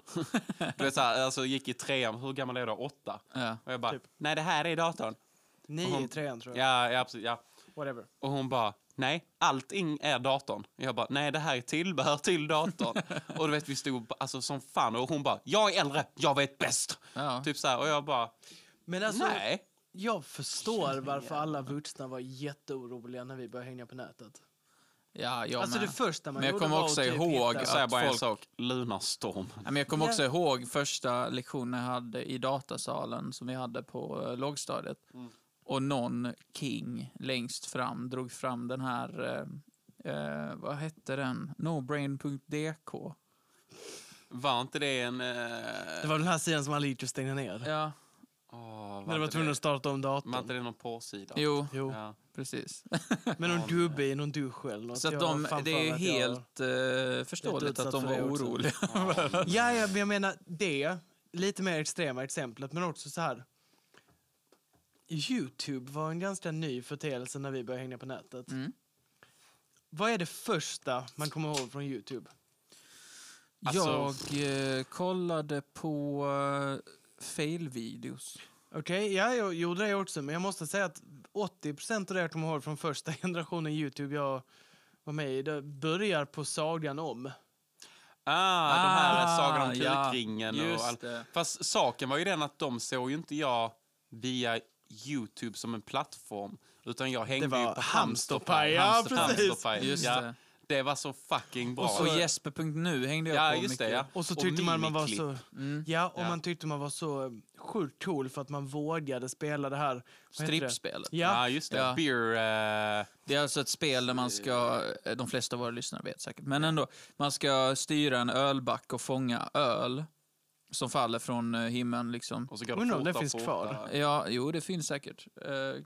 [SPEAKER 1] du vet så här, alltså gick i trean, hur gammal är jag då? Åtta.
[SPEAKER 3] Ja.
[SPEAKER 1] Och jag bara, nej det här är datorn.
[SPEAKER 2] Ni i trean tror jag.
[SPEAKER 1] Ja, ja, absolut, ja.
[SPEAKER 2] Whatever.
[SPEAKER 1] Och hon bara, Nej, allting är datorn. Jag bara, nej det här är tillbehör till datorn. och du vet vi stod alltså, som fan och hon bara, jag är äldre, jag vet bäst.
[SPEAKER 3] Ja.
[SPEAKER 1] Typ så här, och jag bara,
[SPEAKER 2] Men alltså,
[SPEAKER 1] nej.
[SPEAKER 2] jag förstår varför alla vuxna var jätteoroliga när vi började hänga på nätet.
[SPEAKER 3] Ja, jag
[SPEAKER 2] alltså
[SPEAKER 3] med.
[SPEAKER 2] det första man
[SPEAKER 3] Men jag
[SPEAKER 2] gjorde
[SPEAKER 3] kommer
[SPEAKER 2] var
[SPEAKER 3] också
[SPEAKER 2] att typ
[SPEAKER 3] ihåg
[SPEAKER 1] Jag
[SPEAKER 2] hitta-
[SPEAKER 1] säger
[SPEAKER 3] att
[SPEAKER 1] bara en
[SPEAKER 3] folk-
[SPEAKER 1] sak, lunarstorm.
[SPEAKER 3] Ja, men jag kommer
[SPEAKER 2] Ja.
[SPEAKER 3] också ihåg första lektionen jag hade i datasalen som vi hade på eh, lågstadiet.
[SPEAKER 2] Mm.
[SPEAKER 3] Och någon king längst fram drog fram den här, eh, eh, vad hette den? Nobrain.dk.
[SPEAKER 1] Var inte det en... Eh...
[SPEAKER 2] Det var den här sidan som alla gick och stängde ner.
[SPEAKER 3] Ja,
[SPEAKER 1] åh, var
[SPEAKER 2] när du var
[SPEAKER 1] inte
[SPEAKER 2] tvungen att starta om datorn.
[SPEAKER 1] Var inte det någon porrsida?
[SPEAKER 3] jo,
[SPEAKER 2] Jo,
[SPEAKER 1] Ja.
[SPEAKER 3] precis.
[SPEAKER 2] men någon gubbe i någon dusch eller något.
[SPEAKER 3] Så att
[SPEAKER 2] Jag
[SPEAKER 3] de,
[SPEAKER 2] var fan
[SPEAKER 3] det
[SPEAKER 2] för
[SPEAKER 3] är ju
[SPEAKER 2] att jag-
[SPEAKER 3] helt eh, förståeligt
[SPEAKER 2] utsatt
[SPEAKER 3] att de
[SPEAKER 2] för
[SPEAKER 3] var
[SPEAKER 2] det också.
[SPEAKER 3] oroliga.
[SPEAKER 1] Ah.
[SPEAKER 2] Ja, ja, men jag menar det, lite mer extrema exemplet, men också så här. Youtube var en ganska ny företeelse när vi började hänga på nätet.
[SPEAKER 3] Mm.
[SPEAKER 2] Vad är det första man kommer ihåg från Youtube?
[SPEAKER 1] Alltså-
[SPEAKER 3] Jag eh, kollade på eh, fail-videos.
[SPEAKER 2] Okej, ja, jag gjorde det också, men jag måste säga att 80 procent av det jag kommer ihåg från första generationen Youtube jag var med i, det börjar på sagan om.
[SPEAKER 1] Ah, de här
[SPEAKER 3] Ah,
[SPEAKER 1] är Sagan om
[SPEAKER 3] ja.
[SPEAKER 1] kukringen och allt.
[SPEAKER 3] det.
[SPEAKER 1] Fast saken var ju den att de såg ju inte jag via Youtube som en plattform. Utan jag hängde
[SPEAKER 2] Det var
[SPEAKER 1] ju på Hamsterpaj.
[SPEAKER 2] Hamsterpaj, ja,
[SPEAKER 1] Hamster-
[SPEAKER 2] precis.
[SPEAKER 1] Hamsterpaj,
[SPEAKER 3] Just
[SPEAKER 1] ja.
[SPEAKER 3] det.
[SPEAKER 1] Det var så fucking bra.
[SPEAKER 3] Och så Jesper.nu hängde jag
[SPEAKER 1] ja,
[SPEAKER 3] på
[SPEAKER 1] just
[SPEAKER 3] mycket.
[SPEAKER 1] det. Ja.
[SPEAKER 2] Och så tyckte man man var
[SPEAKER 1] Mimiklipp.
[SPEAKER 2] så...
[SPEAKER 3] Mm.
[SPEAKER 2] Ja, och
[SPEAKER 1] Ja.
[SPEAKER 2] man tyckte man var så eh, sjukt cool för att man vågade spela det här... vad heter det?
[SPEAKER 3] Strippspelet.
[SPEAKER 1] Ja,
[SPEAKER 2] Ja,
[SPEAKER 1] just det.
[SPEAKER 3] Ja.
[SPEAKER 1] Beer... eh,
[SPEAKER 3] Det är alltså ett spel där man ska, eh, de flesta av våra lyssnare vet säkert, men ändå, man ska styra en ölback och fånga öl som faller från eh, himlen liksom.
[SPEAKER 1] och så går
[SPEAKER 2] Undrar om
[SPEAKER 1] fortare
[SPEAKER 2] det
[SPEAKER 1] och
[SPEAKER 2] finns
[SPEAKER 1] fortare.
[SPEAKER 2] kvar.
[SPEAKER 3] Ja, jo, det finns säkert. Eh,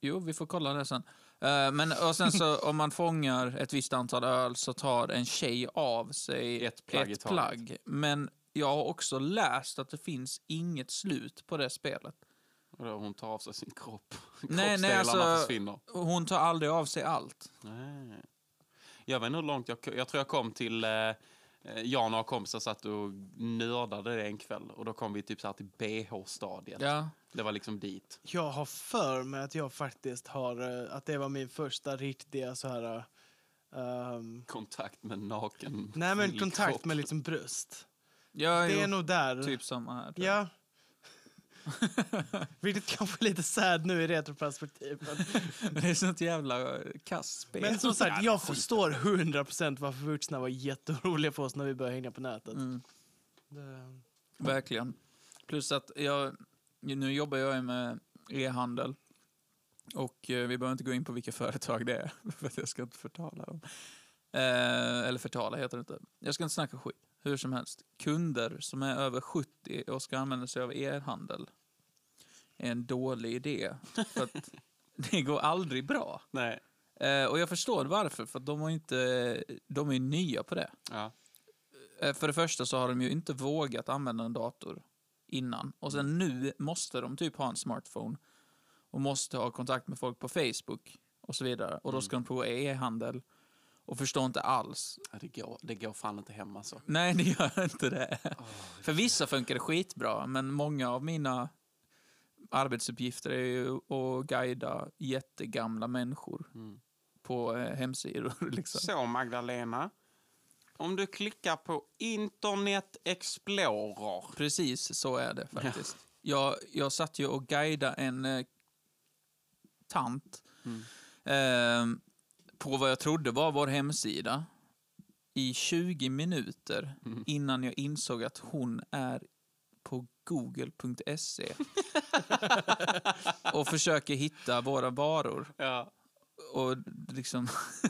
[SPEAKER 3] jo, vi får kolla det sen. Eh, men och sen så om man fångar ett visst antal öl så tar en tjej av sig
[SPEAKER 1] Ett plagg i
[SPEAKER 3] ett
[SPEAKER 1] taget.
[SPEAKER 3] plagg. Men jag har också läst att det finns inget slut på det spelet.
[SPEAKER 1] Och då Hon tar av sig sin kropp.
[SPEAKER 3] Nej, nej,
[SPEAKER 1] Kroppsdelarna
[SPEAKER 3] alltså-
[SPEAKER 1] försvinner.
[SPEAKER 3] Hon tar aldrig av sig allt.
[SPEAKER 1] Nej. Jag vet inte hur långt jag ko- Jag tror jag kom till... Eh, eh, jag och några kompisar satt och nördade det en kväll. Och då kom vi typ så här till BH-stadiet.
[SPEAKER 3] Ja.
[SPEAKER 1] Det var liksom dit.
[SPEAKER 2] Jag har för mig att jag faktiskt har... eh, Att det var min första riktiga så här... eh, ehm,
[SPEAKER 1] Kontakt med naken.
[SPEAKER 2] nej, men
[SPEAKER 1] kvinnlig
[SPEAKER 2] kontakt
[SPEAKER 1] kropp.
[SPEAKER 2] med liksom bröst.
[SPEAKER 3] Ja,
[SPEAKER 2] Det
[SPEAKER 3] jo,
[SPEAKER 2] är nog där.
[SPEAKER 3] typ samma här. tror jag.
[SPEAKER 2] Ja. Vilket kanske är lite sad nu i retroperspektiv. men-
[SPEAKER 3] Det är sånt jävla eh, kastspel.
[SPEAKER 2] Men som sagt, jag förstår 100% varför vuxna var jätteoroliga för oss när vi började hänga på nätet.
[SPEAKER 3] Mm,
[SPEAKER 2] Det-
[SPEAKER 3] verkligen. Plus att jag, nu jobbar jag ju med e-handel. Och eh, vi behöver inte gå in på vilka företag det är, för att jag ska inte förtala dem. Eh, eller förtala heter det inte. Jag ska inte snacka skit. Hur som helst, kunder som är över 70 och ska använda sig av e-handel är en dålig idé. För att det går aldrig bra.
[SPEAKER 1] Nej.
[SPEAKER 3] Eh, och jag förstår varför, för att de, har inte, de är ju nya på det.
[SPEAKER 1] Ja.
[SPEAKER 3] Eh, För det första så har de ju inte vågat använda en dator innan. Och sen nu måste de typ ha en smartphone och måste ha kontakt med folk på Facebook och så vidare. Och då ska de prova e-handel och förstår inte alls.
[SPEAKER 1] Ja, Det, går, det går fan inte hem alltså.
[SPEAKER 3] Nej, det gör inte det. För vissa funkar det skitbra, men många av mina arbetsuppgifter är ju att guida jättegamla människor
[SPEAKER 1] Mm.
[SPEAKER 3] på eh, hemsidor. Liksom.
[SPEAKER 1] Så Magdalena. Om du klickar på Internet Explorer.
[SPEAKER 3] Precis så är det faktiskt. Jag, jag satt ju och guida en eh, tant
[SPEAKER 1] Mm.
[SPEAKER 3] ehm, på vad jag trodde var vår hemsida i 20 minuter
[SPEAKER 1] Mm.
[SPEAKER 3] innan jag insåg att hon är på google.se och försöker hitta våra varor.
[SPEAKER 1] Ja.
[SPEAKER 3] Och liksom...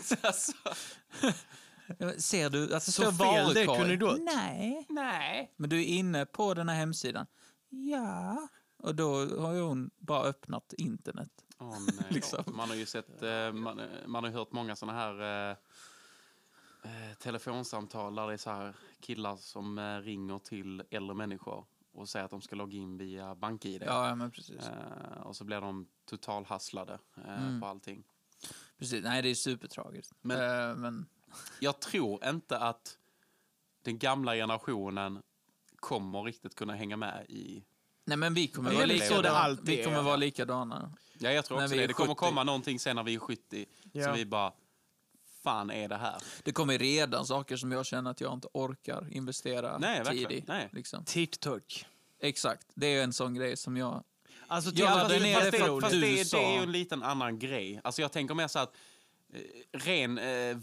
[SPEAKER 3] Ser du att det
[SPEAKER 2] Alltså. Så
[SPEAKER 3] står
[SPEAKER 2] fel det
[SPEAKER 3] varukorg?
[SPEAKER 2] kunde gått.
[SPEAKER 3] Nej.
[SPEAKER 1] Nej.
[SPEAKER 3] Men du är inne på den här hemsidan. Ja. Och då har ju hon bara öppnat internet.
[SPEAKER 1] Åh, nej.
[SPEAKER 3] Liksom.
[SPEAKER 1] eh, Man har ju sett, eh, man, eh, man har ju hört många såna här eh, eh, telefonsamtal där det är så här killar som eh, ringer till äldre människor och säger att de ska logga in via BankID.
[SPEAKER 3] Ja, ja men precis.
[SPEAKER 1] Eh, och så blir de totalhasslade eh,
[SPEAKER 3] Mm.
[SPEAKER 1] på allting.
[SPEAKER 3] precis. Nej, det är supertragiskt. Men, men
[SPEAKER 1] Jag tror inte att den gamla generationen kommer riktigt kunna hänga med i...
[SPEAKER 3] nej, men vi
[SPEAKER 2] Det
[SPEAKER 3] kommer
[SPEAKER 2] är
[SPEAKER 3] vara
[SPEAKER 2] väl så det
[SPEAKER 3] likadana.
[SPEAKER 2] alltid
[SPEAKER 3] Vi
[SPEAKER 2] är.
[SPEAKER 3] kommer vara likadana.
[SPEAKER 1] Ja, jag tror
[SPEAKER 3] När
[SPEAKER 1] också
[SPEAKER 3] vi är
[SPEAKER 1] det. Det kommer
[SPEAKER 3] 70.
[SPEAKER 1] komma någonting sen när vi är 70
[SPEAKER 2] Ja.
[SPEAKER 1] som vi bara, fan är det här?
[SPEAKER 3] Det kommer redan saker som jag känner att jag inte orkar investera
[SPEAKER 1] Nej,
[SPEAKER 3] tid
[SPEAKER 1] verkligen.
[SPEAKER 3] i.
[SPEAKER 1] Nej.
[SPEAKER 3] Liksom.
[SPEAKER 2] TikTok.
[SPEAKER 3] Exakt, det är ju en sån grej som jag...
[SPEAKER 2] Alltså,
[SPEAKER 3] Ja,
[SPEAKER 2] TikTok-
[SPEAKER 3] fast den är
[SPEAKER 1] fast det,
[SPEAKER 3] för
[SPEAKER 1] fast det,
[SPEAKER 3] USA.
[SPEAKER 1] det är ju en liten annan grej. Alltså jag tänker mer så att eh, ren eh,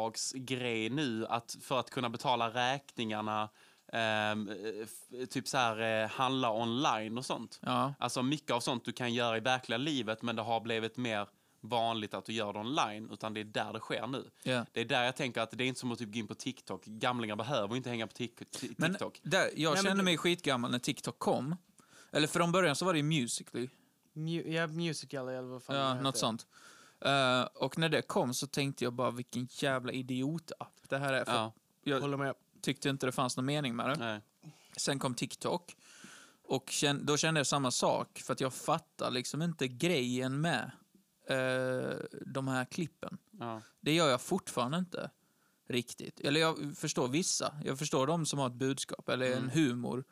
[SPEAKER 1] vardagsgrej nu att för att kunna betala räkningarna ehm, eh, f- typ så här eh, handla online och sånt.
[SPEAKER 3] Ja,
[SPEAKER 1] Alltså mycket av sånt du kan göra i verkliga livet men det har blivit mer vanligt att du gör det online utan det är där det sker nu.
[SPEAKER 3] ja.
[SPEAKER 1] Det är där jag tänker att det är inte som att typ gå in på TikTok. Gamlingar behöver inte hänga på Tik- Ti-
[SPEAKER 3] Men
[SPEAKER 1] TikTok.
[SPEAKER 3] Där, jag
[SPEAKER 2] men
[SPEAKER 3] kände
[SPEAKER 2] det-
[SPEAKER 3] mig skitgammal när TikTok kom. Eller från början så var det ju Musical.ly.
[SPEAKER 2] Mu- ja, musical eller vad fan
[SPEAKER 3] Ja,
[SPEAKER 2] det
[SPEAKER 3] något
[SPEAKER 2] heter.
[SPEAKER 3] sånt. Eh, och när det kom så tänkte jag bara vilken jävla idiotapp det här är. För
[SPEAKER 1] Ja,
[SPEAKER 3] Jag
[SPEAKER 2] Håller med.
[SPEAKER 3] tyckte inte det fanns någon mening med det.
[SPEAKER 1] nej.
[SPEAKER 3] Sen kom TikTok. Och kän- då kände jag samma sak, för att jag fattar liksom inte grejen med eh, de här klippen.
[SPEAKER 1] Ja.
[SPEAKER 3] Det gör jag fortfarande inte riktigt. Eller jag förstår vissa. Jag förstår de som har ett budskap eller
[SPEAKER 1] Mm.
[SPEAKER 3] en humor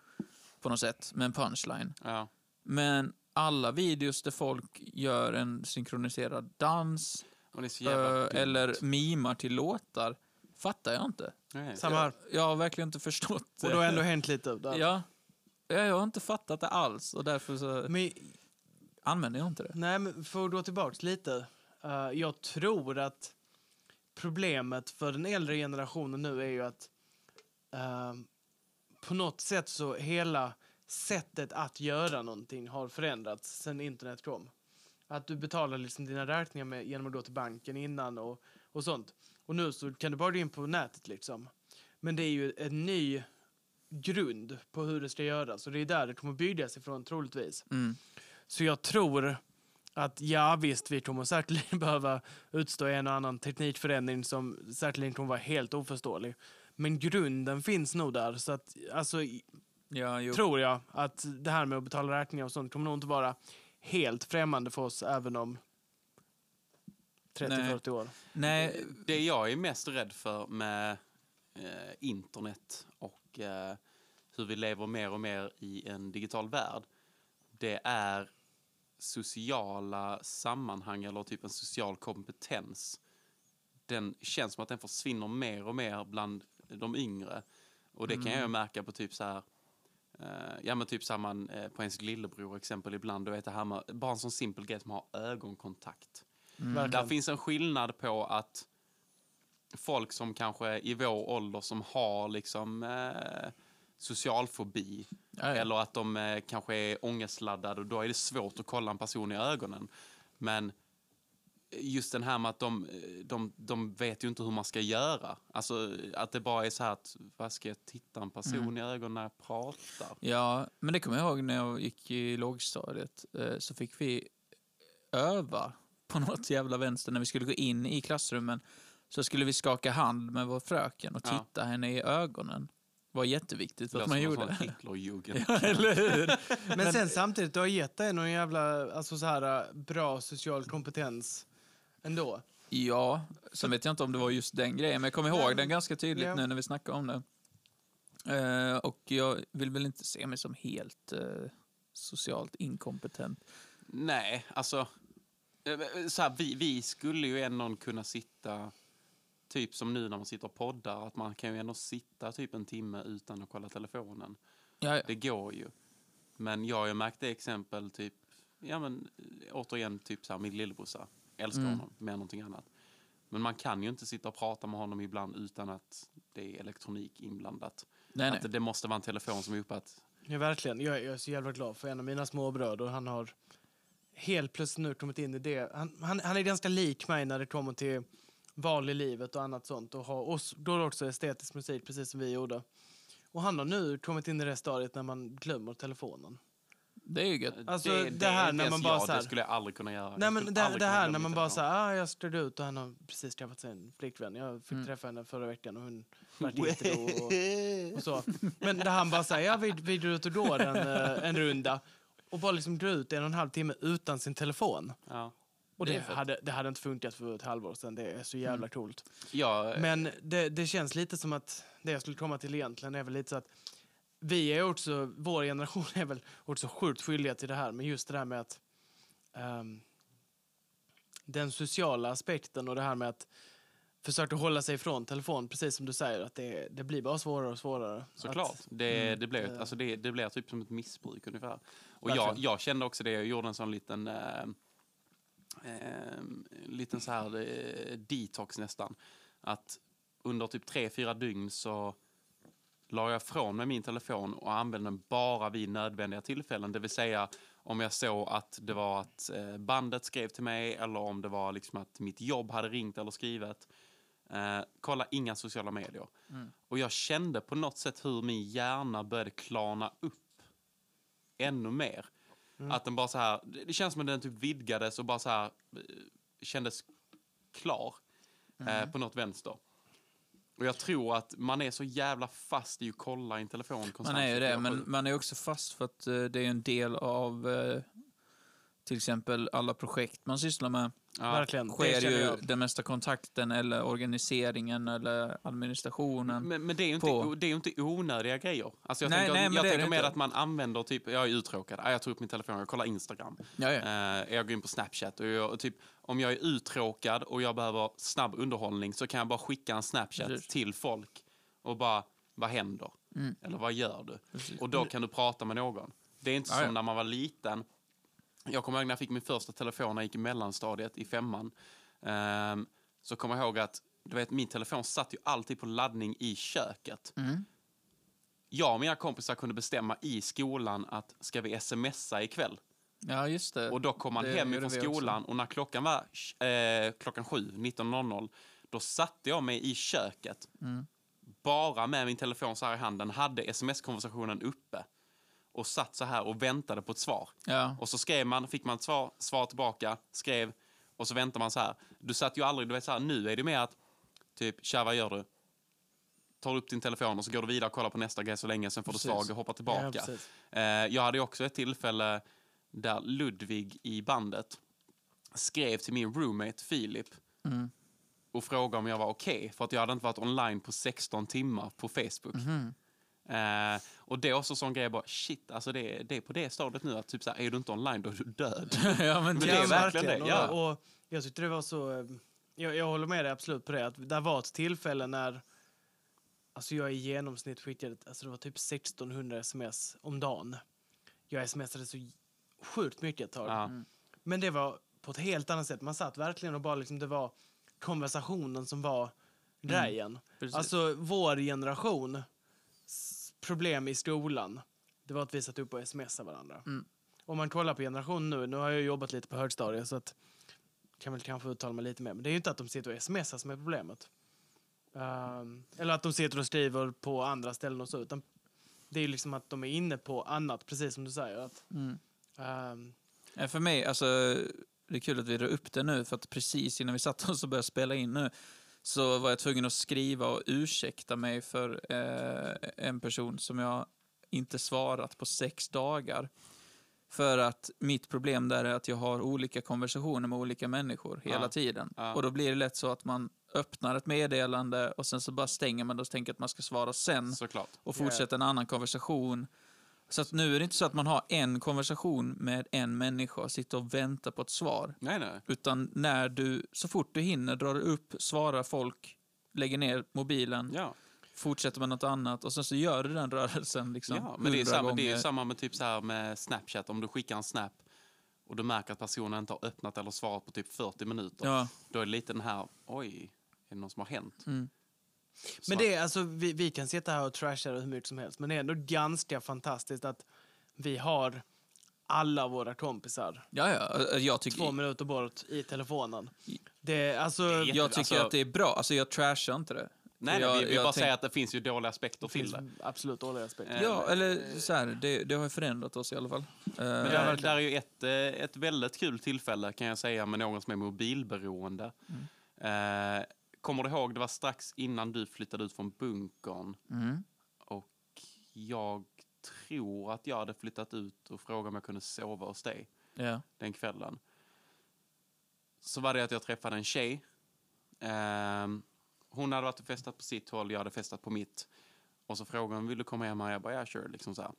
[SPEAKER 3] på något sätt med en punchline.
[SPEAKER 1] Ja.
[SPEAKER 3] Men alla videos där folk gör en synkroniserad dans
[SPEAKER 1] Och det är så
[SPEAKER 3] eh,
[SPEAKER 1] jävla dumt.
[SPEAKER 3] eller mimar till låtar fattar jag inte.
[SPEAKER 1] Nej.
[SPEAKER 2] Samma här.
[SPEAKER 3] Jag har verkligen inte förstått det.
[SPEAKER 2] Och då har ändå hänt lite. Där.
[SPEAKER 3] Ja. Ja, Jag har inte fattat det alls och därför så
[SPEAKER 2] Men,
[SPEAKER 3] använder jag inte det.
[SPEAKER 2] nej, men för att gå tillbaka lite. eh, jag tror att problemet för den äldre generationen nu är ju att eh, på något sätt så hela sättet att göra någonting har förändrats sen internet kom. Att du betalar liksom dina räkningar med, genom att gå till banken innan och, och sånt. Och nu så kan du bara gå in på nätet liksom. Men det är ju en ny grund på hur det ska göras och det är där det kommer byggas ifrån troligtvis.
[SPEAKER 3] Mm.
[SPEAKER 2] Så jag tror att ja, visst, vi kommer säkerligen behöva utstå en och annan teknikförändring som säkerligen kommer vara helt oförståelig. Men grunden finns nog där, så att alltså, i-
[SPEAKER 3] Ja, jo.
[SPEAKER 2] tror jag att det här med att betala räkningar och sånt kommer nog inte vara helt främmande för oss även om
[SPEAKER 3] Nej.
[SPEAKER 2] 30-40 år.
[SPEAKER 3] Nej,
[SPEAKER 1] Det jag är mest rädd för med eh, internet och eh, hur vi lever mer och mer i en digital värld, det är sociala sammanhang eller typ en social kompetens. Den känns som att den försvinner mer och mer bland de yngre. Och det kan jag märka på typ så här eh, ja men typ samman eh, på ens lillebror exempel ibland. Du vet det här med bara en sån simpel grej som har ögonkontakt. Där
[SPEAKER 3] Mm.
[SPEAKER 2] Verkligen.
[SPEAKER 1] finns en skillnad på att folk som kanske i vår ålder som har liksom eh, social fobi
[SPEAKER 3] Ja, ja.
[SPEAKER 1] eller att de eh, kanske är ångestladdade och då är det svårt att kolla en person i ögonen. Men just den här med att de, eh, de, de vet ju inte hur man ska göra. Alltså att det bara är så här att vad ska jag titta en person
[SPEAKER 3] Mm.
[SPEAKER 1] i ögonen när jag pratar?
[SPEAKER 3] Ja, men det kommer jag ihåg när jag gick i lågstadiet. eh, Så fick vi öva på något jävla vänster när vi skulle gå in i klassrummen. Så skulle vi skaka hand med vår fröken och
[SPEAKER 1] Ja.
[SPEAKER 3] titta henne i ögonen. Det var jätteviktigt att
[SPEAKER 1] låter som
[SPEAKER 3] man
[SPEAKER 1] en
[SPEAKER 3] gjorde.
[SPEAKER 1] sån Hitlerjugend.
[SPEAKER 3] Eller hur?
[SPEAKER 2] Men sen samtidigt, du har gett dig någon jävla alltså, så här, bra social kompetens ändå.
[SPEAKER 3] Ja, sen vet jag inte om det var just den grejen, men jag kommer ihåg den ganska tydligt
[SPEAKER 2] Ja.
[SPEAKER 3] nu när vi snackade om det. Eh, och jag vill väl inte se mig som helt eh, socialt inkompetent.
[SPEAKER 1] Nej, alltså... eh, eh, Så här, vi, vi skulle ju ändå kunna sitta, typ som nu när man sitter och poddar, att man kan ju ändå sitta typ en timme utan att kolla telefonen.
[SPEAKER 3] Ja, ja.
[SPEAKER 1] Det går ju. Men jag har ju märkt det exempel, typ, ja men eh, återigen, typ så här, min lillebrorsa. Älskar
[SPEAKER 3] Mm.
[SPEAKER 1] honom mer än någonting annat. Men man kan ju inte sitta och prata med honom ibland utan att det är elektronik inblandat.
[SPEAKER 3] Nej, nej.
[SPEAKER 1] Att det måste vara en telefon som är uppe att...
[SPEAKER 2] Ja, verkligen. Jag, jag är så jävla glad för en av mina småbröder. Han har helt plötsligt nu kommit in i det. Han, han, han är ganska lik mig när det kommer till val i livet och annat sånt. Och har oss, då också estetisk musik, precis som vi gjorde. Och han har nu kommit in i det stadiet när man glömmer telefonen.
[SPEAKER 3] Det är ju gött.
[SPEAKER 2] Alltså,
[SPEAKER 1] Eh, det,
[SPEAKER 2] det här
[SPEAKER 1] är inte
[SPEAKER 2] när
[SPEAKER 1] ens
[SPEAKER 2] man bara
[SPEAKER 1] jag,
[SPEAKER 2] så här-
[SPEAKER 1] Det skulle jag aldrig kunna göra. Jag
[SPEAKER 2] Nej, men
[SPEAKER 1] skulle
[SPEAKER 2] det,
[SPEAKER 1] aldrig
[SPEAKER 2] det
[SPEAKER 1] kunna
[SPEAKER 2] här
[SPEAKER 1] glömma
[SPEAKER 2] när man
[SPEAKER 1] min
[SPEAKER 2] bara
[SPEAKER 1] telefon.
[SPEAKER 2] säger ah, jag stod ut och han har precis träffat sin flickvän. Jag fick
[SPEAKER 1] Mm.
[SPEAKER 2] träffa henne förra veckan och hon var lite då och, och så. Men där han bara säger ja, vi, vi drar ut och går en, eh, en runda och bara liksom drar ut en och en halv timme utan sin telefon.
[SPEAKER 1] Ja.
[SPEAKER 2] Och
[SPEAKER 3] Det
[SPEAKER 2] det,
[SPEAKER 3] är fett.
[SPEAKER 2] hade, det hade inte funkat för ett halvår sedan. Det är så jävla coolt.
[SPEAKER 1] Ja,
[SPEAKER 2] Men det, det känns lite som att det jag skulle komma till egentligen är väl lite så att vi är också, vår generation är väl också sjukt skyldiga till det här, men just det där med att ehm, den sociala aspekten och det här med att försöka hålla sig ifrån telefon, precis som du säger, att det, det blir bara svårare och svårare.
[SPEAKER 1] Såklart.
[SPEAKER 2] Att,
[SPEAKER 1] Det, det, blev,
[SPEAKER 2] eh.
[SPEAKER 1] alltså det, det blev typ som ett missbruk ungefär. Och jag,
[SPEAKER 2] Verkligen.
[SPEAKER 1] jag kände också det. Jag gjorde en sån liten... Eh, eh, liten så här eh, detox nästan. Att under typ tre, fyra dygn så la jag ifrån mig min telefon och använde den bara vid nödvändiga tillfällen. Det vill säga om jag såg att det var att eh, bandet skrev till mig eller om det var liksom att mitt jobb hade ringt eller skrivit. Eh, kolla inga sociala medier. Och jag kände på något sätt hur min hjärna började klarna upp ännu mer.
[SPEAKER 3] Mm.
[SPEAKER 1] Att den bara så här, det det känns som att den typ vidgades och bara så här eh, kändes klar
[SPEAKER 3] Mm.
[SPEAKER 1] eh, på något vänster. Och jag tror att man är så jävla fast i att kolla i en telefon konstant.
[SPEAKER 3] Man är ju
[SPEAKER 1] så
[SPEAKER 3] det,
[SPEAKER 1] jag-
[SPEAKER 3] men man är också fast för att eh, det är en del av eh, till exempel alla projekt man sysslar med.
[SPEAKER 1] ja.
[SPEAKER 2] Verkligen. Det
[SPEAKER 3] sker
[SPEAKER 2] känner
[SPEAKER 3] ju
[SPEAKER 2] jag.
[SPEAKER 3] den mesta kontakten eller organiseringen eller administrationen.
[SPEAKER 1] Men, men det, är ju inte,
[SPEAKER 3] På.
[SPEAKER 1] det är ju inte onödiga grejer. Alltså jag
[SPEAKER 3] Nej,
[SPEAKER 1] tänker,
[SPEAKER 3] nej, men
[SPEAKER 1] jag
[SPEAKER 3] det är
[SPEAKER 1] tänker
[SPEAKER 3] det
[SPEAKER 1] mer
[SPEAKER 3] inte.
[SPEAKER 1] att man använder typ, jag är uttråkad, Ah, jag tar upp min telefon, jag kollar Instagram.
[SPEAKER 3] Ja, ja.
[SPEAKER 1] Eh, jag går in på Snapchat och, jag, och typ, om jag är uttråkad och jag behöver snabb underhållning så kan jag bara skicka en Snapchat
[SPEAKER 3] Precis. Mm.
[SPEAKER 1] till folk och bara, vad händer? Eller vad gör du? Och då kan du prata med någon. Det är inte
[SPEAKER 3] Ja, ja.
[SPEAKER 1] som när man var liten. Jag kommer ihåg när jag fick min första telefon när jag gick i mellanstadiet i femman. Ehm, så kommer jag ihåg att du vet, min telefon satt ju alltid på laddning i köket
[SPEAKER 3] Mm.
[SPEAKER 1] jag och mina kompisar kunde bestämma i skolan att ska vi smsa ikväll?
[SPEAKER 3] ja, just det.
[SPEAKER 1] Och då kom man
[SPEAKER 3] Eh, Det
[SPEAKER 1] hem
[SPEAKER 3] gjorde
[SPEAKER 1] från
[SPEAKER 3] vi också.
[SPEAKER 1] skolan och när klockan var eh, klockan sju, 19.00, då satte jag mig i köket.
[SPEAKER 3] Mm.
[SPEAKER 1] Bara med min telefon så här i handen, hade sms-konversationen uppe. Och satt så här och väntade på ett svar.
[SPEAKER 3] Ja.
[SPEAKER 1] Och så skrev man, fick man ett svar, svar tillbaka, skrev och så väntar man så här. Du satt ju aldrig, du vet så här, nu är det mer att typ, tja vad gör du? Tar upp din telefon och så går du vidare och kollar på nästa grej så länge, sen får du svar och hoppar tillbaka.
[SPEAKER 2] Ja, precis.
[SPEAKER 1] Eh, jag hade ju också ett tillfälle där Ludvig i bandet skrev till min roommate Filip
[SPEAKER 3] Mm.
[SPEAKER 1] och frågade om jag var okej för att jag hade inte varit online på 16 timmar på Facebook.
[SPEAKER 3] Mhm.
[SPEAKER 1] Eh, och det är också sån grej, bara, shit, alltså det, är- det är på det stadiet nu att typ så här, är du inte online då är du död.
[SPEAKER 3] ja, men
[SPEAKER 1] Men
[SPEAKER 3] det,
[SPEAKER 1] det är
[SPEAKER 2] Ja,
[SPEAKER 1] verkligen det, ja.
[SPEAKER 2] Och, och jag tyckte det var så... eh, Jag, jag håller med dig absolut på det. Att det var ett tillfälle när alltså jag i genomsnitt skickade alltså det var typ 1600 sms om dagen. Jag smsade så sjukt mycket ett tag.
[SPEAKER 1] Ja.
[SPEAKER 3] mm.
[SPEAKER 2] Men det var på ett helt annat sätt. Man satt verkligen och bara liksom, det var konversationen som
[SPEAKER 1] Mm.
[SPEAKER 2] var grejen.
[SPEAKER 3] precis.
[SPEAKER 2] Alltså vår generation s- problem i skolan, det var att vi satt upp och smsade varandra. Om man kollar på generationen nu, nu har jag jobbat lite på högstadiet så att kan väl kanske uttala mig lite mer, men det är ju inte att de sitter och smsar som är problemet. Ehm, eller att de sitter och skriver på andra ställen och så, utan det är ju liksom att de är inne på annat, precis som du säger. Att,
[SPEAKER 3] Mm.
[SPEAKER 2] ehm,
[SPEAKER 3] Ja, för mig, alltså, det är kul att vi drar upp det nu, för att precis innan vi satte oss och började spela in nu så var jag tvungen att skriva och ursäkta mig för eh, en person som jag inte svarat på sex dagar. För att mitt problem där är att jag har olika konversationer med olika människor hela
[SPEAKER 1] Ja.
[SPEAKER 3] tiden.
[SPEAKER 1] Ja.
[SPEAKER 3] Och då blir det lätt så att man öppnar ett meddelande och sen så bara stänger man det och tänker att man ska svara sen
[SPEAKER 1] Såklart.
[SPEAKER 3] och fortsätta en annan konversation. Så att nu är det inte så att man har en konversation med en människa och sitter och väntar på ett svar.
[SPEAKER 1] Nej, nej.
[SPEAKER 3] Utan när du, så fort du hinner, drar du upp, svarar folk, lägger ner mobilen,
[SPEAKER 1] Ja.
[SPEAKER 3] fortsätter med något annat och sen så gör du den rörelsen liksom
[SPEAKER 1] Ja, men det är,
[SPEAKER 3] hundra
[SPEAKER 1] samma, det är
[SPEAKER 3] gånger.
[SPEAKER 1] ju samma med, typ så här med Snapchat. Om du skickar en snap och du märker att personen inte har öppnat eller svarat på typ 40 minuter.
[SPEAKER 3] Ja.
[SPEAKER 1] Då är det lite den här, oj, är det något som har hänt?
[SPEAKER 3] mm.
[SPEAKER 2] Men det är, alltså, vi, vi kan sitta här och trasha det hur mycket som helst, men det är ändå ganska fantastiskt att vi har alla våra kompisar
[SPEAKER 3] Ja, ja, eh, jag
[SPEAKER 2] två
[SPEAKER 3] tycker,
[SPEAKER 2] minuter bort i telefonen. Det är, alltså,
[SPEAKER 1] jätte-
[SPEAKER 3] jag tycker
[SPEAKER 1] alltså-
[SPEAKER 3] att det är bra. Alltså jag trashar inte det.
[SPEAKER 1] Nej,
[SPEAKER 3] jag,
[SPEAKER 1] nej vi vill
[SPEAKER 3] jag
[SPEAKER 1] bara
[SPEAKER 3] tänk-
[SPEAKER 1] säga att det finns ju dåliga aspekter till det.
[SPEAKER 2] absolut dåliga aspekt.
[SPEAKER 3] Ja, eller så här, det, det har ju förändrat oss i alla fall. Eh,
[SPEAKER 1] Men där, där är ju ett, eh, ett väldigt kul tillfälle kan jag säga med någon som är mobilberoende.
[SPEAKER 2] Mm.
[SPEAKER 1] Eh, kommer du ihåg, det var strax innan du flyttade ut från bunkern.
[SPEAKER 3] mm.
[SPEAKER 1] Och jag tror att jag hade flyttat ut och frågade om jag kunde sova hos dig
[SPEAKER 3] ja.
[SPEAKER 1] den kvällen. Så var det att jag träffade en tjej. Ehm, hon hade varit och festat på sitt håll, jag hade festat på mitt. Och så frågade hon, vill du komma hem? Och jag bara, ja sure. Liksom så, här.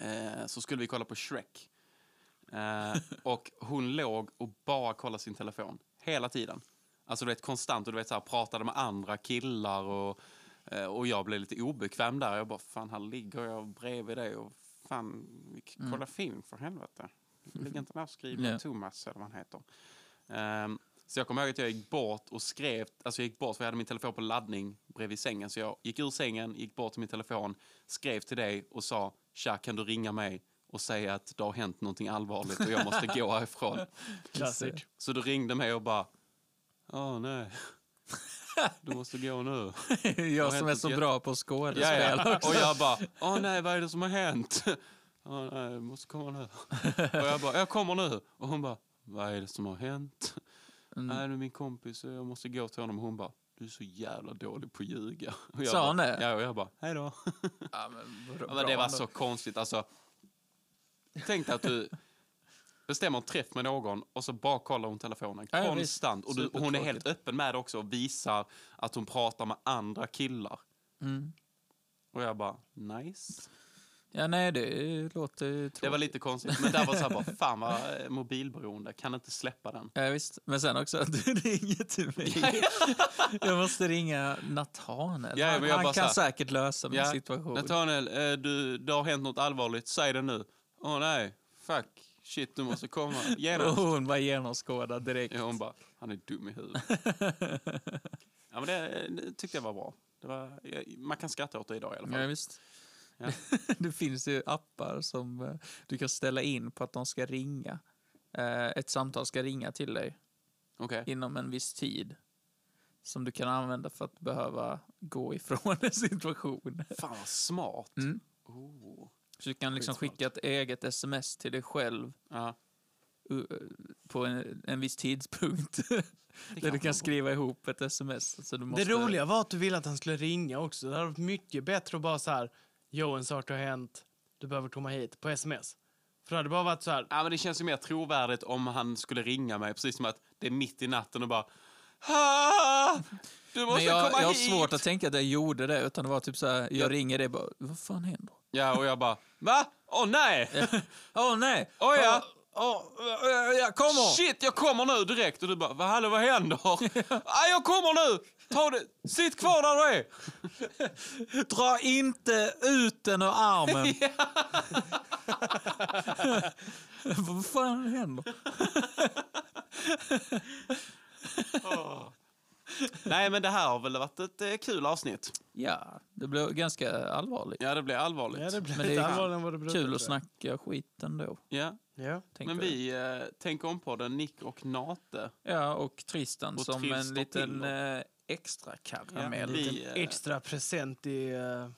[SPEAKER 1] Ehm, så skulle vi kolla på Shrek. Eh, och hon låg och bara kollade sin telefon hela tiden. Alltså du vet konstant och du vet så här, pratade med andra killar och, eh, och jag blev lite obekväm där. Jag bara, fan här ligger jag bredvid dig och fan, vi k- kolla film för helvete. Ligg inte där och skriv
[SPEAKER 3] Ja.
[SPEAKER 1] med Thomas eller vad han heter. Ehm, så jag kommer ihåg att jag gick bort och skrev, alltså jag gick bort för jag hade min telefon på laddning bredvid sängen. Så jag gick ur sängen, gick bort till min telefon, skrev till dig och sa tja kan du ringa mig och säga att det har hänt någonting allvarligt och jag måste gå härifrån.
[SPEAKER 2] Classic.
[SPEAKER 1] Så du ringde mig och bara, åh nej, du måste gå nu.
[SPEAKER 3] jag som är så
[SPEAKER 1] jätte-
[SPEAKER 3] bra på
[SPEAKER 1] Ja,
[SPEAKER 3] skådespel.
[SPEAKER 1] ja. Och jag bara, åh nej, vad är det som har hänt? Åh nej, jag måste komma nu. Och jag bara, jag kommer nu. Och hon bara, vad är det som har hänt?
[SPEAKER 3] Mm.
[SPEAKER 1] Nej, det är min kompis och jag måste gå till honom. Och hon bara, du är så jävla dålig på att ljuga. Och jag
[SPEAKER 3] Sa hon
[SPEAKER 1] bara,
[SPEAKER 3] det?
[SPEAKER 1] Ja, och jag bara, hej då.
[SPEAKER 3] Ja, men bra-
[SPEAKER 1] Ja, men det
[SPEAKER 3] bra
[SPEAKER 1] var
[SPEAKER 3] ändå.
[SPEAKER 1] så konstigt. Alltså, tänk dig att du bestämmer en träff med någon och så bara kollar hon telefonen
[SPEAKER 3] Ja, ja,
[SPEAKER 1] konstant.
[SPEAKER 3] visst.
[SPEAKER 1] Och, du, och hon är helt
[SPEAKER 3] Supertråkigt.
[SPEAKER 1] öppen med det också och visar att hon pratar med andra killar.
[SPEAKER 3] Mm.
[SPEAKER 1] Och jag bara, nice.
[SPEAKER 3] Ja, nej, det låter ju tråkigt.
[SPEAKER 1] Det var lite konstigt. Men där var så här bara, fan vad eh, mobilberoende, kan inte släppa den.
[SPEAKER 3] Ja, visst. Men sen också att du ringer till mig. jag måste ringa Nathanael.
[SPEAKER 1] Ja,
[SPEAKER 3] han
[SPEAKER 1] men jag
[SPEAKER 3] han
[SPEAKER 1] bara så
[SPEAKER 3] kan
[SPEAKER 1] här-
[SPEAKER 3] säkert lösa min situation.
[SPEAKER 1] Nathaniel, eh, du, det har hänt något allvarligt, säg det nu. Åh nej, fuck, shit du måste komma
[SPEAKER 3] Och
[SPEAKER 1] genast.
[SPEAKER 3] hon var genomskådad direkt.
[SPEAKER 1] Ja, hon bara, han är dum i huvudet. ja, men det, det tyckte jag var bra. Det var, jag- man kan skratta åt det idag i alla
[SPEAKER 3] Ja,
[SPEAKER 1] fall.
[SPEAKER 3] visst.
[SPEAKER 1] Ja.
[SPEAKER 3] det finns ju appar som eh, du kan ställa in på att de ska ringa. Eh, Ett samtal ska ringa till dig
[SPEAKER 1] Okej.
[SPEAKER 3] inom en viss tid som du kan använda för att behöva gå ifrån en situation.
[SPEAKER 1] Fan vad smart.
[SPEAKER 3] Mm.
[SPEAKER 1] Oh.
[SPEAKER 3] Så du kan liksom
[SPEAKER 1] Skitsmart.
[SPEAKER 3] skicka ett eget sms till dig själv
[SPEAKER 1] Ja,
[SPEAKER 3] uh, på en, en viss tidspunkt. där
[SPEAKER 1] kanske
[SPEAKER 3] du
[SPEAKER 1] man
[SPEAKER 3] kan skriva ihop ett sms. Så du måste...
[SPEAKER 2] Det roliga var att du ville att han skulle ringa också. Det hade varit mycket bättre att bara så här, jo en sak har hänt, du behöver komma hit, på sms. För det hade bara varit så här,
[SPEAKER 1] Ja, men det känns ju mer trovärdigt om han skulle ringa mig, precis som att det är mitt i natten och bara "Ah, du måste
[SPEAKER 3] Men jag,
[SPEAKER 1] komma
[SPEAKER 3] jag har
[SPEAKER 1] hit.
[SPEAKER 3] svårt att tänka att jag gjorde det, utan det var typ så här, jag ringer dig bara, vad fan händer?
[SPEAKER 1] Ja, och jag bara, va? Åh nej!
[SPEAKER 3] Åh nej!
[SPEAKER 1] Åh ja!
[SPEAKER 3] Åh, eh, jag kommer!
[SPEAKER 1] Shit, jag kommer nu direkt! Och du bara, vad hallå, vad händer? ah, jag kommer nu! Ta det, sitt kvar där du är!
[SPEAKER 3] Dra inte ut den ur armen! Vad fan händer?
[SPEAKER 1] Nej, men det här har väl varit ett eh, kul avsnitt.
[SPEAKER 3] Ja, det blev ganska allvarligt.
[SPEAKER 1] Ja, det blir allvarligt.
[SPEAKER 2] ja det blev
[SPEAKER 3] Men det
[SPEAKER 2] lite
[SPEAKER 3] är ju
[SPEAKER 2] allvarligare än vad det brukar
[SPEAKER 3] Kul
[SPEAKER 2] vara.
[SPEAKER 3] att snacka skit ändå.
[SPEAKER 1] Ja,
[SPEAKER 2] Ja.
[SPEAKER 3] tänker
[SPEAKER 1] men
[SPEAKER 3] jag.
[SPEAKER 1] vi eh, tänker om på den, Nick och Nate.
[SPEAKER 3] Ja, och Tristan
[SPEAKER 1] Och
[SPEAKER 3] som
[SPEAKER 1] Trist
[SPEAKER 3] en
[SPEAKER 1] och
[SPEAKER 3] liten
[SPEAKER 1] Tiller.
[SPEAKER 3] eh, extra
[SPEAKER 1] Ja,
[SPEAKER 3] karamell.
[SPEAKER 1] vi, eh,
[SPEAKER 2] Extra present i uh,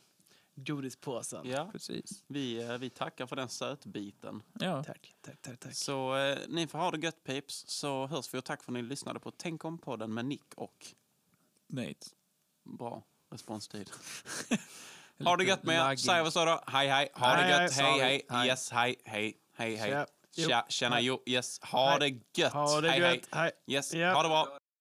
[SPEAKER 2] godispåsen.
[SPEAKER 1] ja,
[SPEAKER 3] Precis.
[SPEAKER 1] vi, eh, vi tackar för den sötbiten.
[SPEAKER 3] Ja.
[SPEAKER 2] Tack, tack, tack, tack.
[SPEAKER 1] Så eh, ni får ha det gött, peeps. Så hörs vi och tack för att ni lyssnade på Tänk om podden med Nick och
[SPEAKER 3] Nate.
[SPEAKER 1] bra responstid. ha det gött med er. Säger vi så då. Hej, hej. Ha
[SPEAKER 2] Hej,
[SPEAKER 1] det gött.
[SPEAKER 2] hej.
[SPEAKER 1] Hej, hej.
[SPEAKER 3] Hej.
[SPEAKER 1] Yes, hej, hej. Hej, hej.
[SPEAKER 2] Tja. Jo.
[SPEAKER 1] Tja, tjena, jo. Yes, ha
[SPEAKER 2] Hej.
[SPEAKER 1] det gött.
[SPEAKER 2] Ha det
[SPEAKER 1] Hej, hej.
[SPEAKER 2] gött. Hej.
[SPEAKER 1] Yes,
[SPEAKER 2] Ja.
[SPEAKER 1] ha det bra.